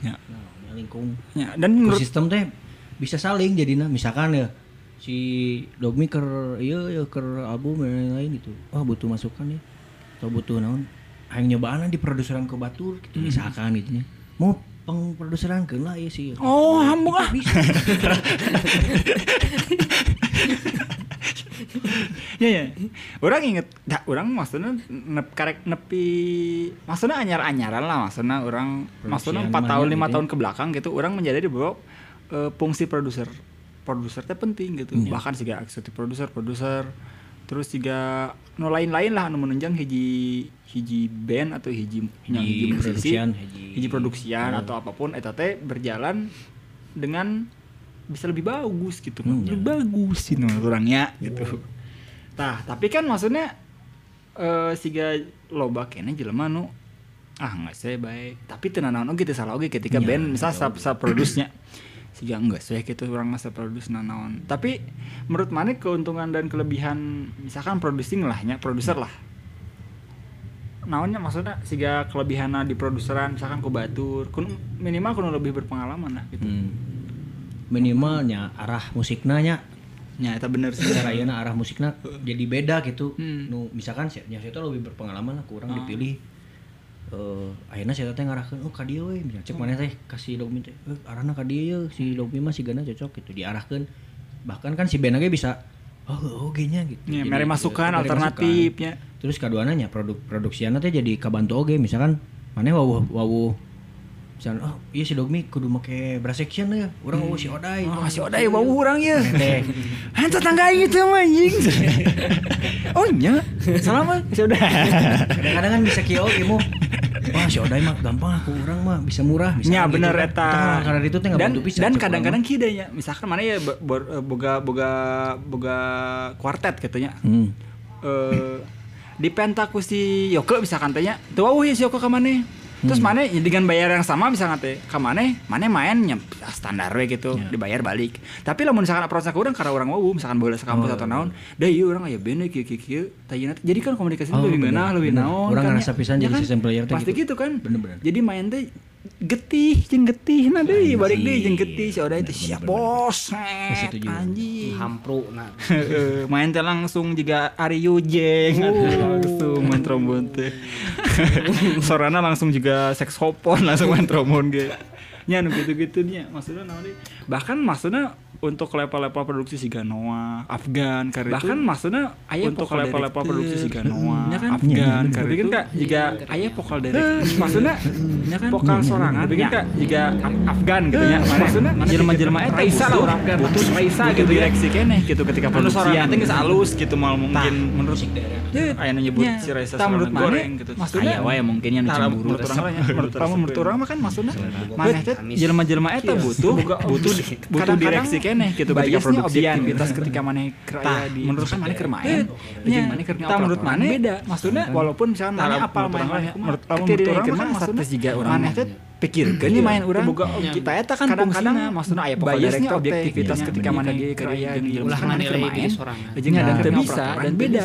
Ya. nah, lingkung Ya, dan menurut ekosistem teh bisa saling jadinya misalkan ya si Dogmi ker iya ya ker album dan lain-lain gitu. Wah butuh masukan ya. Atau butuh naon? Hayang nyobaan lah di produseran ke Batur Hmm. gitu misalkan gitu nya. Mau pengproduseran ke lah ya sih. Oh, hambung ah. ya ya. Orang inget, dah, orang maksudnya nep karek nepi, maksudnya anyar-anyaran lah, maksudnya orang, maksudnya empat banyak tahun lima gitu ya. tahun ke belakang gitu, orang menjadi di bawah eh, fungsi produser, produser teh penting gitu, bahkan juga eksekutif produser, produser, terus juga no lain-lain lah, anu menunjang hiji hiji band atau hiji yang hiji musisi, produksian, hiji- hiji produksian atau apapun eta teh berjalan dengan bisa lebih bagus gitu lebih bagus sih menurut orangnya gitu tah tapi kan maksudnya eh siga loba kene jelema nu ah nggak saya baik tapi tenanan oke teu salah oke ketika band misalnya sub sub produsnya siga enggak saya gitu orang masa produs nanaon tapi menurut mana keuntungan dan kelebihan misalkan producing lahnya produser lah naonnya maksudnya siga kelebihanna di produseran misalkan ku batur kun minimal kuno lebih berpengalaman lah gitu Hmm. Minimalnya arah musiknya nya ya itu bener sih secara ieu na arah musiknya jadi beda gitu. Hmm. Ah. Nu misalkan si nya si eta lebih berpengalaman lah kurang dipilih. Eh akhirnya saya teh ngarahkeun oh ka dieu we misalnya Hmm. cek mana teh kasih dogmi teh eh, arahna ka dieu ye, si dogmi mah sigana cocok gitu diarahkeun. Bahkan kan si band ge bisa oh oge nya gitu. ya, Jadi, mere masukan eh, mere masukan. alternatifnya Terus keduanya nya produk produksiannya teh jadi kabantu oge misalkan mana wawuh wawuh misalkan oh iya si dogmi kudu make brass section ya orang wawuh si odai oh si odai bau orang ya Teh. hantu tangga itu mah gitu, anjing oh nya salah mah si odai gitu kan kadang-kadang kan bisa kio oke mu wah si Odai mah gampang aku orang mah bisa murah bisa gitu. Nya Ya, bener eta. karena itu teh nggak dan butuh pisan, dan cek kadang-kadang kidanya misalkan mana ya bo- bo- boga boga boga kuartet katanya. orang mah. hmm. eh di pentaku si Yoke misalkan tanya, tuh wah si Yoke ke mana? Terus Hmm. mana dengan bayar yang sama misalkan teh ke mana? Mana main ya, ah, standar we gitu, dibayar balik. Tapi lamun misalkan approach aku orang karena orang wau misalkan boleh sekampus Oh, atau naon, deh ieu urang aya bene kieu kieu kieu. Tanya nanti jadi kan komunikasi Oh, lebih bener, meunah, lebih bener. naon. Orang kan, ngerasa ya. pisan Ya jadi kan? system player teh Pasti gitu. gitu, kan. Bener-bener. Jadi main teh getih, jeung getih na deui balik deui jeung getih si Oday teh siap bos. setuju. Anjing. hampro nah Heeh, Eh, main teh langsung juga Ari Yujeng langsung main trombon teh sorana langsung juga seks hopon langsung main trombon ge nya nu gitu-gitu nya maksudnya naon deui? bahkan maksudnya untuk level-level produksi si Ganoa, Afgan, karena bahkan maksudnya ayah Iya untuk level-level produksi si Ganoa, Afgan, karena kan kak juga ayah vokal director, maksudnya vokal sorangan, Iya kan kak juga Af- Afgan gitu ya, maksudnya jelema-jelema eta Raisa lah orang Afgan, butuh Raisa gitu direksi kene gitu ketika produksi yang tinggi halus gitu mal mungkin menurut ayah nyebut si Raisa sorangan goreng gitu, maksudnya Aya wae mungkin yang Tara, cemburu menurut orang lain, menurut orang menurut orang mah kan maksudnya maneh teh Amis. jelema-jelema eta butuh butuh butuh direksi keneh gitu ketika produksi Iya. objektivitas ketika maneh keraya di menurut kan maneh keur main jeung maneh keur ngoprak menurut maneh beda maksudnya walaupun misalnya maneh apal main menurut menurut orang mah maksudnya juga orang maneh teh pikirkeun nih main urang kita eta kan kadang-kadang maksudnya aya biasnya objektivitas ketika maneh di keraya di Ulah ulah maneh keur main nganilai diri sorangan. jeung ada Nah. teu bisa dan beda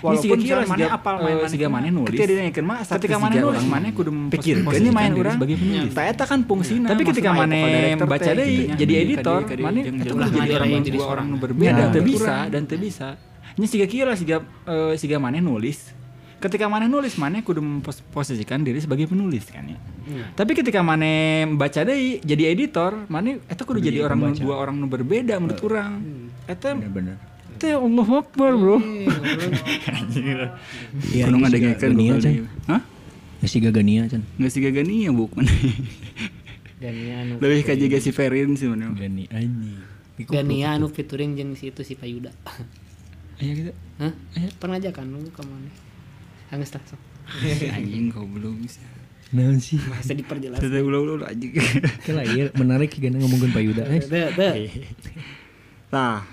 Walaupun misalnya mana apal main eh, maneh siga kumaha. maneh nulis. Ketika dinaikkeun mah asa ketika mana nulis mana kudu pikir memposisikan ini main diri orang sebagai penulis. tak eta kan fungsinya Tapi ketika maksudnya maneh aya vokal director baca teh, deui, gitu nya. jadi Jadi editor, kadi- kadi- maneh jeung tetep ulah jadi jadi orang orang yang dua diri orang seorang. nu berbeda Nah, teu betul. bisa dan teu bisa nya siga kieu lah siga eh, siga maneh nulis ketika maneh nulis maneh kudu memposisikan diri sebagai penulis kan ya tapi ketika maneh baca deui jadi editor maneh eta kudu jadi orang nu- dua orang nu berbeda menurut orang eta bener-bener teh Allah Akbar bro Iya, Gunung ini ada siga ngekeun genial, bakal Chan. di- Hah? ya si Gagania Chan Nggak sih gagani ya bukan Gania anu Lebih ke juga si Ferin sih mana Gani anjing Gania anu featuring jeung si itu si Payuda Iya gitu Hah? Pernah aja kan lu ke mana? Hangus lah sok. Anjing kau belum sih nah sih Masa diperjelas. Teteh ulah ulah anjing Kela iya menarik sih gana ngomongin Pak Yuda eh. Teu, teu. Iya. Nah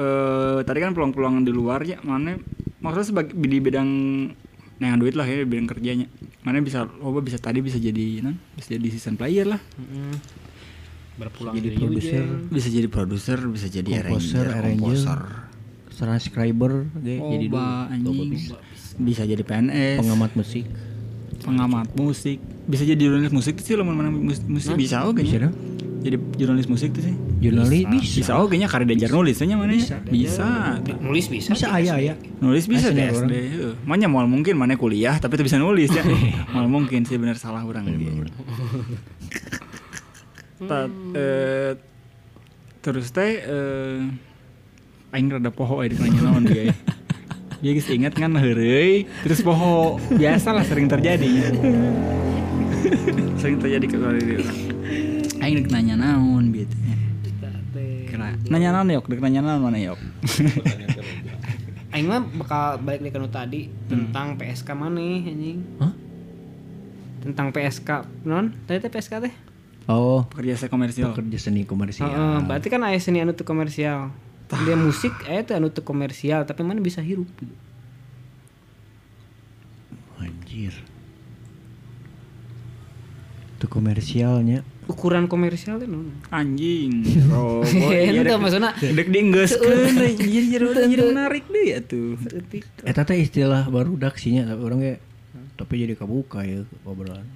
eh Tadi kan peluang-peluang di luar ya Mana Maksudnya sebagai di bidang Nah duit lah ya di bidang kerjanya Mana bisa Loba bisa tadi bisa jadi non, Bisa jadi season player lah Heeh. Berpulang Jadi dari produser. Yujen. Bisa jadi produser Bisa jadi Iya, ya, Komposer, arranger. transcriber ge Oh, jadi dulu anjing Bisa jadi PNS pengamat musik pengamat musik bisa jadi jurnalis musik tuh sih lamun mana mus- musik bisa oke Bisa nya dong. jadi jurnalis musik tuh sih jurnalis bisa bisa oke nya karena diajar nulis nya mana ya? bisa Nulis bisa. bisa sih. ayah ayah nulis bisa Asli deh orang. SD heuh. Manya moal eh. mungkin mana kuliah tapi tuh bisa nulis ya moal mungkin sih bener salah orang gitu. dia Ta- eh, terus teh eh, aing rada poho eh ditanya naon dia ya. Dia geus ingat kan heureuy terus poho. Biasalah sering terjadi. sering terjadi ke keluarga dia orang. Aing deuk nanya naon gitu. Kita teh. Kira nanya naon yok, deuk nanya naon mana yok. Aing mah bakal balik deh kanu tadi Hmm. tentang PSK mana ya, anjing. Hah? Tentang PSK non? Tadi teh PSK teh. oh Pekerja saya komersial. kerja seni komersial Heeh, berarti kan aya seni anu teu komersial. Dia musik aya teh anu teu komersial, tapi mana bisa hirup gitu. anjir itu komersialnya Ukuran komersial teh non. Anjing, roboh. Iya, Itu dek- maksudnya Dek dienggeuskeun deui. jadi jadi jadi menarik deui atuh. seutik. Eta teh Eh, istilah baru daksinya tapi orang kayak tapi jadi kabuka ya obrolan.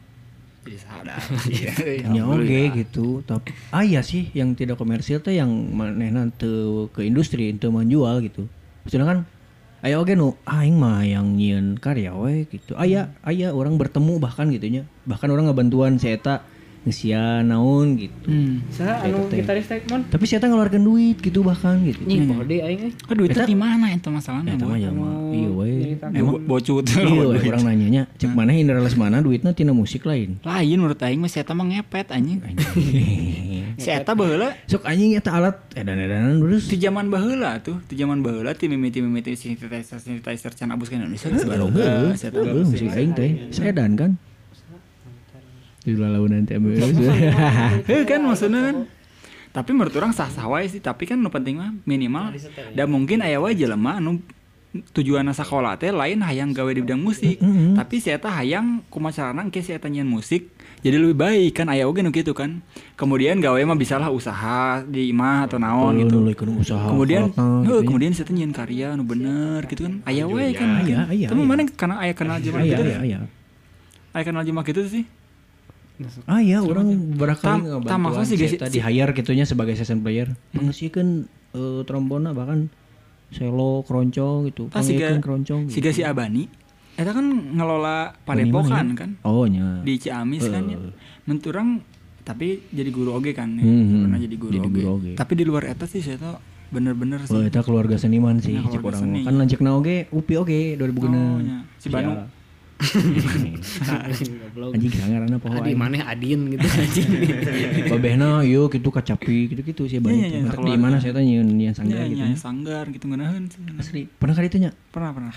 Jadi sadar. Ya oke gitu tapi ah iya sih yang tidak komersil teh yang manehna teu ke industri teu menjual gitu. Sedangkan aya oge nu aing mah yang nyieun karya we gitu. Aya aya orang bertemu bahkan gitunya. Bahkan orang ngabantuan si eta ngesia naon gitu. Hmm. Saha anu Eta teh. gitaris teh mon? Tapi si eta ngeluarkeun duit gitu bahkan gitu. Nying poho deui aing eh. Aduh, itu di mana itu masalahnya? Eta mah Boy? ya mah iya we. Eh, bo- bocut. Iya we orang nanyanya cek mana Indrales mana duitnya tina musik lain. Lain menurut aing mah si eta mah ngepet anjing. Si eta baheula Sok anjing eta alat edan-edanan terus di zaman baheula tuh, di zaman baheula ti mimiti mimiti synthesizer synthesizer can abus ka Indonesia geus baroga. Si eta Belum sih aing teh. Sedan kan. di launan teh beus. Heh kan maksudnya kan. Tapi menurut orang sah-sah wae sih, tapi kan nu penting mah minimal da mungkin aya wae jelema anu tujuanna sakola teh lain hayang gawe di bidang musik, Mm-hmm. tapi si eta hayang kumacarana engke si eta nyian musik jadi lebih baik kan aya oge nu kitu kan. Kemudian gawe mah bisalah usaha di imah atau naon Oh, Heeh, gitu. nu leukeun usaha. Kemudian, salatna, heuh, gitu ya. kemudian si eta nyian karya nu bener gitu kan. Aya wae kan. Aya, aya, Tapi aya. mana kana aya kenal jelema Aya, gitu. aya, aya. Aya kenal jelema gitu sih. Ah iya, orang beberapa Tam- kali tam maksudnya ngebantuan sih, si guys, Eta si- di hire gitunya sebagai session player. Pangesikeun eh, trombona bahkan selo keroncong gitu. Ah, si Pangesikeun Ga- keroncong. si Ga gitu. si Abani Eta kan ngelola Bani mana padepokan ya? kan Oh nya. Di Ciamis kan ya Hmm. Menturang tapi jadi guru oge kan ya. Mhm. Pernah jadi guru, Jadi oge. guru oge. Tapi di luar Eta sih saya tau bener-bener sih Wah, eta Oh, keluarga seniman sih, Nah, cek keluarga orang. mah. seni. Kan lanjut na oge, upi oge, Oh, 2006. nya. Si Banu. Ah, eh. Goblok. Anjing sangarana poho. Adi maneh Adin gitu anjing. Babehna ieu kitu kacapi gitu-gitu sih Banu. Iya, iya, iya, Entar di keluarga. mana saya tanya nyian Iya, sanggar gitu. iya, sanggar gitu ngeunaheun sih. Asli, pernah kali tanya? Pernah pernah.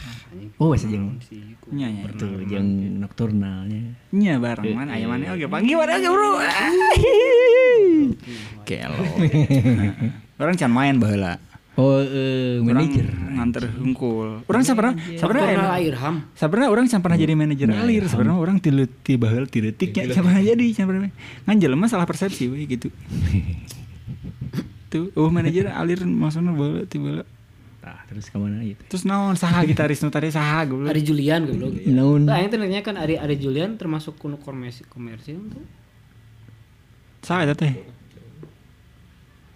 Oh, wes jeung. Iya, iya. Betul, jeung nokturnalnya. Iya bareng Eh, mana aya mana oge panggil mana oge bro. Ah. Kelo. Orang can main baheula. Oh, eh, Orang manajer. nganter hungkul. Orang sabar sabar Pernah lahir ham. Sebenarnya orang siapa pernah jadi manajer alir, sebenarnya orang tilu tiba hal tiletik ya siapa pernah jadi siapa pernah ngan jelema salah persepsi we gitu. Tuh, oh manajer alir maksudnya bola tiba bola. Tah, Nah, terus ke mana ieu teh? Terus naon saha gitaris nu tadi saha goblok. Ari Julian goblok. Naon? Nah, yang ternyata kan Ari Ari Julian termasuk kuno komersi komersil tuh. Saha eta teh?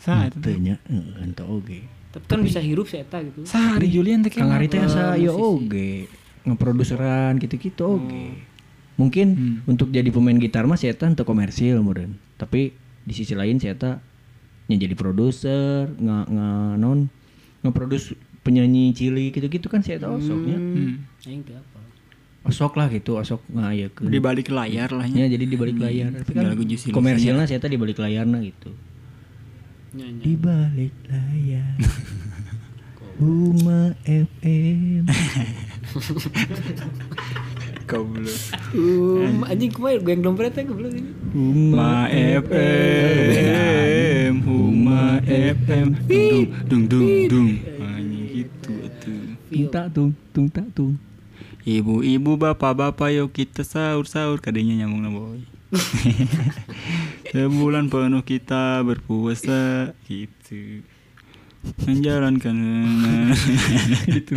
Saha eta teh? Tanya, "Eh, ente oge. Tapi kan bisa hirup si eta gitu. Saha Ari Julian teh Kang kenapa? Ari teh asa musisi. ya oge, ngeproduseran gitu-gitu Hmm. oge. Mungkin untuk jadi pemain gitar mah si eta untuk komersil meureun. Tapi di sisi lain si eta nya jadi produser, nge nge non ngeproduce penyanyi cilik gitu-gitu kan si eta osoknya. Hmm. Aing teu apa. Osok lah gitu, osok ngayakeun. di balik layar Iya, lah Ya nya. jadi di balik layar. Tapi kan lagu Juicy Lucy-nya. komersilnya saya tadi di balik layarnya gitu. Nyanyi. Di balik layar. Uma FM. Goblok. Um, anjing kumaha gue yang dompetnya goblok ini. Huma FM, Huma FM, dung dung dung dung. Anjing gitu atuh. Tung tak tung, tung tak tung. Ibu-ibu, bapak-bapak, yuk kita sahur-sahur Kadenya nyambung lah boy Sebulan penuh kita berpuasa Gitu Menjalankan Gitu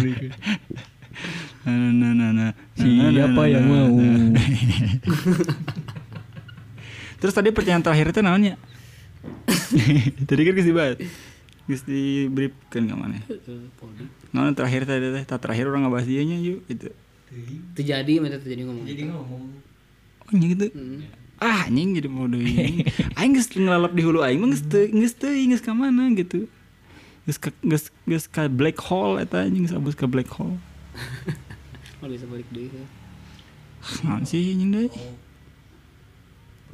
Nah, nah, nah, Siapa yang mau? Terus tadi pertanyaan terakhir itu namanya Tadi kan kasih banget Geus diberi kan ke mana? Nah, terakhir tadi teh, tak terakhir orang ngebahas dianya yuk gitu. Terjadi meta terjadi ngomong. Hmm. ya. Oh, nya gitu. Ah, anjing jadi bodoh ini. Aing geus ngelalap di hulu aing mah geus teu geus teuing, geus ka mana gitu. Geus ka geus geus ka black hole eta anjing geus abus ka black hole. Mau bisa balik deui. ya. Naon sih anjing deui?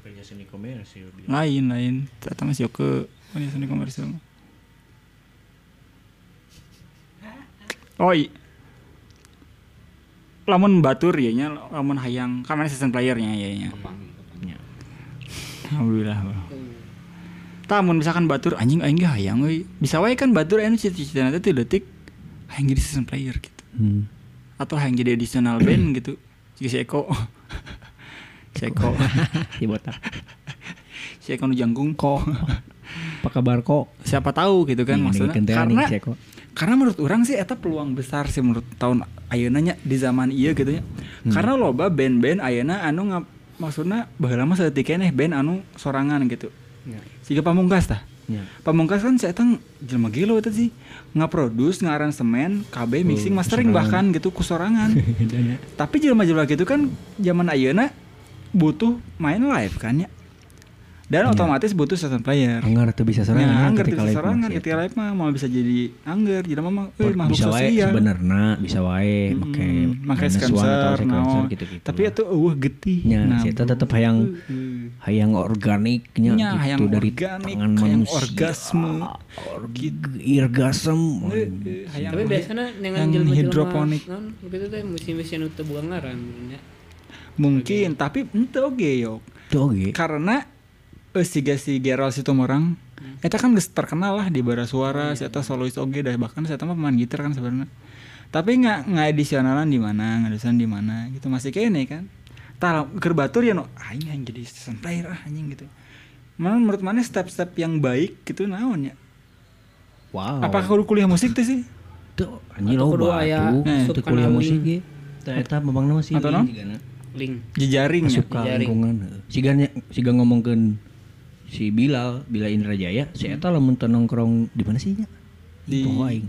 Pekerja seni komersil. Lain lain. Eta mah sio ke mana seni komersial. mah. Oi. Oh, Lamun batur ya nya lamun hayang kan mana season playernya ya nya. Alhamdulillah. Bro. Tamun misalkan batur anjing aing ge hayang euy. Bisa wae kan batur anu cita-citana teh teu detik hayang jadi season player gitu. Hmm. Atau hayang jadi additional band gitu. Jika si Eko. si Eko. Si botak. si Eko nu anu jangkung kok. Apa kabar kok? Siapa tahu gitu kan Nih, maksudnya. nih, kentean Karena nih, si Eko. karena menurut orang sih eta peluang besar sih menurut tahun ayeuna nya di zaman ieu gitu nya. Karena loba band-band ayeuna anu nga, maksudnya baheula mah saeutik keneh band anu sorangan gitu. Siga pamungkas tah. Ya. Pamungkas kan saya tang jelema gelo eta sih. Ngaproduce, ngaransemen, Oh, KB mixing, mastering bahkan gitu kusorangan. Iya, Tapi jelema-jelema gitu kan zaman ayeuna butuh main live kan ya. Dan otomatis butuh session player. Anggar tuh Iya. bisa Nah, serangan ya, anggar ketika ketika live serangan masih. ketika live mah mau bisa jadi anggar, jadi mah eh, makhluk bisa wae sosial. Hmm, sebenarnya bisa wae make Makai minus one atau sequencer, sequencer naon. gitu-gitu. Tapi itu eueuh getih. nya Nah, Iya, uh, si eta tetep hayang hayang organiknya Nya, gitu hayang dari organik, tangan hayang manusia orgasme. org- irgasem hayang- Tapi biasanya dengan yang jelema-jelema hidroponik. non, Gitu teh musim-musim anu teu buangaran. ya. Mungkin, tapi ente oge yok. Itu Gitu, oke. karena eh, siga si Gerald situ orang eta kan geus terkenal lah di bara suara si eta solois oge dah bahkan si eta mah pemain gitar kan sebenarnya tapi nggak nggak edisionalan di mana ngadusan di mana gitu masih kene kan tah keur batur ya no aing aing jadi season player ah anjing gitu Mana menurut mana step-step yang baik gitu naon ya? Wow. Apakah kudu kuliah musik tuh sih? Tuh, anjing Atau lo kudu aya batu. Eh. asup Itu kuliah kana musik link. ya. Eta memang nama sih. Atau naon? link Jejaring ya? suka Jaring. lingkungan heeh. siganya siga ngomongkeun si Bilal Bila Indra Jaya si eta lamun teu nongkrong di mana sih nya Hmm. Di- di Poho aing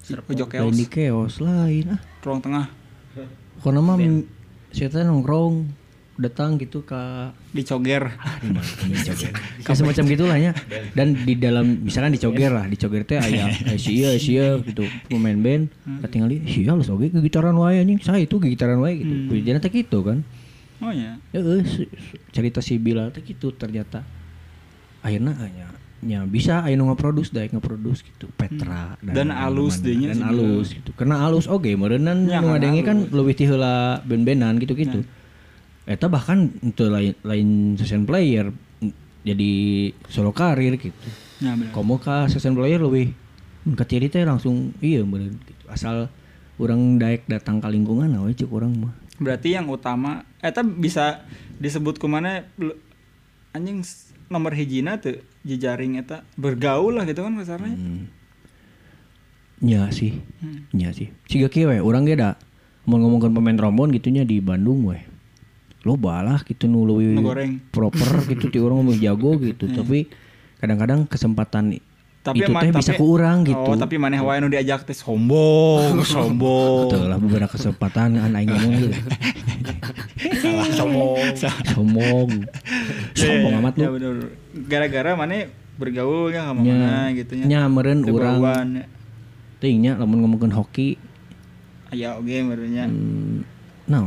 Di Pojok lain di keos, keos lain ah ruang tengah, karena mah si eta nongkrong datang gitu ke di Coger. Ya, semacam gitulah ya dan di dalam misalkan di Coger lah di Coger teh aya eh, si ieu si ieu gitu pemain band katingali si ieu alus oge gitaran wae anjing saya itu gitaran wae gitu hmm. teh gitu kan Oh ya. Ya, eh, si- si- cerita si Bilal teh gitu ternyata akhirnya hanya nya bisa ayo ngeproduks daek ngeproduks gitu Petra Hmm. Dan alus mana-mana. deunya dan si alus Bilal. gitu karena alus oge meureunnan Ya, nu karena ngadenge kan alus. leuwih ti heula ben-benan gitu-gitu eta bahkan untuk lain lain session player n- jadi solo karir gitu Ya benar. komo ka session player leuwih ke teh langsung iya meureun gitu. asal orang daek datang ke lingkungan nah cek orang mah Berarti yang utama eta bisa disebut kumana lu- anjing s- nomor hijina tuh jejaring eta bergaul lah gitu kan kasarnya. Hmm. Hmm. Nya sih. Nya sih. Siga kieu we urang ge da mau ngomongkeun pemain trombon gitunya di Bandung we. Lo balah gitu nu leuwih Nu goreng. proper gitu ti urang mah jago gitu, tapi kadang-kadang kesempatan Iya. Tapi itu ma- teh bisa tapi- ku urang gitu. Oh, tapi maneh wae nu diajak teh sombong, sombong. Betul lah beberapa kesempatan an aing ngomong gitu. sombong Sombong. Iya, Sombong amat lu. Ya bener. Gara-gara maneh bergaul ya sama Nya, mana gitu nya. nya meureun Teu urang. bauan, ya. Teuing nya lamun ngomongkeun hoki Aya oge merenya. Nah,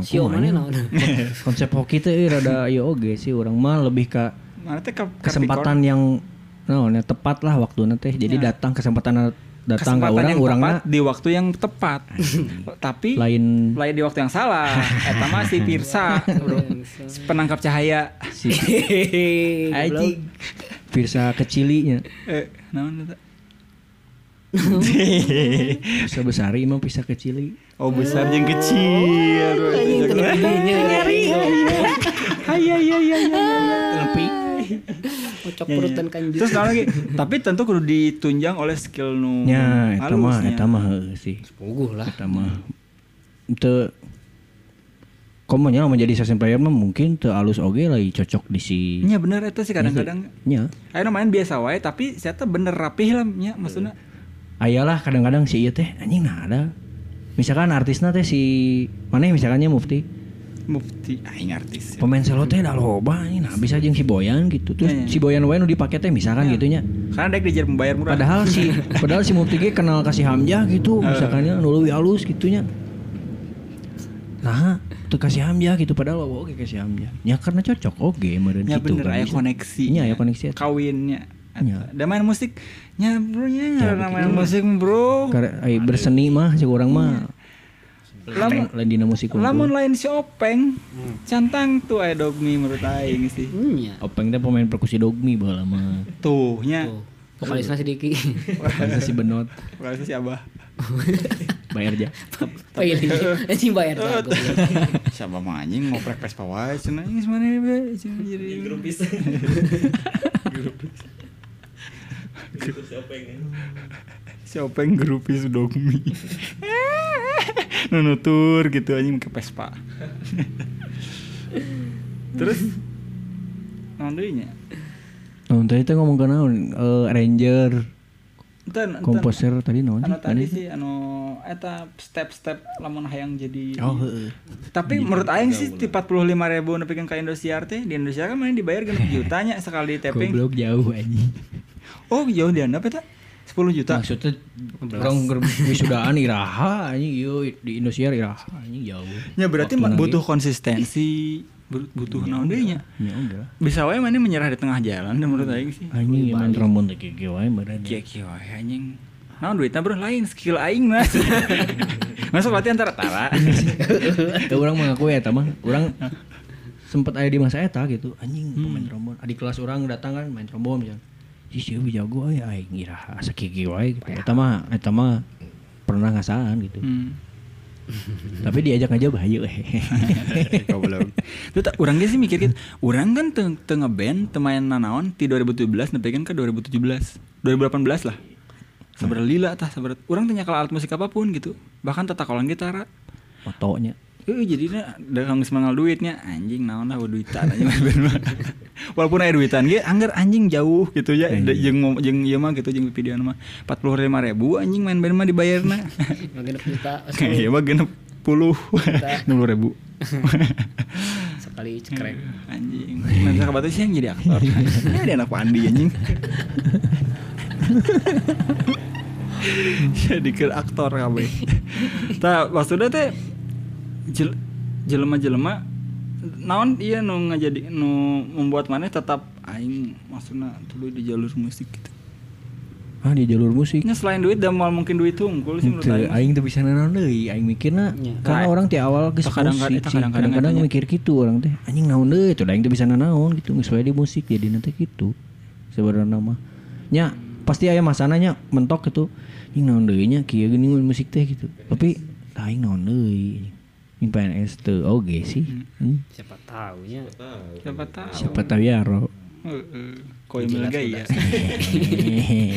Oh, Sio kumaha iya. mana nya? naon? Konsep hoki teh euy rada ieu oge sih urang mah lebih ka Mana teh ka- ka kesempatan yang naon ya, tepat lah waktunya teh jadi datang kesempatan datang ke Ya. kesempatan orang yang orangnya tepat di waktu yang tepat. Tapi lain lain di waktu yang salah. Eta mah si Pirsa, bro. penangkap cahaya. si Aji. Firsa kecilinya Eh, naon eta? Firsa besari emang Firsa kecili Oh, besar yang kecil. Iya, Iya, Hai, hai, hai, hai, hai. tapi kocok perut dan kanji Terus naon lagi? Tapi tentu kudu ditunjang oleh skill nu nya Ya, eta mah halusnya. eta mah heuh sih Puguh lah eta mah teu komonya menjadi session player mah mungkin teu alus oge lagi cocok di si Nya bener eta iya sih kadang-kadang. nya Ayo main biasa wae tapi saya teh bener rapih lah nya maksudnya. ayalah kadang-kadang si ieu teh anjing nah ada misalkan artisnya teh si mana misalkannya mufti Mufti aing artis. pemain selo teh dah loba ini nah bisa jeung si Boyan gitu terus Ya, ya. si Boyan wae nu dipake teh misalkan Iya. gitunya Karena dek diajar membayar murah. padahal si padahal si Mufti ge kenal kasih Hamzah gitu Iya. misalkannya nu leuwih alus gitunya nah tuh kasih Hamzah gitu padahal loba oge kasih Hamzah ya karena cocok oge meureun Ya kitu bener, aya koneksi. gitu ya. Iya, aya koneksi eta. Kawinnya. Iya. Dan main musik. Ya bro, ya, karena main musik bro. Kare- ai, berseni mah si urang Iya. mah Lamun, lain dina musik lamun kumpul lain si Openg, cantang tuh aya dogmi menurut aing sih. Hmm, ya. Oh, Openg teh pemain perkusi dogmi baheula mah Tuh, nya. Tuh, ya. vokalisnya Oh, sedikit. Bisa si Benot Kalau si Abah. bayar aja Pengen Oh, iya, anjing bayar jago. Si Abah mah anjing ngoprek Vespa wae cenah geus mana bae. cenah Jadi grupis. Si Openg grupis dogmi. Nunutur gitu anjing ke Vespa. Terus naon deui nya? Nah, tadi teh ngomong ke naon? Eh, Ranger, Enten, enten. komposer tadi naon? anu sih? tadi Aneh. sih anu eta step-step lamun hayang jadi Oh, heeh. tapi menurut aing sih di 45.000 nepi kan ka Indosiar teh di Indonesia kan main dibayar genep juta nya sekali tapping Goblok jauh anjing. oh jauh di anda eta 10 juta Maksudnya orang keur wisudaan iraha anjing ieu di Indonesia iraha anjing jauh. ya berarti Waktu ma- lagi. butuh konsistensi bu- butuh naon deui nya Ya enggak. bisa wae mana menyerah di tengah jalan deh menurut aing sih Anjing yang main trombon teh kieu wae meureun. Jeki wae anjing Nah duitnya bro lain skill aing mas Masuk latihan antara tara Teu urang mengakui eta mah. Urang sempet aya di masa eta gitu anjing pemain trombon adik kelas orang datang kan main trombon misalnya si sieu jago aya aing ngira asa kiki wae gitu. eta mah eta mah pernah ngasaan gitu Hmm. tapi diajak aja bahaya we Goblok. Tuh tak orang ge sih mikir gitu. Orang kan teu teu ngeband teu main nanaon ti 2017 nepi kan ke 2017. 2018 lah. Sabar lila tah sabar. Urang tanya kalau alat musik apapun gitu. Bahkan tatakolan gitar. motonya Eh jadinya da kang geus mangal duitnya anjing naon lah duitan anjing bener mah. Walaupun aya duitan ge anggar anjing jauh gitu ya da- jeung ngom- jeung ieu mah gitu jeung videoan mah 45.000 anjing main band mah dibayarna. Makin kita Iya mah genep puluh puluh ribu sekali cekrek. Hmm. anjing nanti kabar sih yang jadi aktor ini ada anak Pandi anjing jadi ke aktor kabe tak maksudnya teh jel, jelema jelema naon iya nu ngajadi nu membuat mana tetap aing maksudnya dulu di jalur musik gitu ah di jalur musik Nya selain duit dan moal mungkin duit tunggul sih menurut aing Teu, aing tuh bisa nanaon deui aing mikirna Nya. karena orang ti awal geus Kadang- musik eta sih. kadang-kadang kadang-kadang etanya. mikir gitu orang teh anjing naon deui tuh aing tuh bisa nanaon gitu geus wae di musik jadi nanti gitu sebenarnya mah nya pasti aya masananya mentok gitu anjing naon deui nya kieu geuning mun musik teh gitu tapi tah, aing naon deui anjing PNS teu oge sih Hmm. Siapa tahunya. siapa tahu siapa tahu ya ro Heeh. Koi Emil Gaya.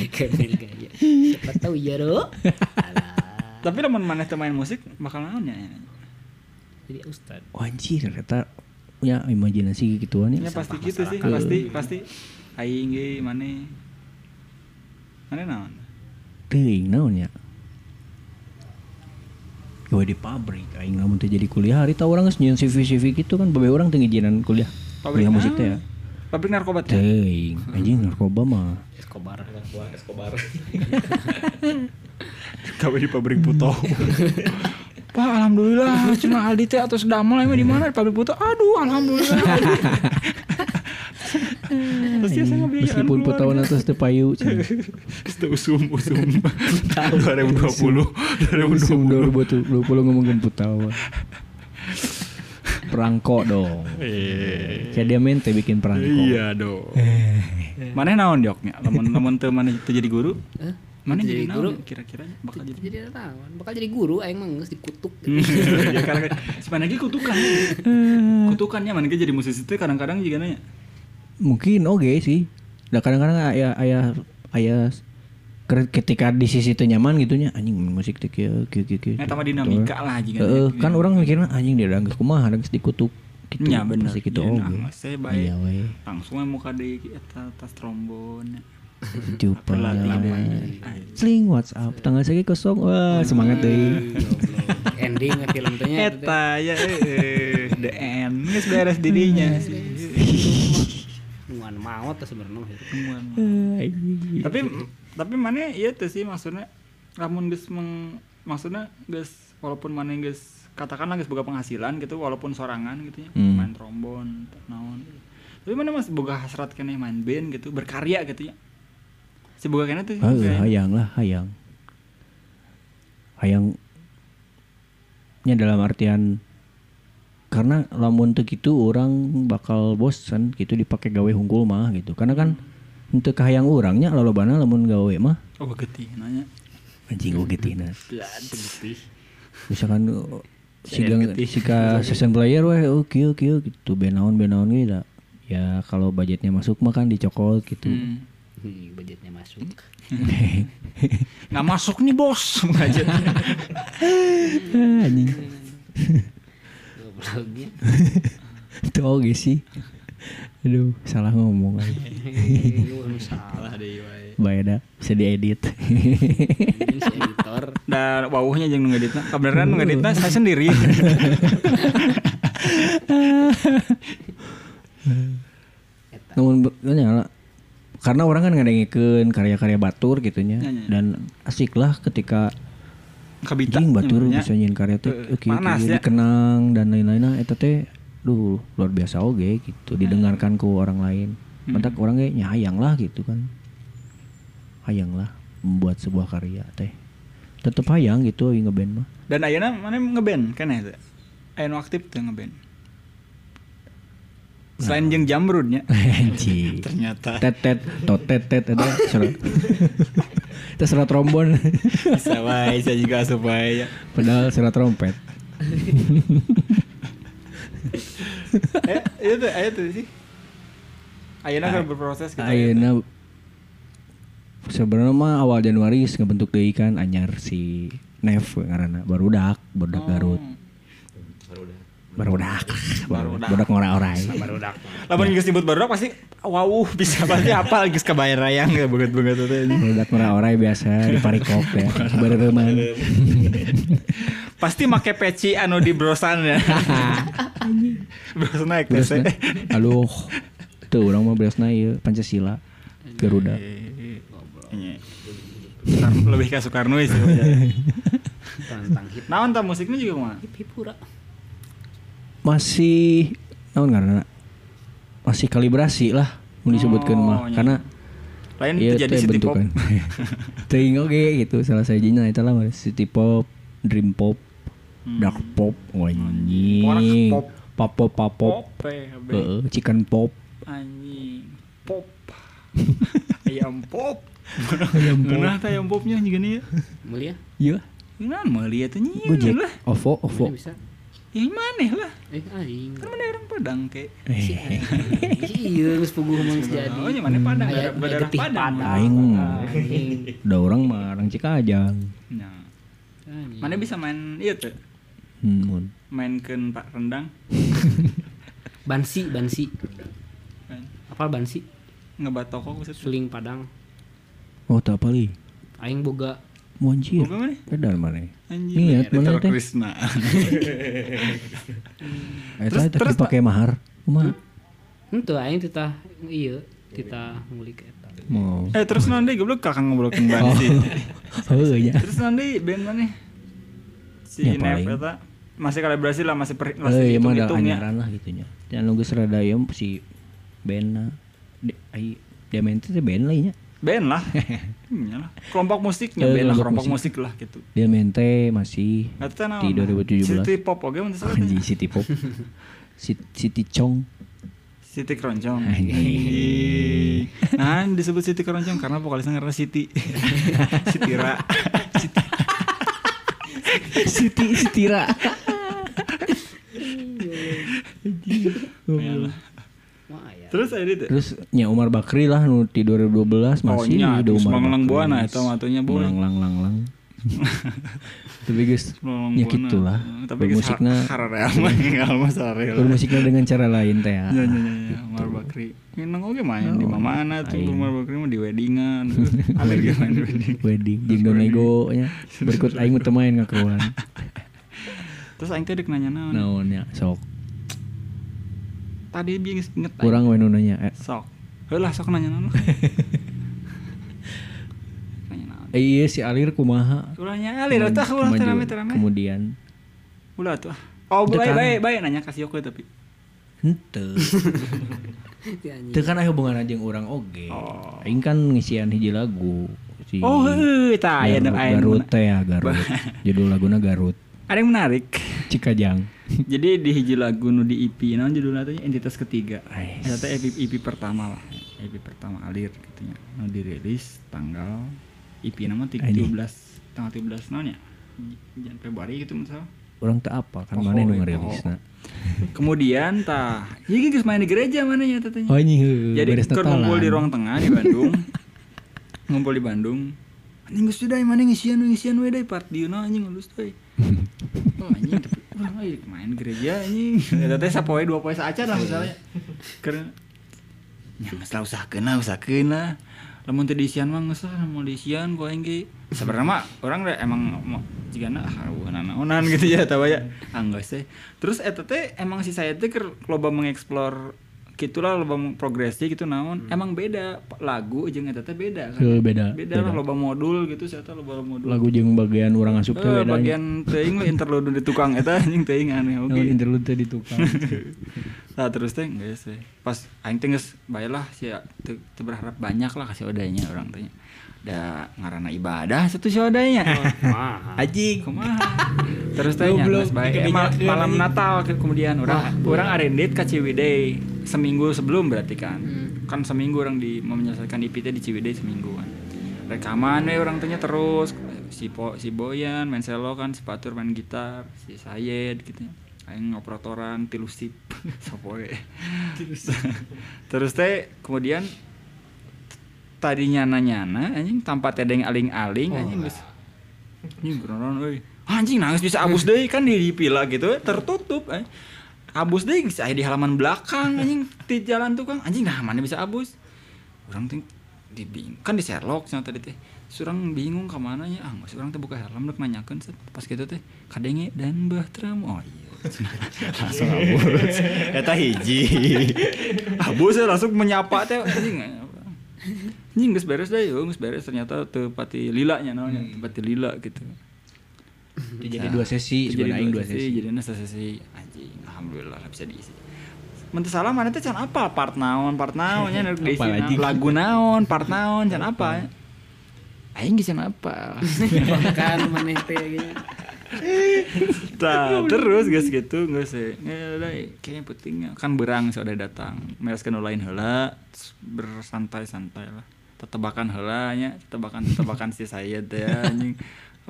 Keren gaya. Siapa tahu ya, Ro. Alah. Tapi lamun maneh teu main musik bakal naonnya? Jadi ustad. anjir eta punya imajinasi gituan Ya ya pasti gitu sih, pasti pasti aing ge maneh. Maneh naon? teuing naon nya Gawe di pabrik aing lamun teh jadi kuliah hari tah urang geus nyieun CV-CV gitu kan babe urang teu ngijinan kuliah. kuliah musik teh ya. Pabrik narkoba teh. Teuing anjing narkoba mah. Escobar. Gawe di pabrik puto. Pak, alhamdulillah, cuma Aldi teh atau Damel emang di mana di pabrik puto. Aduh, alhamdulillah. Terus dia saya ngebiayaan Meskipun keluarga. putahunan atas teu payu. cenah. Terus teu usum usum 2020 Musim 2020 2020 ngomongin putawa. Perangko dong. Kayak dia main teh bikin perangko. Eh. Iya dong. Mana naon dioknya? Lamun lamun teu mana teu jadi guru? Hah? Mana Teu jadi, jadi guru? guru? Kira-kira bakal jadi. Jadi wartawan, bakal jadi guru aing mah geus dikutuk. ya karena sebenarnya ge kutukan. Kutukannya mana ge jadi musisi teh kadang-kadang juga nanya. mungkin oke sih nah kadang-kadang ayah ayah ayah ketika di sisi itu nyaman gitunya anjing musik teh kieu kieu kieu kieu Eta mah Nah, dinamika lah Heeh, jiga. kan orang mikirnya anjing dia udah geus kumaha geus dikutuk gitu Ya, bener. pasti gitu Iya, oge. nah, maksudnya baik. iya we langsung yang muka di eta tas trombon. Jupa, Pelan ya, lama. we. Sling WhatsApp tanggal saya kosong. Wah, semangat deh. Ending film teh nya. itu teh. Eta ya eh the end. Geus beres dirinya sih. Nuan maot teh sebenarnya mah itu. tapi Iya, tapi mana iya tuh sih maksudnya lamun geus meng maksudnya geus walaupun mana geus katakanlah geus boga penghasilan gitu walaupun sorangan gitu ya Hmm. main trombon naon tapi mana mas boga hasrat kene main band gitu berkarya gitu ya si boga kene tuh Heuh, kayaknya. hayang lah, hayang. Hayang nya dalam artian karena lamun teu kitu orang bakal bosan gitu dipakai gawe hungkul mah gitu. Karena kan untuk kahayang orangnya lolobana lamun gawe mah oh getih nanya anjing ogetina. Misalkan uh, siga sika session player weh oh kieu kieu gitu benaon benaon gitu. Ya kalau budgetnya masuk mah kan dicokot gitu. Hmm. Ih, budgetnya masuk. nggak masuk nih bos ngajak Ah, anjing. Gobloknya. Itu oge sih. Aduh, salah ngomong aja. Lu anu salah deh. Bayada bisa diedit. Ini si editor. dan wawuhnya jeung nu ngeditna kebenaran nu ngeditna saya sendiri Namun be- nyala. Karena orang kan ngadengekeun karya-karya Batur gitunya Ya, ya, ya. dan asik lah ketika kabita Jing Batur nyebutnya. bisa nyin karya teh ya. Iya. Eh, oke panas ya. dikenang dan lain-lain nah eta teh duh luar biasa oge gitu Hmm. didengarkan ke orang lain. Mentak orang ge nya hayang lah gitu kan. Hayang lah membuat sebuah karya teh. Tetep hayang gitu aing ngeband mah. dan ayeuna mana ngeband kan ya ayeuna aktif teh ngeband Nah. Selain ya. jeung jamrudnya. Anjing. Ternyata. Tet tet tot tet tet ada surat. Itu surat trombon. Sawai saya juga asup wae ya. Padahal surat trompet. Eh, itu aya tuh sih. Ayeuna kan berproses gitu. Ayeuna sebenarnya mah awal Januari geus ngebentuk deui kan anyar si Nev ngaranna barudak, barudak Garut. Oh. Barudak. Barudak. Barudak ngora-orai. Ya. Lamun geus nyebut baru pasti wow bisa pasti hafal Ah, geus kabayar rayang ya beget-beget teh. Barudak ngora-orai biasa di parikok ya. Bareuman. Pasti make peci anu di brosan ya. brosan naik Beres teh. Aduh. Tuh orang mah beresna ieu Pancasila. Garuda. Iya. Soekar- Lebih ke Soekarno sih. tentang hip Naon tah musiknya juga mah. hip hipura masih naon karena masih kalibrasi lah mau disebutkan mah Oh, nya. karena Lain iya itu jadi teh city pop. bentukan ting oke gitu salah saya jinya itu lah city pop dream pop dark pop Porak wanyi Hmm. pop. pop pop pop pop Pop. eh, be. Heeh, chicken pop Anjing. Pop. Ayam pop. Ayam pop. Nah, tah ayam popnya juga nih ya. mulia iya Gimana mau lihat ini? gojek Iya, lah. Iya, ovo ovo mana bisa Yang mana lah? eh aing Kan mana orang Padang ke. eh iya geus puguh mah geus jadi Oh, mana Hmm, Padang? Ada Aya- aya ada getih Padang. aing mah udah orang mah orang cikajang Nah. Anjing. Mana bisa main iya tuh? hmm, mun. Mainkeun Pak Rendang. bansi bansi Main. apal bansi Ngebatokok maksudnya. suling padang oh tak apa li aing boga monjir Boga mana? pedal mana Anjing. Niat mana Iya. teh? Krishna. Eta eta dipake mahar. Kumaha? henteu aing teu tah ieu teu tah ngulik eta Mau. Oh. Eh terus nanti goblok kakang ngoblokin banget Heunya. Terus nanti band mana? Si Ya, Nev paling. eta masih kalibrasi lah masih per, masih Heunya Eh, iya, mah ada hitung-hitung ya. anyaran lah gitu, gitunya. Dan nunggu serada ieu si Bena. Di- Ai Diamante teh band lainnya. Band lah. Hmm, ya lah. Kelompok musiknya Eh, band lah, kelompok kelompok musik musik. lah gitu. Diamante masih Nggak tahu Nah, nama. di 2017. City Pop oke mun salah. Anjing City Pop. City, City Chong. City Keroncong. Anjing. Ih. Nah, disebut City Keroncong karena vokalisnya karena City. City Ra. City Sitira. mah aya Terus ada itu. Terus nya Umar Bakri lah nu di 2012 masih Oh, nya, di geus Umar mengelang Bakri. buana eta mah atunya, Boy. Mengelang lang lang lang. Tapi guys, Melolong ya buana. gitulah. Tapi musiknya Bermusiknya harare mah enggak masalah. Ya, bermusiknya dengan cara lain teh. ya. ya, ya, ya. Umar Bakri. Minang oge main iya. di mana mana tuh Umar Bakri mah di weddingan. Alir ge main di wedding. Wedding jeung donego nya. Berikut aing mah teu main ngakuan. Terus aing teh dek nanya naon. Naon nya sok. Tadi bieu geus inget aing. Kurang we nu nanya. Eh, Sok. Heulah sok nanya naon. Nanya naon. eh, iya si Alir kumaha? Ulahnya alir tah ulah teh Kemaju- rame teh rame. Kemudian Ulah tuh. Oh, Teu baik kan. baik baik nanya kasih aku tapi. henteu. Teu anjing. Teu kan aya hubungan jeung urang oge. Oh. Aing kan ngisian hiji lagu. Si Oh, heuh tah aya Garut, nu aya nu- Garut teh ya Garut. Judul laguna Garut. Ada yang menarik. Cikajang. Jadi di hiji lagu nu di EP naon judulnya teh entitas ketiga. E Ais. Eta teh EP, EP pertama lah. EP pertama alir katanya. Nu dirilis tanggal EP nama ti- Ini. 13 tanggal 13 naon ya? J- Jan Februari gitu misalnya. Urang teu apa kan Poho, mana nu poho. ngerilisna. Kemudian tah, ieu geus main di gereja mana ya tetenya. Anjing Jadi keur ngumpul di ruang tengah di Bandung. ngumpul di Bandung. Anjing geus sudah mana ngisian ngisian we deui part dieu na anjing lulus deui. Oh anjing tapi urang we main gereja anjing. Eta teh sapoe dua poe saacan lah misalnya. Keur nya geus lah usahakeun lah usahakeun lah. Lamun teu diisian mah geus lah mau diisian ku aing ge. Sebenarnya mah orang da emang mau jigana ah naonan gitu ya tahu ya. Anggeus teh. Terus eta teh emang si saya teh keur loba mengeksplor gitulah loba progresi gitu naon emang beda lagu jeung eta teh beda kan Heuh, beda, beda, lah beda. loba modul gitu saya teh loba modul lagu jeung bagian urang asup teh Eh, bedanya. bagian teuing we interlude di tukang eta anjing teuing aneh oke Naon interlude teh di tukang. Nah terus teh geus teh. Pas aing teh geus bae lah si teu teu berharap banyak lah kasih odanya orang tanya. Da ngaranna ibadah satu si odanya. mah Aji kumaha. Terus teh nya Goblok, geus bae Eh, mal- malam Natal ke- kemudian orang orang arendit ka Ciwidey. seminggu sebelum berarti kan Hmm. kan seminggu orang di mau menyelesaikan IP-nya di Ciwidey seminggu kan rekaman we orang tanya terus si po, si Boyan main selo kan si Patur main gitar si Sayed gitu aing ngoperatoran tilusip sopo we terus teh kemudian tadi nyana nyana anjing tanpa tedeng aling Oh, aling anjing geus anjing beneran euy anjing nangis bisa abus deui kan di, di pila gitu eh, tertutup eh abus deui geus aya di halaman belakang anjing di jalan tukang anjing nah mana bisa abus orang teh di bing- kan di Sherlock cenah tadi teh Terus orang bingung kemana ya ah mas orang teh buka helm dek nanyakan pas gitu teh kadenge dan bahtram oh iya langsung abus eta hiji abus ya langsung menyapa teh anjing eh, Anjing geus beres deh, oh, geus beres ternyata teu pati lila nya naonnya, teu pati lila gitu. Itu Ya, jadi dua sesi, Jadi sebenarnya aing dua sesi. Jadi nasa sesi anjing, alhamdulillah lah bisa diisi. Mentah salah mana teh can apa part naon, part naon nya nek diisi Apal naon. anjing. lagu naon, part naon can apa. ya? Aing geus can apa. kan maneh teh gini Tah, terus guys gitu, geus sih. ya. Kayaknya pentingnya kan berang sudah datang. Mereskan lain heula, terus bersantai-santai lah. Tetebakan heula nya, tetebakan-tetebakan si saya teh anjing.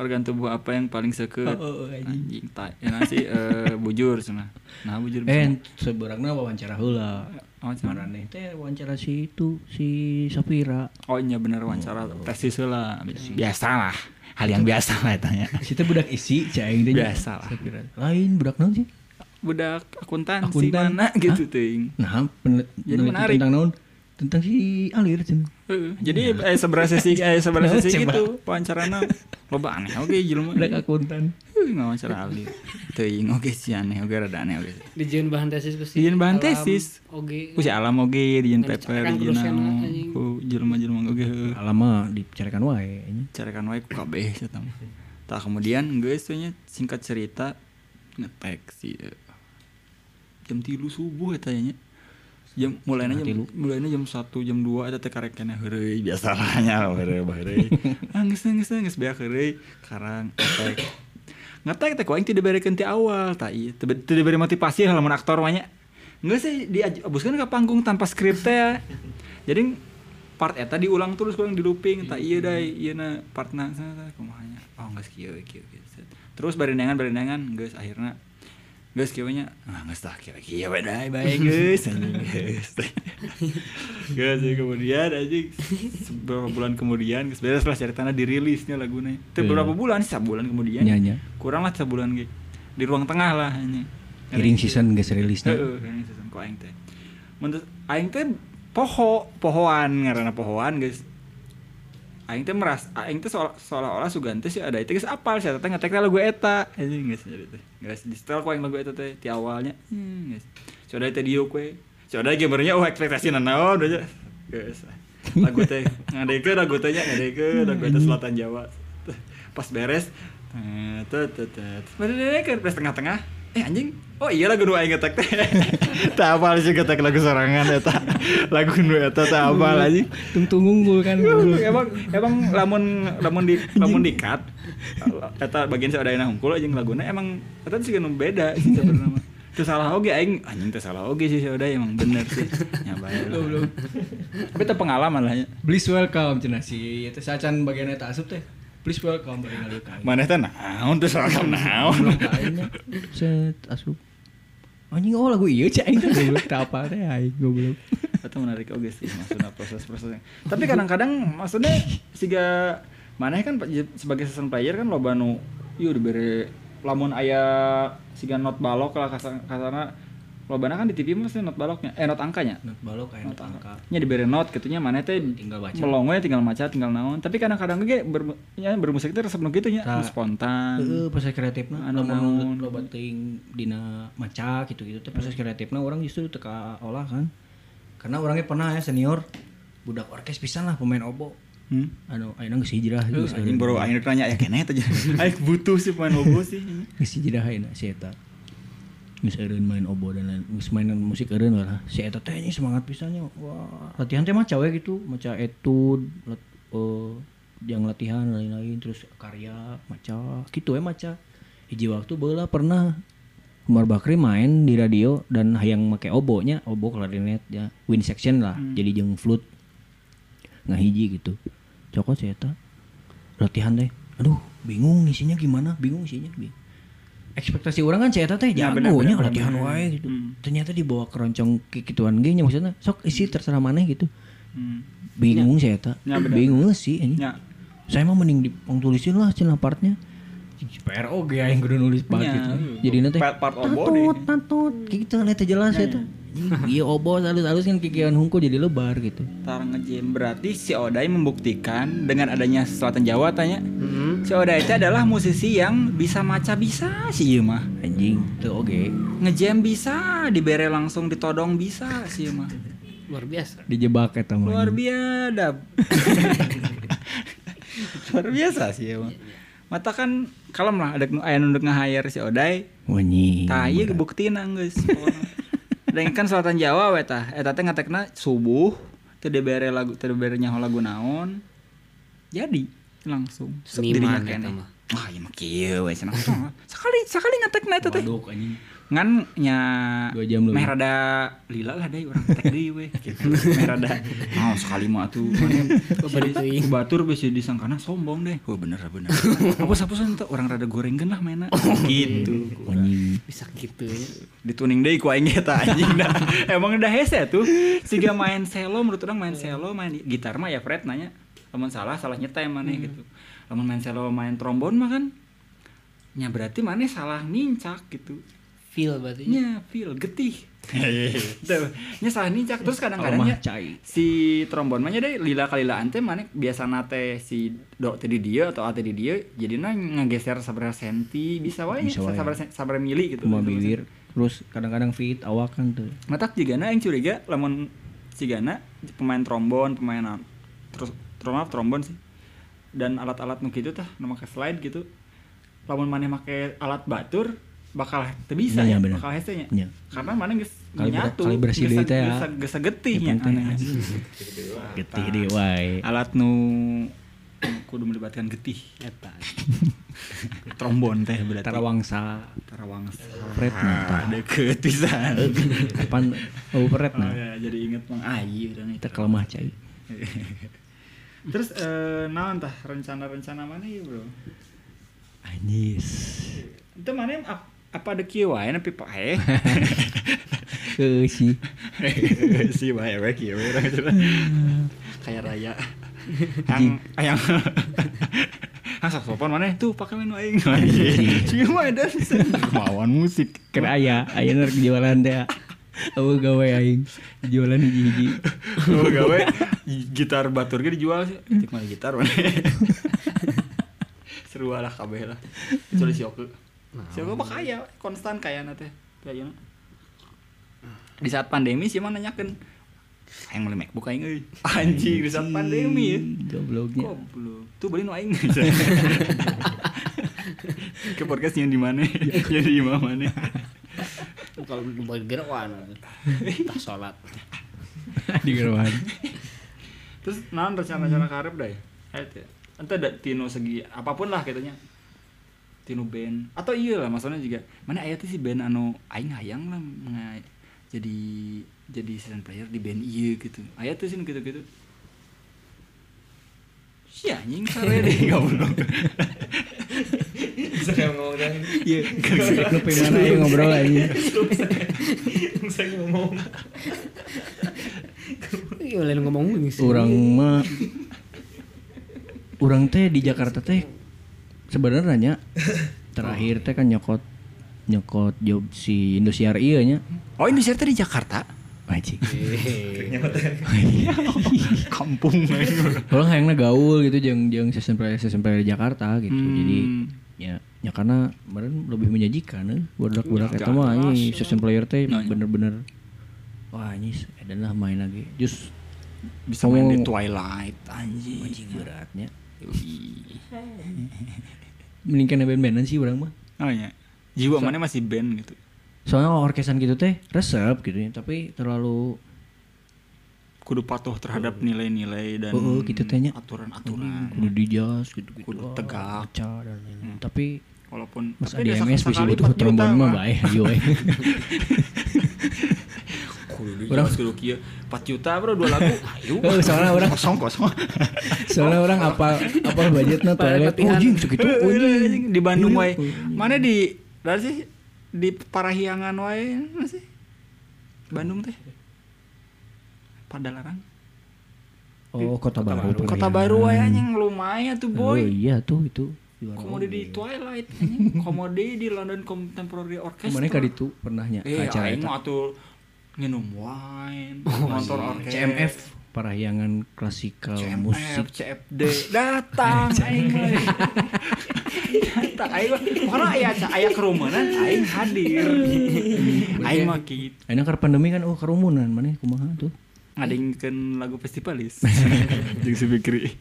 Organ tubuh apa yang paling seket? Oh, anjing. Tai. Enak sih eh, bujur cenah. Nah, bujur. bisa. Eh, seberangnya wawancara heula. Oh, cenah. Marane teh wawancara si itu si Safira. Oh iya bener wawancara tesis heula. Biasa lah. Gitu. Hal yang biasa lah tanya. Si teh budak isi cai aing teh. nya. Biasa lah. Safira. Lain budak naon sih? Budak akuntansi Akuntan. mana gitu Hah? ting. Nah, penelit- Jadi peneliti menarik. tentang naon? Tentang si Alir cenah. Heeh, Jadi eh sebelah sesi eh sebelah Nah, sesi coba. gitu wawancarana loba aneh oke jelema. Budak akuntan. Heuh, ngawancara ahli. Teuing oke sih aneh oke rada aneh oke. dijieun bahan tesis ku si Dijieun bahan alam tesis. oge Ku si alam oke di jeung paper Nggak dicarakan di ku dosen, naon. anjing. Ku jelema-jelema oge heuh. Alama dibicarakan wae nya. Carikan wae ku kabeh eta mah. Tah kemudian geus teh nya singkat cerita ngetek si eh, jam 3 subuh eta nya. Jam mulainya jam mulainya jam 1 jam 2 eta teh karek kana heureuy biasanya nya heureuy bah heureuy. Ah, Anggeus anggeus anggeus beak heureuy karang ngetek. Ngetek teh ku aing tidak bere ti awal tah ieu teu be- teu diberi motivasi lamun aktor mah nya. Geus sih diabuskeun ka panggung tanpa skrip teh. ya. Jadi part eta diulang terus kurang di looping Hmm, tak iya dai iya na part na sana sana, kumahanya oh nggak kieu kieu kieu set. terus barendangan barendangan guys akhirnya guys kieu nya ah nggak tah kieu kieu we dai bae guys anjing guys guys ya, kemudian anjing beberapa bulan kemudian geus beres lah ceritanya dirilisnya laguna itu Iya. beberapa bulan sabulan kemudian Nya, nya. kurang lah sabulan ge di ruang tengah lah anjing Hearing season geus rilisnya. Heeh, hearing season ku aing teh. Mun teu- aing teh poho, pohoan ngaranna pohoan guys. Aing teh meras, aing teh seolah- seolah-olah sugan teh si ada itu geus apal si eta teh ngetek teh lagu eta. Anjing geus jadi teh. Geus di setel ku aing lagu eta teh ti awalnya. Hmm, geus. Coda teh dieu we. Coda gamernya oh ekspektasi naon aja. Geus. Lagu teh ngadekeun lagu teh nya ngadekeun lagu eta selatan Jawa. Pas beres tet tet tet. Bener kan pas tengah-tengah eh anjing oh iya lagu nu aing ngetek teh tak apa sih ngetek lagu sorangan eta lagu nu eta tak apa anjing Tungtung unggul kan. emang emang lamun lamun di lamun dikat eta bagian sadayana hungkul aja laguna emang eta sih nu beda sih sebenarnya mah. Teu salah oge aing anjing teu salah oge sih sadaya emang bener sih nya bae lah. tapi teu pengalaman lah nya Please welcome cenah si eta sacan bagian eta asup teh. Please welcome bari ngalir ka aing. maneh teh naon teu salah naon Belum ka aing, nya. Set asup. Anjing oh lagu ieu cai aing teh goblok teu apa teh aing goblok. atau menarik oke sih maksudnya proses-prosesnya tapi kadang-kadang maksudnya siga mana kan j- sebagai season player kan loba nu yuk diberi lamun aya siga not balok lah kasar kasarna lobana kan di TV maksudnya not baloknya eh not angkanya Not balok aya not angka nya diberi not kitunya mana teh Tinggal baca. melongonya tinggal maca tinggal naon tapi kadang-kadang ge bermu- nya bermusik teh resep nu kitu nya nu Tah. spontan Nah. Heeh, proses kreatifna Anu naon. lamun loba teuing dina maca gitu-gitu teh proses kreatifna orang justru teu olah kan. Karena orangnya pernah ya senior budak orkes pisan lah pemain obo. Hmm? Anu ayeuna geus hijrah geus Anjing baru akhirnya nanya ya kene aja aing butuh sih pemain obo sih geus hijrah ayeuna si eta. Geus eureun main obo dan lain geus main musik eureun lah. Si eta teh anjing semangat pisannya. Wah, latihan teh maca we gitu, maca etude, lat, eh, yang latihan lain-lain terus karya maca gitu ya maca hiji waktu beulah pernah Umar Bakri main di radio dan hayang make obonya, obo klarinet ya, wind section lah. Jadi jeung flute. Nah hiji gitu. Cokot saya eta latihan teh. Aduh, bingung isinya gimana? Bingung isinya. Bingung. Ekspektasi orang kan saya teh Ya, jago benar, nya benar, latihan benar. wae gitu. Hmm. Ternyata dibawa ke roncong kikituan ge nya maksudnya sok isi terserah maneh gitu. Hmm. Bingung saya teh. Ya, benar. Iya. Bingung sih anjing Nya. saya mah mending dipangtulisin lah cina partnya PRO ge aing ya kudu nulis Nya, banget gitu. iya. Jadi nanti Part- part obo tatut tatut gitu lihat jelas itu. Iya obo halus-halus kan kikian hungku jadi lebar gitu. Tarang ngejen berarti si Odai membuktikan dengan adanya Selatan Jawa tanya. Mhm. Si Odai itu adalah musisi yang bisa maca bisa sih ieu mah. Anjing tuh oke. Ngejam bisa, dibere langsung ditodong bisa sih ieu mah. luar biasa Dijebak eta mah. Luar biasa. Luar biasa sih ieu mah. Mata kan kalem lah ada aya nu nge-hire si Odai. Wanyi. Tah ieu buktina geus. Dan kan Selatan Jawa we tah. Eta teh ngatekna subuh, teu dibere lagu teu dibere nyaho lagu naon. Jadi langsung Sep, dirinya Seniman kene. eta mah. Wah, iya, ieu mah kieu we cenah. Sekali sekali ngatekna eta teh. Waduk anjing. Ngan nya Dua jam meh lebih. rada lila lah deui urang tek deui we. Gitu. Meh rada naon sekali mah atuh. Bari Ku teuing. batur geus disangkana sombong deh. Oh bener bener. Hapus-hapusan teh orang rada gorengkeun lah mainna. Gitu. Wanyi. bisa gitu ya dituning deh ku aing eta anjing dah. Emang udah hese tuh. Siga main selo menurut orang main selo, main gitar mah ya Fred nanya. Lamun salah salah nyeta mana Hmm. gitu. Lamun main selo main trombon mah kan nya berarti mana salah nincak gitu. feel Iya. berarti Nya feel getih. Tuh, Nya salah nincak terus kadang-kadang Alamah nya cai. si trombon mah nya deh lila kalilaan teh mana biasa nate si do teh di dia atau a teh di dia jadinya ngegeser sabar senti bisa wae Bisa wae. sabar sabar mili gitu. Cuma Gitu maksudnya. bibir. Terus kadang-kadang fit awak kan tuh. Matak Jigana yang curiga lamun Jigana pemain trombon, pemain na- terus trombon trombon sih. Dan alat-alat nu kitu tah nu make slide gitu. Lamun maneh make alat batur bakal teu bisa ya, Iya, bener. bakal hese nya. Iya. Karena mana geus Kalibra- nyatu. kalibrasi geus deui sa- teh ya. geus sa- Geus sagetih nya. Iya, teh. aneh. Getih deh wae. Alat nu kudu melibatkan getih eta trombon teh berarti. Tarawangsa. Tarawangsa. Fred nata. Nah, Deket pisan. Depan oh Fred Oh, nah. ya, jadi inget iya, Mang Ayi urang Kita kelemah cai. Terus eh naon tah rencana-rencana mana ya, Bro? Anjis. Itu mana ap- apa ada kieu wae nepi pae. Eh sih. Si wae we kieu we urang teh. Kayak raya. Yang yang Ah sok sopan mana tuh pakai menu aing. Sieu mah ada kemauan musik. Kena aya, aya ner jualan teh. Aku gawe aing jualan hiji-hiji. Lu gawe gitar batur ge dijual sih. Cek mana gitar mana. Seru lah kabeh lah. Hmm. Kecuali si Oke. Si Oke mah kaya, konstan kaya nate. Kaya Di saat pandemi sih mana nanyakeun. Aing beli MacBook aing euy. Anjing di saat pandemi ya. Gobloknya. Goblok. Tuh beli nu aing. Ke podcast yang di mana? Yang di imam mana? kalau buat gerawan tak sholat Di gerohan. Terus naon rencana-rencana karep deh? Eta. Hmm. Eh, Ente ada tino segi apapun lah katanya. Tino band atau iya lah maksudnya juga. Mana aya teh si band anu aing hayang lah nga- jadi jadi session player di band iya gitu. Aya tuh sih gitu-gitu. Si anjing sare deh goblok. Bisa kayak ngomong dah. Iya, nepi mana aing ngobrol aing. Bisa ngomong. iya lain ngomong gini sih Urang mah Urang teh di Jakarta teh sebenarnya nya, terakhir teh kan nyokot nyokot job si Indosiar iya nya. Oh, ini cerita di Jakarta. Anjing. Kampung eh. aing. Orang hayangna gaul gitu jeung jeung season player season player di Jakarta gitu. Hmm. Jadi ya ya karena kemarin lebih menjanjikan eh. budak-budak Ya, eta jelas, mah anjing season player teh Nah, iya. bener-bener wah anjing edan lah main lagi. Jus Bisa main di Ngomong- Twilight anjing. anjing beratnya. Mendingkan band-bandan sih orang mah. Oh iya. Jiwa mana masih band gitu. Soalnya orkesan gitu teh resep gitu ya, tapi terlalu kudu patuh terhadap nilai-nilai dan Oh, oh, gitu tehnya. aturan-aturan kudu Hmm. di jas gitu gitu. Kudu tegak. dan lain-lain. Tapi walaupun Mas tapi ada ADMS bisa sak-sak kali butuh 4 juta, trombon mah mah. baik ieu we. Kudu di Urang- Jawa segala kieu. 4 juta bro dua lagu. Ayo. Heuh, Oh, soalnya orang kosong kosong soalnya orang apal apal budgetna toilet. Oh latihan. jing segitu Eh, oh, jing. di Bandung Iya, wae. oh, jing. Mana di dari sih di Parahyangan wae mana sih? Bandung teh. Padalarang. Oh, kota baru. Kota Pariangan. Baru wae anjing lumayan tuh Oh boy. iya tuh itu. Komodi di Twilight anjing. Komodi di London Contemporary Orchestra. Mana kali itu pernahnya Eh, acara aing itu. Oh, mah atuh nginum wine, nonton iya. orkes. CMF Parahyangan klasikal CMF, musik. CFD datang aing mah. datang aing mah. pokoknya aya aya kerumunan aing hadir aing mah gitu Enak karena pandemi kan oh kerumunan mana kumaha tuh. ngadengkeun lagu festivalis jeung si Fikri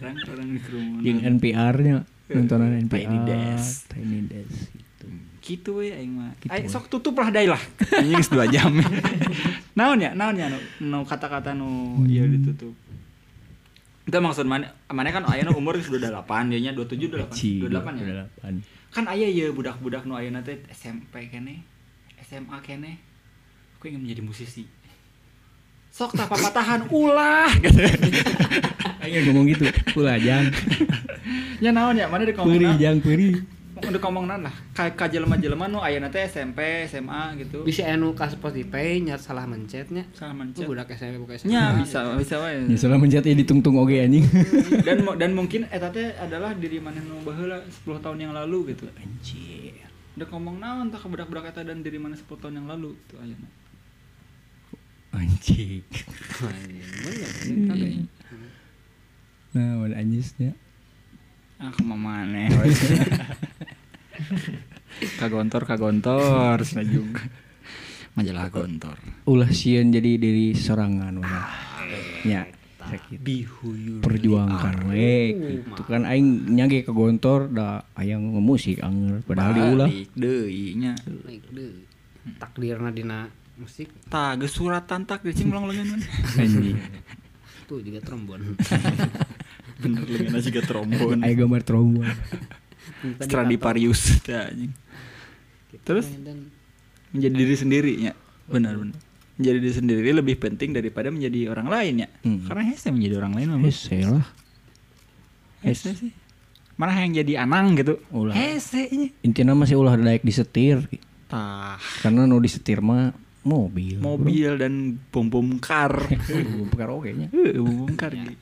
orang orang di kerumunan Yang NPR-nya nontonan NPR. Hmm. Iya. Tiny Desk. Tiny Desk gitu. gitu we aing mah aing sok tutup lah dai lah anjing geus 2 jam naon ya naon ya nu nu kata-kata nu ieu ditutup itu maksud mana mana kan ayeuna umur sudah 28 dia nya 27 Ci, 28 28 ya 28. kan ayah ya budak-budak nu ayeuna teh SMP kene SMA kene aku ingin menjadi musisi sok tak papatahan ulah Aing ngomong gitu, ulah jang, nya naon ya mana dek peri ngomongna jang peri. udah ngomongna lah ka ka jelema-jelema nu ayeuna teh SMP SMA gitu bisa anu ka Spotify nyat salah mencetnya salah mencet itu budak SMP buka SMP nya bisa bisa wae Ya salah mencet ya ditungtung oge anjing. dan mo- dan mungkin eta teh adalah diri mana nu baheula 10 tahun yang lalu gitu Anjir. udah ngomong naon tah ka budak-budak eta dan diri mana 10 tahun yang lalu gitu ayeuna Anjing. Iya. Nah, mana anjisnya. Ah, kemana kagontor, kagontor, sana juga. Majalah gontor. Ulah sieun jadi diri Ya. Ah, sorangan ulah. iya, Nya, sakit. Ah, Perjuangkan we gitu kan aing nyage ke gontor da hayang ngemusik anger padahal diulah. Deui nya. takdirna dina musik Tah, geus suratan tak di cing ulang lengan. Anjing. tuh juga trombon Bener lengan juga trombon. Aya gambar trombon. Stradivarius tah gitu, anjing. Terus dan menjadi diri sendiri nya. Benar benar. Menjadi diri sendiri lebih penting daripada menjadi orang lain ya. Hmm. Karena hese menjadi orang lain mah. Eh, salah. Hese sih. Mana yang jadi anang gitu. iya. Ulah. Hese nya. Intinya masih ulah daek disetir Tah. karena nu disetir mah mobil. Ah. mobil dan bom bom kar Belum pekar oge nya. Eh, bom bom kar gitu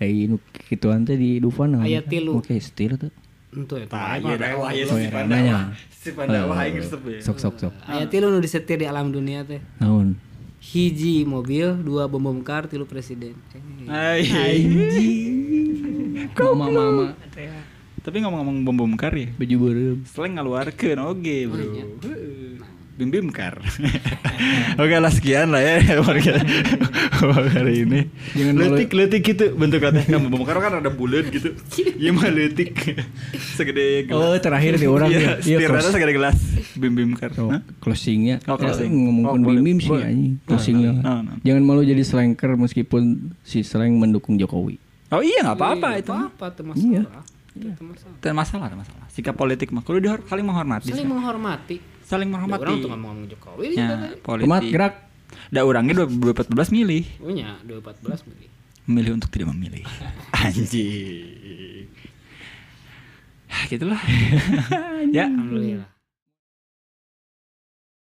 Eh, nu kituan teh di Dufan Aya namanya. tilu. Oke, setir tuh. itu ya Oh, ya, namanya. Iya, si pandawa Eh, aing ya. geus teu be. Sok sok sok. ayat tilu nu disetir di alam dunia teh Naon? hiji mobil dua bom bom kar tilu presiden Eh, Mama mama tapi ngomong-ngomong bom bom kar ya baju beureum. slang ngaluarkeun oge Oh, bro iya. bim bim kar oke lah sekian lah ya warga warga hari ini Jangan malu- letik letik gitu bentuk katanya Nah, bom bom kar kan ada bulat gitu iya mah letik segede Oh, gelas terakhir di orang iya ya. Iya, setirana close- segede gelas bim bim kar Oh, Hah? closingnya Oh, closing. Eh, ngomongin Oh, boleh, bim-bim sih boleh. anjing closingnya Nah, nah, nah. jangan malu jadi slanker meskipun si slang mendukung Jokowi oh iya nggak apa-apa nggak itu apa-apa itu masalah Itu masalah Tidak masalah, tidak masalah. Sikap politik mah kudu dihor- saling menghormati. saling menghormati Saling Ya, menghormati. orang tuh Iya. ngomong ngomong Jokowi Ya, juga tadi. politik. Tomat gerak Da orangnya 2014 milih, punya dua empat belas milih memilih untuk tidak memilih. Anjing. Hah, Gitulah. ya. alhamdulillah